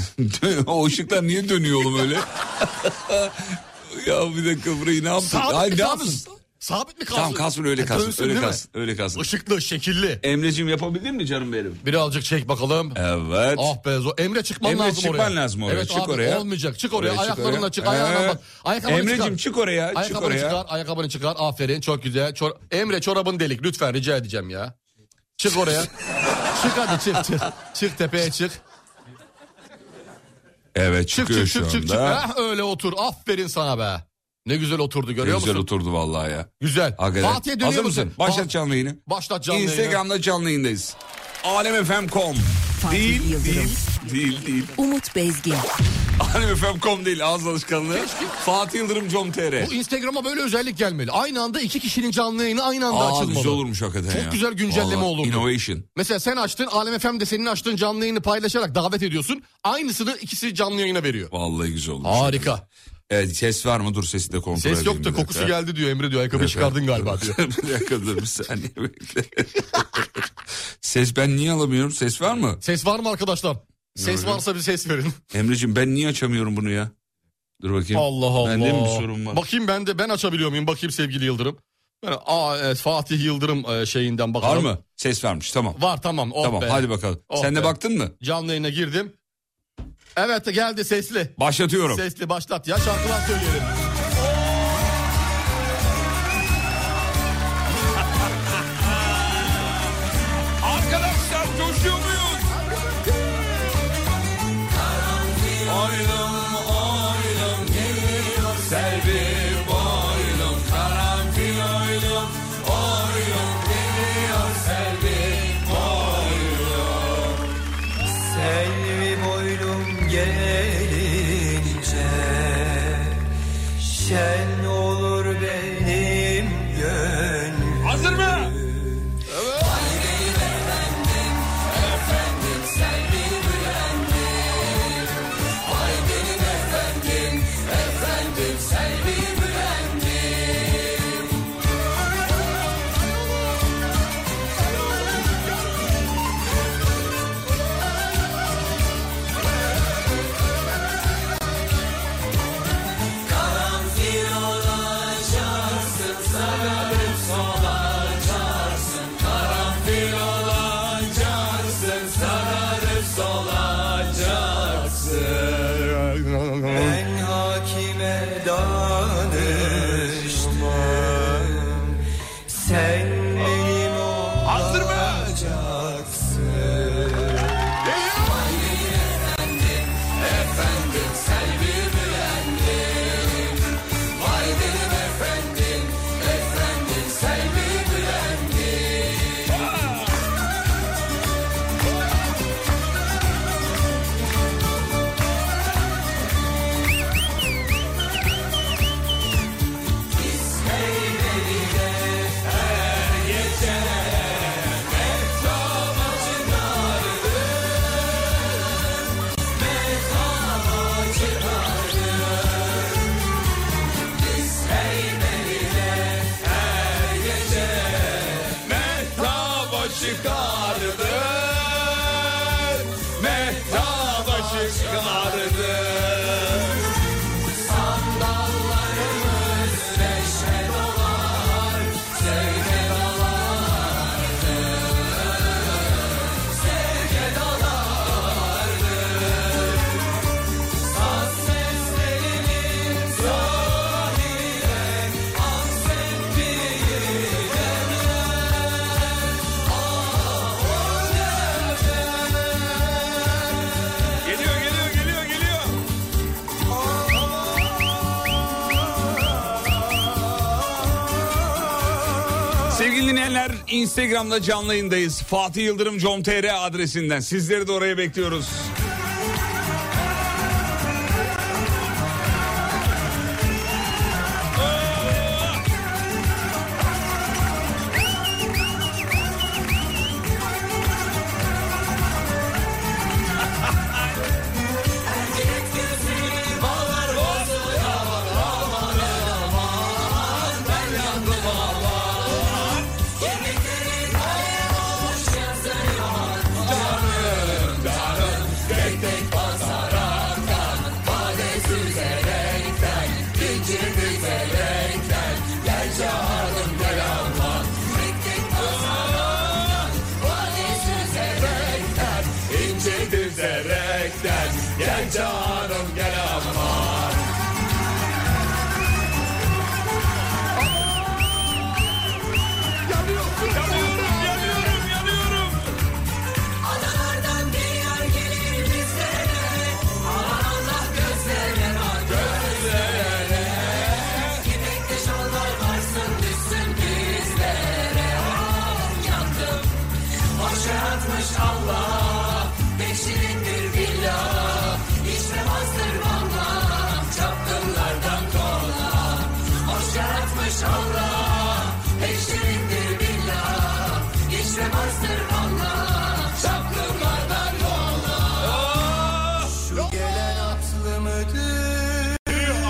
Speaker 5: o ışıklar niye dönüyor oğlum öyle? *laughs* ya bir dakika burayı ne yaptın?
Speaker 4: Sabit
Speaker 5: Hayır
Speaker 4: mi
Speaker 5: ne
Speaker 4: kalsın?
Speaker 5: yapıyorsun?
Speaker 4: Sabit mi kalsın?
Speaker 5: Tamam kalsın öyle
Speaker 4: Ha,
Speaker 5: kalsın.
Speaker 4: E, dönsün
Speaker 5: öyle
Speaker 4: değil mi?
Speaker 5: kalsın. Öyle kalsın.
Speaker 4: Işıklı, şekilli.
Speaker 5: Emre'ciğim yapabildin mi canım benim?
Speaker 4: Birazcık çek bakalım.
Speaker 5: Evet.
Speaker 4: Ah be zor. Emre çıkman
Speaker 5: Emre
Speaker 4: lazım oraya.
Speaker 5: çıkman lazım oraya.
Speaker 4: Evet
Speaker 5: Çık
Speaker 4: abi,
Speaker 5: oraya.
Speaker 4: Olmayacak. Çık oraya.
Speaker 5: Oraya çık
Speaker 4: Ayaklarınla
Speaker 5: oraya.
Speaker 4: çık. Ayağına
Speaker 5: Ee,
Speaker 4: bak. Ayakkabını
Speaker 5: Emre'cim
Speaker 4: çıkar.
Speaker 5: çık oraya, çık
Speaker 4: Ayakkabını
Speaker 5: oraya.
Speaker 4: çıkar. Ayakkabını çıkar. Aferin. Çok güzel. Çor- Emre çorabın delik. Lütfen rica edeceğim ya. Çık
Speaker 5: *laughs*
Speaker 4: oraya. çık hadi çık çık. Çık tepeye çık.
Speaker 5: Evet
Speaker 4: Çık
Speaker 5: çıkıyor
Speaker 4: çık
Speaker 5: şu
Speaker 4: çık çık Ah, çık.
Speaker 5: anda.
Speaker 4: Heh, öyle otur. Aferin sana be. Ne güzel oturdu
Speaker 5: Ne
Speaker 4: görüyor
Speaker 5: güzel
Speaker 4: musun?
Speaker 5: oturdu vallahi ya.
Speaker 4: Güzel.
Speaker 5: Hakikaten.
Speaker 4: Fatih'e dönüyor
Speaker 5: Hazır
Speaker 4: musun?
Speaker 5: mısın? Başlat
Speaker 4: Fa-
Speaker 5: canlı yayını.
Speaker 4: Başlat canlı yayını.
Speaker 5: Instagram'da canlı yayındayız. Alemfm.com
Speaker 1: Fatih
Speaker 5: Değil,
Speaker 1: Yıldırım.
Speaker 5: değil, değil, değil.
Speaker 1: Umut Bezgin.
Speaker 5: Alemfm.com değil ağız alışkanlığı. Fatih Yıldırım com.tr
Speaker 4: Bu Instagram'a böyle özellik gelmeli. Aynı anda iki kişinin canlı yayını aynı anda
Speaker 5: Aa
Speaker 4: açılmalı.
Speaker 5: güzel olurmuş hakikaten
Speaker 4: Çok
Speaker 5: ya.
Speaker 4: güzel güncelleme
Speaker 5: Vallahi
Speaker 4: olurdu.
Speaker 5: Innovation.
Speaker 4: Mesela sen açtın Alem FM de senin açtığın canlı yayını paylaşarak davet ediyorsun. Aynısını ikisi canlı yayına veriyor.
Speaker 5: Vallahi güzel olmuş.
Speaker 4: Harika.
Speaker 5: Evet ses var mı? Dur sesi de kontrol
Speaker 4: Ses
Speaker 5: edeyim
Speaker 4: yok
Speaker 5: bir
Speaker 4: da
Speaker 5: dakika.
Speaker 4: kokusu geldi diyor Emre diyor. Ayakkabı
Speaker 5: Evet,
Speaker 4: çıkardın
Speaker 5: evet.
Speaker 4: galiba diyor.
Speaker 5: *laughs* bir dakika dur bir saniye bekle. *laughs* ses ben niye alamıyorum? Ses var mı?
Speaker 4: Ses var mı arkadaşlar? Ses varsa bir ses verin.
Speaker 5: Emre'cim ben niye açamıyorum bunu ya? Dur bakayım.
Speaker 4: Allah Allah.
Speaker 5: Bende mi bir sorun var?
Speaker 4: Bakayım ben de ben açabiliyor muyum? Bakayım sevgili Yıldırım. Ben, aa, evet, Fatih Yıldırım e, şeyinden
Speaker 5: var
Speaker 4: bakalım.
Speaker 5: mı? Ses varmış tamam.
Speaker 4: Var tamam. Oh
Speaker 5: tamam
Speaker 4: be.
Speaker 5: hadi bakalım.
Speaker 4: Oh
Speaker 5: Sen de
Speaker 4: be.
Speaker 5: baktın mı?
Speaker 4: Canlı yayına girdim. Evet geldi sesli.
Speaker 5: Başlatıyorum.
Speaker 4: Sesli başlat ya şarkılar söyleyelim.
Speaker 5: Arkadaşlar coşuyor muyuz? Oylum oylum geliyor Selvi boylum karanfil oylum Oylum geliyor Selvi
Speaker 2: Selvi boylum gelince Şen olur benim gönlüm
Speaker 5: Hazır mı?
Speaker 2: Ben hakime danıştım Sen benim
Speaker 5: Hazır mı?
Speaker 2: olacaksın
Speaker 5: Her geçene çıkardı. Geliyor geliyor geliyor geliyor. Sevgili dinleyenler Instagram'da canlı yayındayız. Fatih Yıldırım com.tr adresinden. Sizleri de oraya bekliyoruz.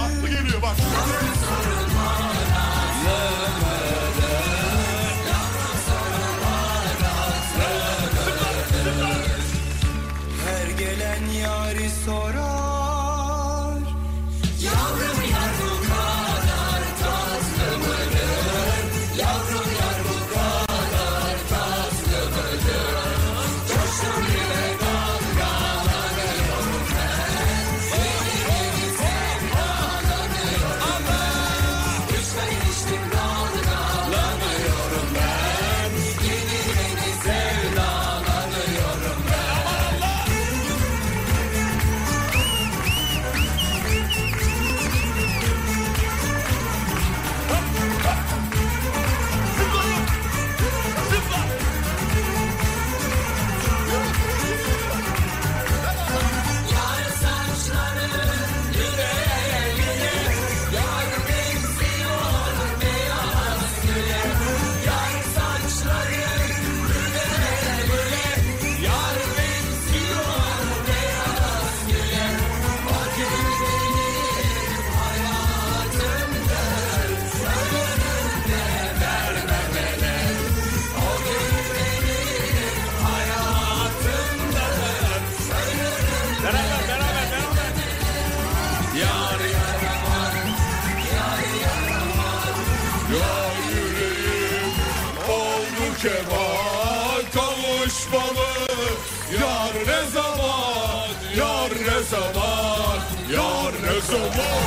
Speaker 4: Aklı geliyor bak.
Speaker 2: Her gelen yari sorar
Speaker 5: Oldu kemal kavuşmalı Yar ne zaman, yar ne zaman, yar ne zaman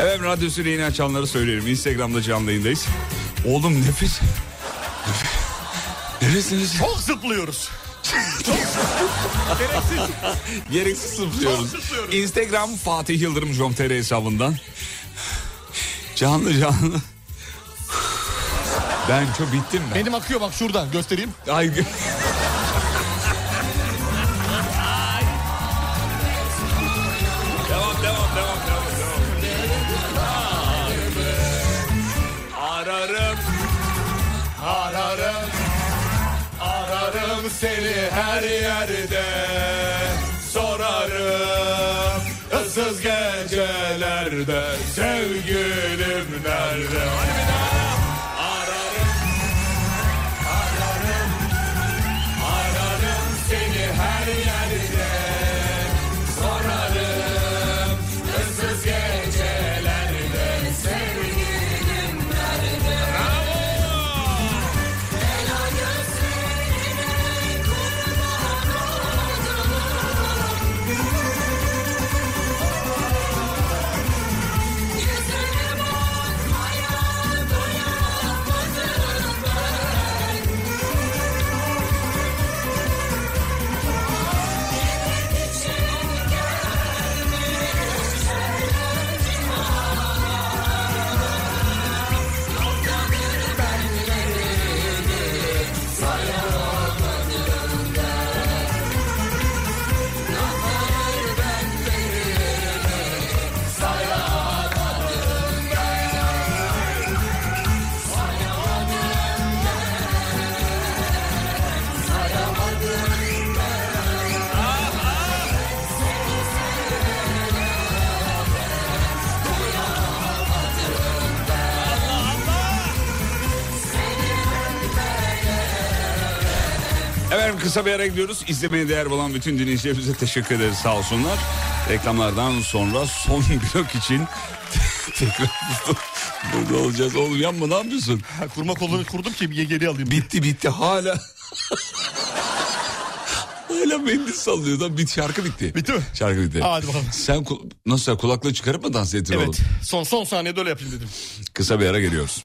Speaker 5: Evet radyosunu yeni açanları söylerim Instagram'da canlı yayındayız Oğlum nefis *laughs*
Speaker 4: *laughs*
Speaker 5: Neresiniz?
Speaker 4: Çok zıplıyoruz.
Speaker 5: Gereksiz sıflıyoruz.
Speaker 4: Çok sıflıyoruz.
Speaker 5: Instagram Fatih Yıldırım Jom.tr hesabından. Canlı canlı. Ben çok bittim ben.
Speaker 4: Benim akıyor bak şuradan göstereyim.
Speaker 5: Ay, gö- devam devam devam devam. devam. Ararım. Ararım. Ararım Ararım seni her yerde Sorarım ıssız gecelerde Sevgilim nerede? Hadi bir daha. Ararım Ararım Ararım seni her yerde Sorarım ıssız gecelerde Sevgilim nerede? Bravo! Efendim kısa bir ara gidiyoruz. İzlemeye değer bulan bütün dinleyicilerimize teşekkür ederiz sağ olsunlar. Reklamlardan sonra son *laughs* blok için tekrar *laughs* burada olacağız. Oğlum yanma ne yapıyorsun?
Speaker 4: Ha, kurma kollarını kurdum ki bir geri alayım.
Speaker 5: Bitti bitti hala. *laughs* hala mendil sallıyor lan. Bit, şarkı bitti.
Speaker 4: Bitti mi?
Speaker 5: Şarkı bitti.
Speaker 4: Hadi bakalım.
Speaker 5: Sen ku- nasıl kulaklığı çıkarıp mı dans ettin oğlum?
Speaker 4: Evet. Son son saniyede öyle yapayım dedim.
Speaker 5: Kısa bir ara geliyoruz.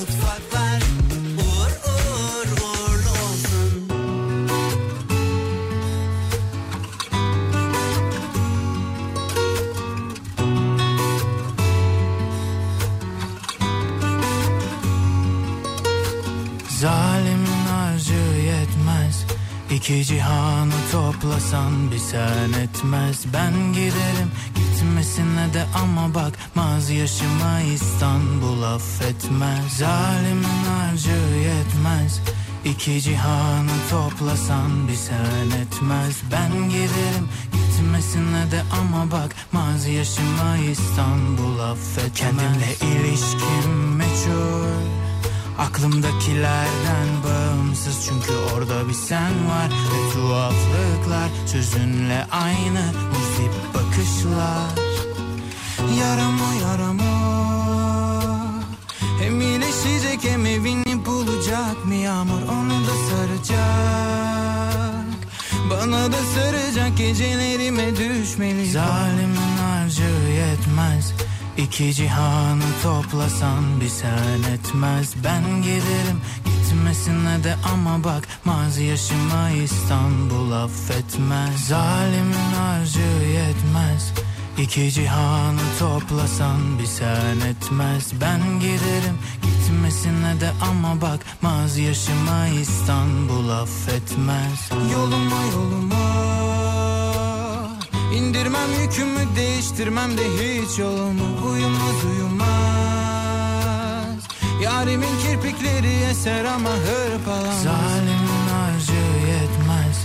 Speaker 2: mutfaklar uğur uğur uğurlu olsun.
Speaker 12: Zalimin harcı yetmez İki cihanı toplasan bir sen etmez Ben giderim gitmesine de ama bakmaz Yaşıma İstanbul affetmez Zalimin harcı yetmez İki cihanı toplasan bir sen etmez Ben giderim gitmesine de ama bakmaz Yaşıma İstanbul affetmez Kendimle ilişkim meçhul Aklımdakilerden bağımsız çünkü orada bir sen var Ve tuhaflıklar sözünle aynı muzip bakışlar Yarama yarama Hem iyileşecek hem evini bulacak Mi yağmur onu da saracak Bana da saracak gecelerime düşmeli Zalimin harcı yetmez İki cihanı toplasan bir sen etmez Ben giderim gitmesine de ama bakmaz Yaşıma İstanbul affetmez Zalimin harcı yetmez İki cihanı toplasan bir sen etmez Ben giderim gitmesine de ama bakmaz Yaşıma İstanbul affetmez Yoluma yoluma indirmem yükümü değiştirmem de hiç yolumu Uyumaz uyumaz Yarimin kirpikleri eser ama hırpalamaz Zalimin harcı yetmez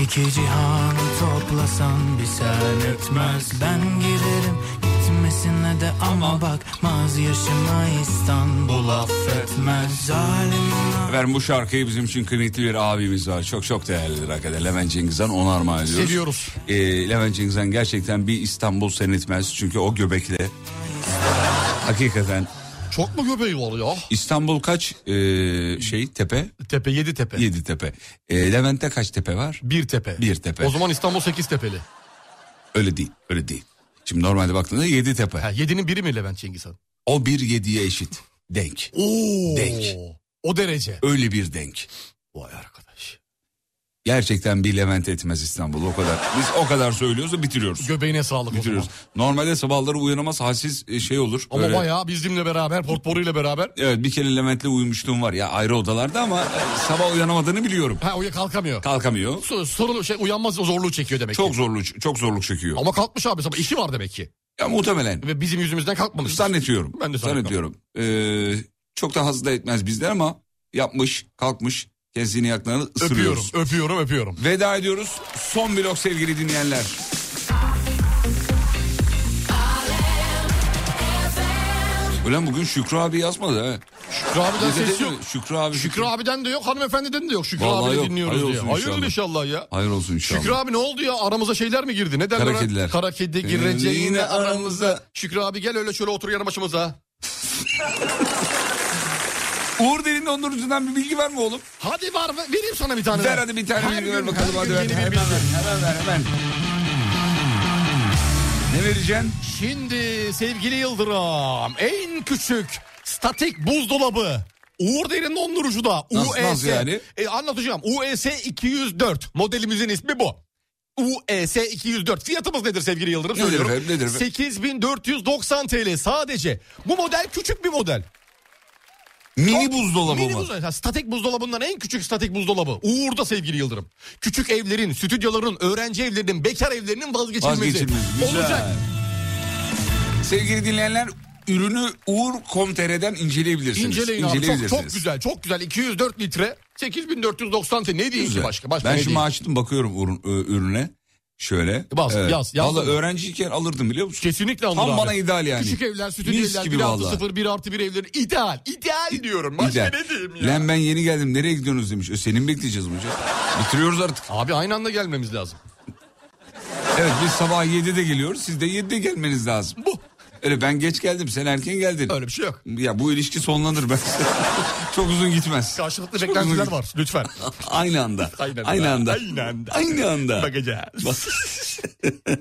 Speaker 12: İki cihanı toplasan bir sen etmez Ben giderim gitmesine de ama bakmaz Yaşıma İstanbul affetmez Zalimin
Speaker 5: Efendim bu şarkıyı bizim için kıymetli bir abimiz var. Çok çok değerlidir hakikaten. Levent Cengizhan ona armağan ediyoruz.
Speaker 4: Seviyoruz.
Speaker 5: Ee, Levent Cengizhan gerçekten bir İstanbul senetmez. Çünkü o göbekle. hakikaten
Speaker 4: Çok mu göbeği var ya?
Speaker 5: İstanbul kaç ee, şey tepe?
Speaker 4: Tepe 7 tepe.
Speaker 5: Yedi tepe. Ee, Levent'te kaç tepe var?
Speaker 4: Bir tepe.
Speaker 5: Bir tepe.
Speaker 4: O zaman İstanbul 8 tepeli.
Speaker 5: Öyle değil öyle değil. Şimdi normalde baktığında yedi
Speaker 4: Ha,
Speaker 5: tepe.
Speaker 4: 7'nin biri mi Levent Cengizhan?
Speaker 5: O bir yediye eşit. Denk.
Speaker 4: Oo.
Speaker 5: Denk.
Speaker 4: O derece.
Speaker 5: Öyle bir denk.
Speaker 4: Vay arkadaş.
Speaker 5: Gerçekten bir Levent etmez İstanbul o kadar. Biz o kadar söylüyoruz da bitiriyoruz.
Speaker 4: Göbeğine sağlık o
Speaker 5: bitiriyoruz.
Speaker 4: zaman.
Speaker 5: Normalde sabahları uyanamaz halsiz e, şey olur.
Speaker 4: Ama
Speaker 5: Böyle-
Speaker 4: bayağı bizimle beraber, portporuyla beraber.
Speaker 5: Evet bir kere Levent'le uyumuşluğum var. Ya ayrı odalarda ama e, sabah uyanamadığını biliyorum.
Speaker 4: Ha uya kalkamıyor.
Speaker 5: Kalkamıyor.
Speaker 4: Sorun şey uyanmaz zorluğu çekiyor demek ki.
Speaker 5: Çok zorluk çok zorluk çekiyor.
Speaker 4: Ama kalkmış abi sabah işi var demek ki.
Speaker 5: Ya muhtemelen.
Speaker 4: Ve bizim yüzümüzden kalkmamış.
Speaker 5: Zannetiyorum.
Speaker 4: Ben de
Speaker 5: zannediyorum. Ee, çok da haz da etmez bizler ama yapmış, kalkmış. Kendisini yaklarını
Speaker 4: Öpüyorum,
Speaker 5: ısırıyoruz.
Speaker 4: öpüyorum, öpüyorum.
Speaker 5: Veda ediyoruz. Son blok sevgili dinleyenler. Ulan bugün Şükrü abi yazmadı ha.
Speaker 4: Şükrü abiden
Speaker 5: Bize
Speaker 4: ses
Speaker 5: dedi
Speaker 4: yok.
Speaker 5: mi? Şükrü abi.
Speaker 4: Şükrü abiden de yok, hanımefendiden de yok. Şükrü
Speaker 5: Vallahi
Speaker 4: abi
Speaker 5: yok.
Speaker 4: dinliyoruz
Speaker 5: Hayır
Speaker 4: diye.
Speaker 5: olsun
Speaker 4: Hayırdır
Speaker 5: inşallah.
Speaker 4: inşallah, ya.
Speaker 5: Hayır olsun inşallah.
Speaker 4: Şükrü abi ne oldu ya? Aramıza şeyler mi girdi? Ne derler?
Speaker 5: Kara
Speaker 4: ona?
Speaker 5: kediler.
Speaker 4: Kara kedi girecek
Speaker 5: Gireceğine
Speaker 4: yine aramıza. Şükrü abi gel öyle şöyle otur yanı başımıza.
Speaker 5: Uğur Derin dondurucudan bir bilgi var mı oğlum?
Speaker 4: Hadi var mı? Vereyim sana bir tane.
Speaker 5: Ver hadi bir tane
Speaker 4: Her
Speaker 5: bilgi ver
Speaker 4: gün-
Speaker 5: bakalım.
Speaker 4: her
Speaker 5: Hadi
Speaker 4: gün
Speaker 5: ver.
Speaker 4: yeni bir
Speaker 5: Hemen ver,
Speaker 4: bilgi.
Speaker 5: hemen ver, hemen. Ne vereceksin?
Speaker 4: Şimdi sevgili Yıldırım en küçük statik buzdolabı Uğur Derin dondurucuda
Speaker 5: Nasıl-
Speaker 4: UES
Speaker 5: nasıl yani?
Speaker 4: E, anlatacağım UES 204 modelimizin ismi bu. E UES 204 fiyatımız nedir sevgili Yıldırım?
Speaker 5: Nedir
Speaker 4: Söylüyorum.
Speaker 5: efendim, nedir efendim?
Speaker 4: 8490 TL sadece. Bu model küçük bir model.
Speaker 5: Mini
Speaker 4: Çok-
Speaker 5: buzdolabı
Speaker 4: mini
Speaker 5: mı?
Speaker 4: buzdolabı. Ha, Statik buzdolabından en küçük statik buzdolabı. Uğur'da sevgili Yıldırım. Küçük evlerin, stüdyoların, öğrenci evlerinin, bekar evlerinin vazgeçilmezi.
Speaker 5: Vazgeçilmez. Güzel.
Speaker 4: Olacak.
Speaker 5: Sevgili dinleyenler ürünü uğur.com.tr'den inceleyebilirsiniz.
Speaker 4: İnceleyin abi. Çok, çok güzel, çok güzel. 204 litre, 8490 TL. Ne diyeyim ki
Speaker 5: Güzel.
Speaker 4: başka? Başka
Speaker 5: ben
Speaker 4: ne
Speaker 5: şimdi
Speaker 4: diyeyim?
Speaker 5: açtım bakıyorum ürün- ö- ürüne. Şöyle.
Speaker 4: Bas, yaz, yaz.
Speaker 5: Valla öğrenciyken alırdım biliyor musun?
Speaker 4: Kesinlikle alır
Speaker 5: Tam
Speaker 4: abi.
Speaker 5: bana ideal yani.
Speaker 4: Küçük evler, stüdyo
Speaker 5: Mis
Speaker 4: evler,
Speaker 5: gibi
Speaker 4: 1 artı
Speaker 5: vallahi.
Speaker 4: 0, 1 artı 1 evler. ideal, ideal diyorum. Başka
Speaker 5: İdeal.
Speaker 4: ne diyeyim ya?
Speaker 5: Lan ben yeni geldim nereye gidiyorsunuz demiş. E, seni mi bekleyeceğiz hocam? Bitiriyoruz artık.
Speaker 4: Abi aynı anda gelmemiz lazım.
Speaker 5: Evet biz sabah 7'de geliyoruz. Siz de 7'de gelmeniz lazım.
Speaker 4: Bu.
Speaker 5: Öyle ben geç geldim sen erken geldin.
Speaker 4: Öyle bir şey yok.
Speaker 5: Ya bu ilişki sonlanır ben. *laughs* çok uzun gitmez.
Speaker 4: Karşılıklı
Speaker 5: Çok
Speaker 4: beklentiler
Speaker 5: uzun-
Speaker 4: var. Lütfen.
Speaker 5: Aynı anda.
Speaker 4: Aynı anda.
Speaker 5: Aynı anda.
Speaker 4: Aynı anda.
Speaker 5: Aynı anda.
Speaker 4: Bakacağız.
Speaker 5: Bak-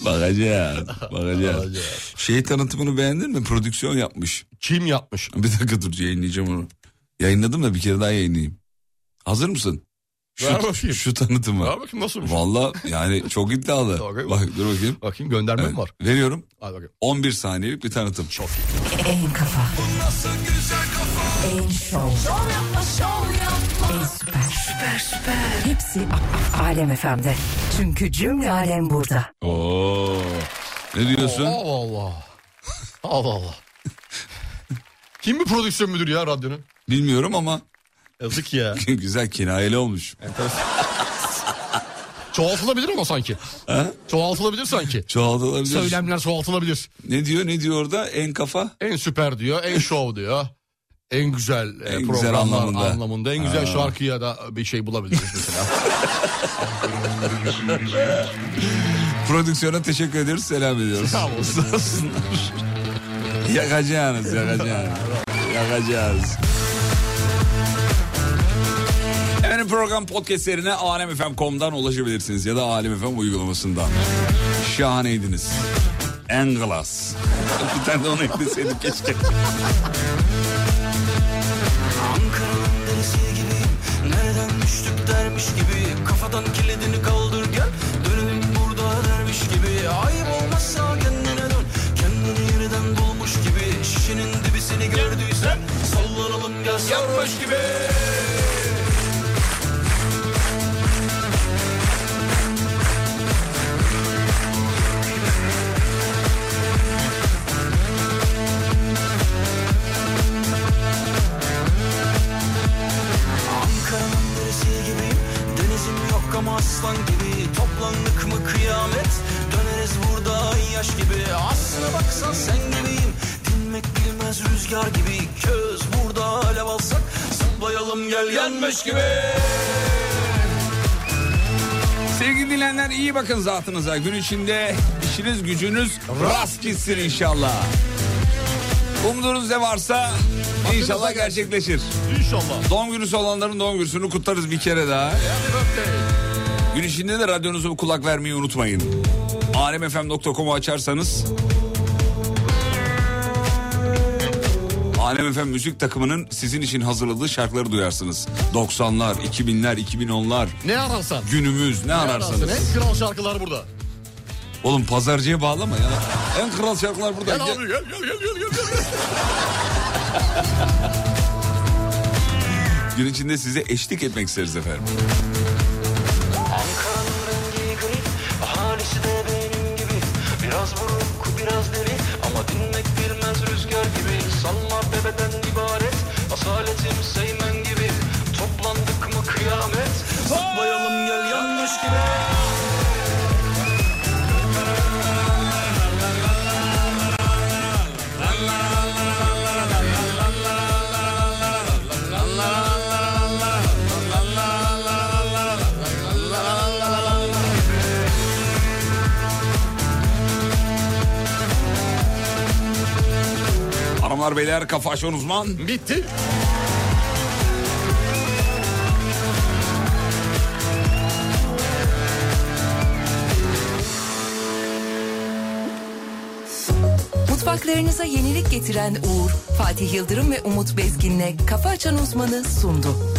Speaker 5: Bakacağız. Bakacağız. Şey tanıtımını beğendin mi? Prodüksiyon yapmış.
Speaker 4: Kim yapmış?
Speaker 5: Bir dakika dur yayınlayacağım onu. Yayınladım da bir kere daha yayınlayayım. Hazır mısın? Şu,
Speaker 4: Ver bakayım.
Speaker 5: şu tanıtımı.
Speaker 4: Ver bakayım nasılmış?
Speaker 5: Valla yani çok iddialı.
Speaker 4: Bakayım.
Speaker 5: Bak dur bakayım.
Speaker 4: Bakayım gönderme mi var?
Speaker 5: Veriyorum.
Speaker 4: Hadi bakayım.
Speaker 5: 11 saniyelik bir tanıtım. Çok
Speaker 1: En kafa. En şov. En süper. Süper süper. Hepsi A- A- Alem FM'de. Çünkü cümle alem burada.
Speaker 5: Oo. Ne diyorsun?
Speaker 4: Allah Allah. Allah Allah. Kim bir prodüksiyon müdürü ya radyonun?
Speaker 5: Bilmiyorum ama *laughs*
Speaker 4: Yazık ya.
Speaker 5: güzel kinayeli olmuş.
Speaker 4: Çoğaltılabilir ama sanki. Çoğaltılabilir sanki.
Speaker 5: Çoğaltılabilir.
Speaker 4: Söylemler çoğaltılabilir.
Speaker 5: Ne diyor ne diyor orada en kafa?
Speaker 4: En süper diyor, en şov diyor. En güzel e,
Speaker 5: En güzel
Speaker 4: programlar anlamında.
Speaker 5: anlamında.
Speaker 4: En güzel şarkıya da bir şey bulabiliriz
Speaker 5: *laughs*
Speaker 4: mesela.
Speaker 5: Prodüksiyona teşekkür ediyoruz selam ediyoruz.
Speaker 4: Sağ olsun.
Speaker 5: Yakacağız yakacağız. yakacağız. Efendim program podcastlerine alemfm.com'dan ulaşabilirsiniz ya da alemfm uygulamasından. Şahaneydiniz. En klas. *laughs* Bir tane de onu ekleseydik keşke.
Speaker 2: Ankara'nın denizi gibiyim Nereden düştük dermiş gibi Kafadan kilidini kaldır gel Dönelim burada dermiş gibi Ayıp olmazsa kendine dön Kendini yeniden bulmuş gibi Şişinin dibisini gördüysen Sallanalım gel sarhoş gibi Ankara'nın deresi gibiyim Denizim yok ama aslan gibi Toplandık mı kıyamet Döneriz burada yaş gibi Aslına baksan sen gibiyim Dinmek bilmez rüzgar gibi Köz burada alev alsak Zıplayalım gel yenmiş gibi
Speaker 5: Sevgili dinleyenler iyi bakın zatınıza. Gün içinde işiniz gücünüz rast gitsin inşallah. Umduğunuz ne varsa inşallah gerçekleşir.
Speaker 4: İnşallah.
Speaker 5: Doğum günüsü olanların doğum gününü kutlarız bir kere daha. Gün içinde de radyonuza bir kulak vermeyi unutmayın. alemfm.com'u açarsanız Alem FM müzik takımının sizin için hazırladığı şarkıları duyarsınız. 90'lar, 2000'ler, 2010'lar,
Speaker 4: Ne ararsan.
Speaker 5: günümüz ne
Speaker 4: Ararsan.
Speaker 5: ararsanız.
Speaker 4: En kral şarkılar burada.
Speaker 5: Oğlum pazarcıya bağlama ya. En kral şarkılar burada.
Speaker 4: Gel
Speaker 5: Gel.
Speaker 4: abi gel gel gel gel. gel.
Speaker 5: Gün içinde size eşlik etmek isteriz efendim.
Speaker 2: Ankara'nın rengi garip Ahalisi de benim gibi Biraz buruk
Speaker 5: hanımlar beyler kafa açan uzman.
Speaker 4: Bitti.
Speaker 1: Mutfaklarınıza yenilik getiren Uğur, Fatih Yıldırım ve Umut Bezgin'le Kafa Açan Uzman'ı sundu.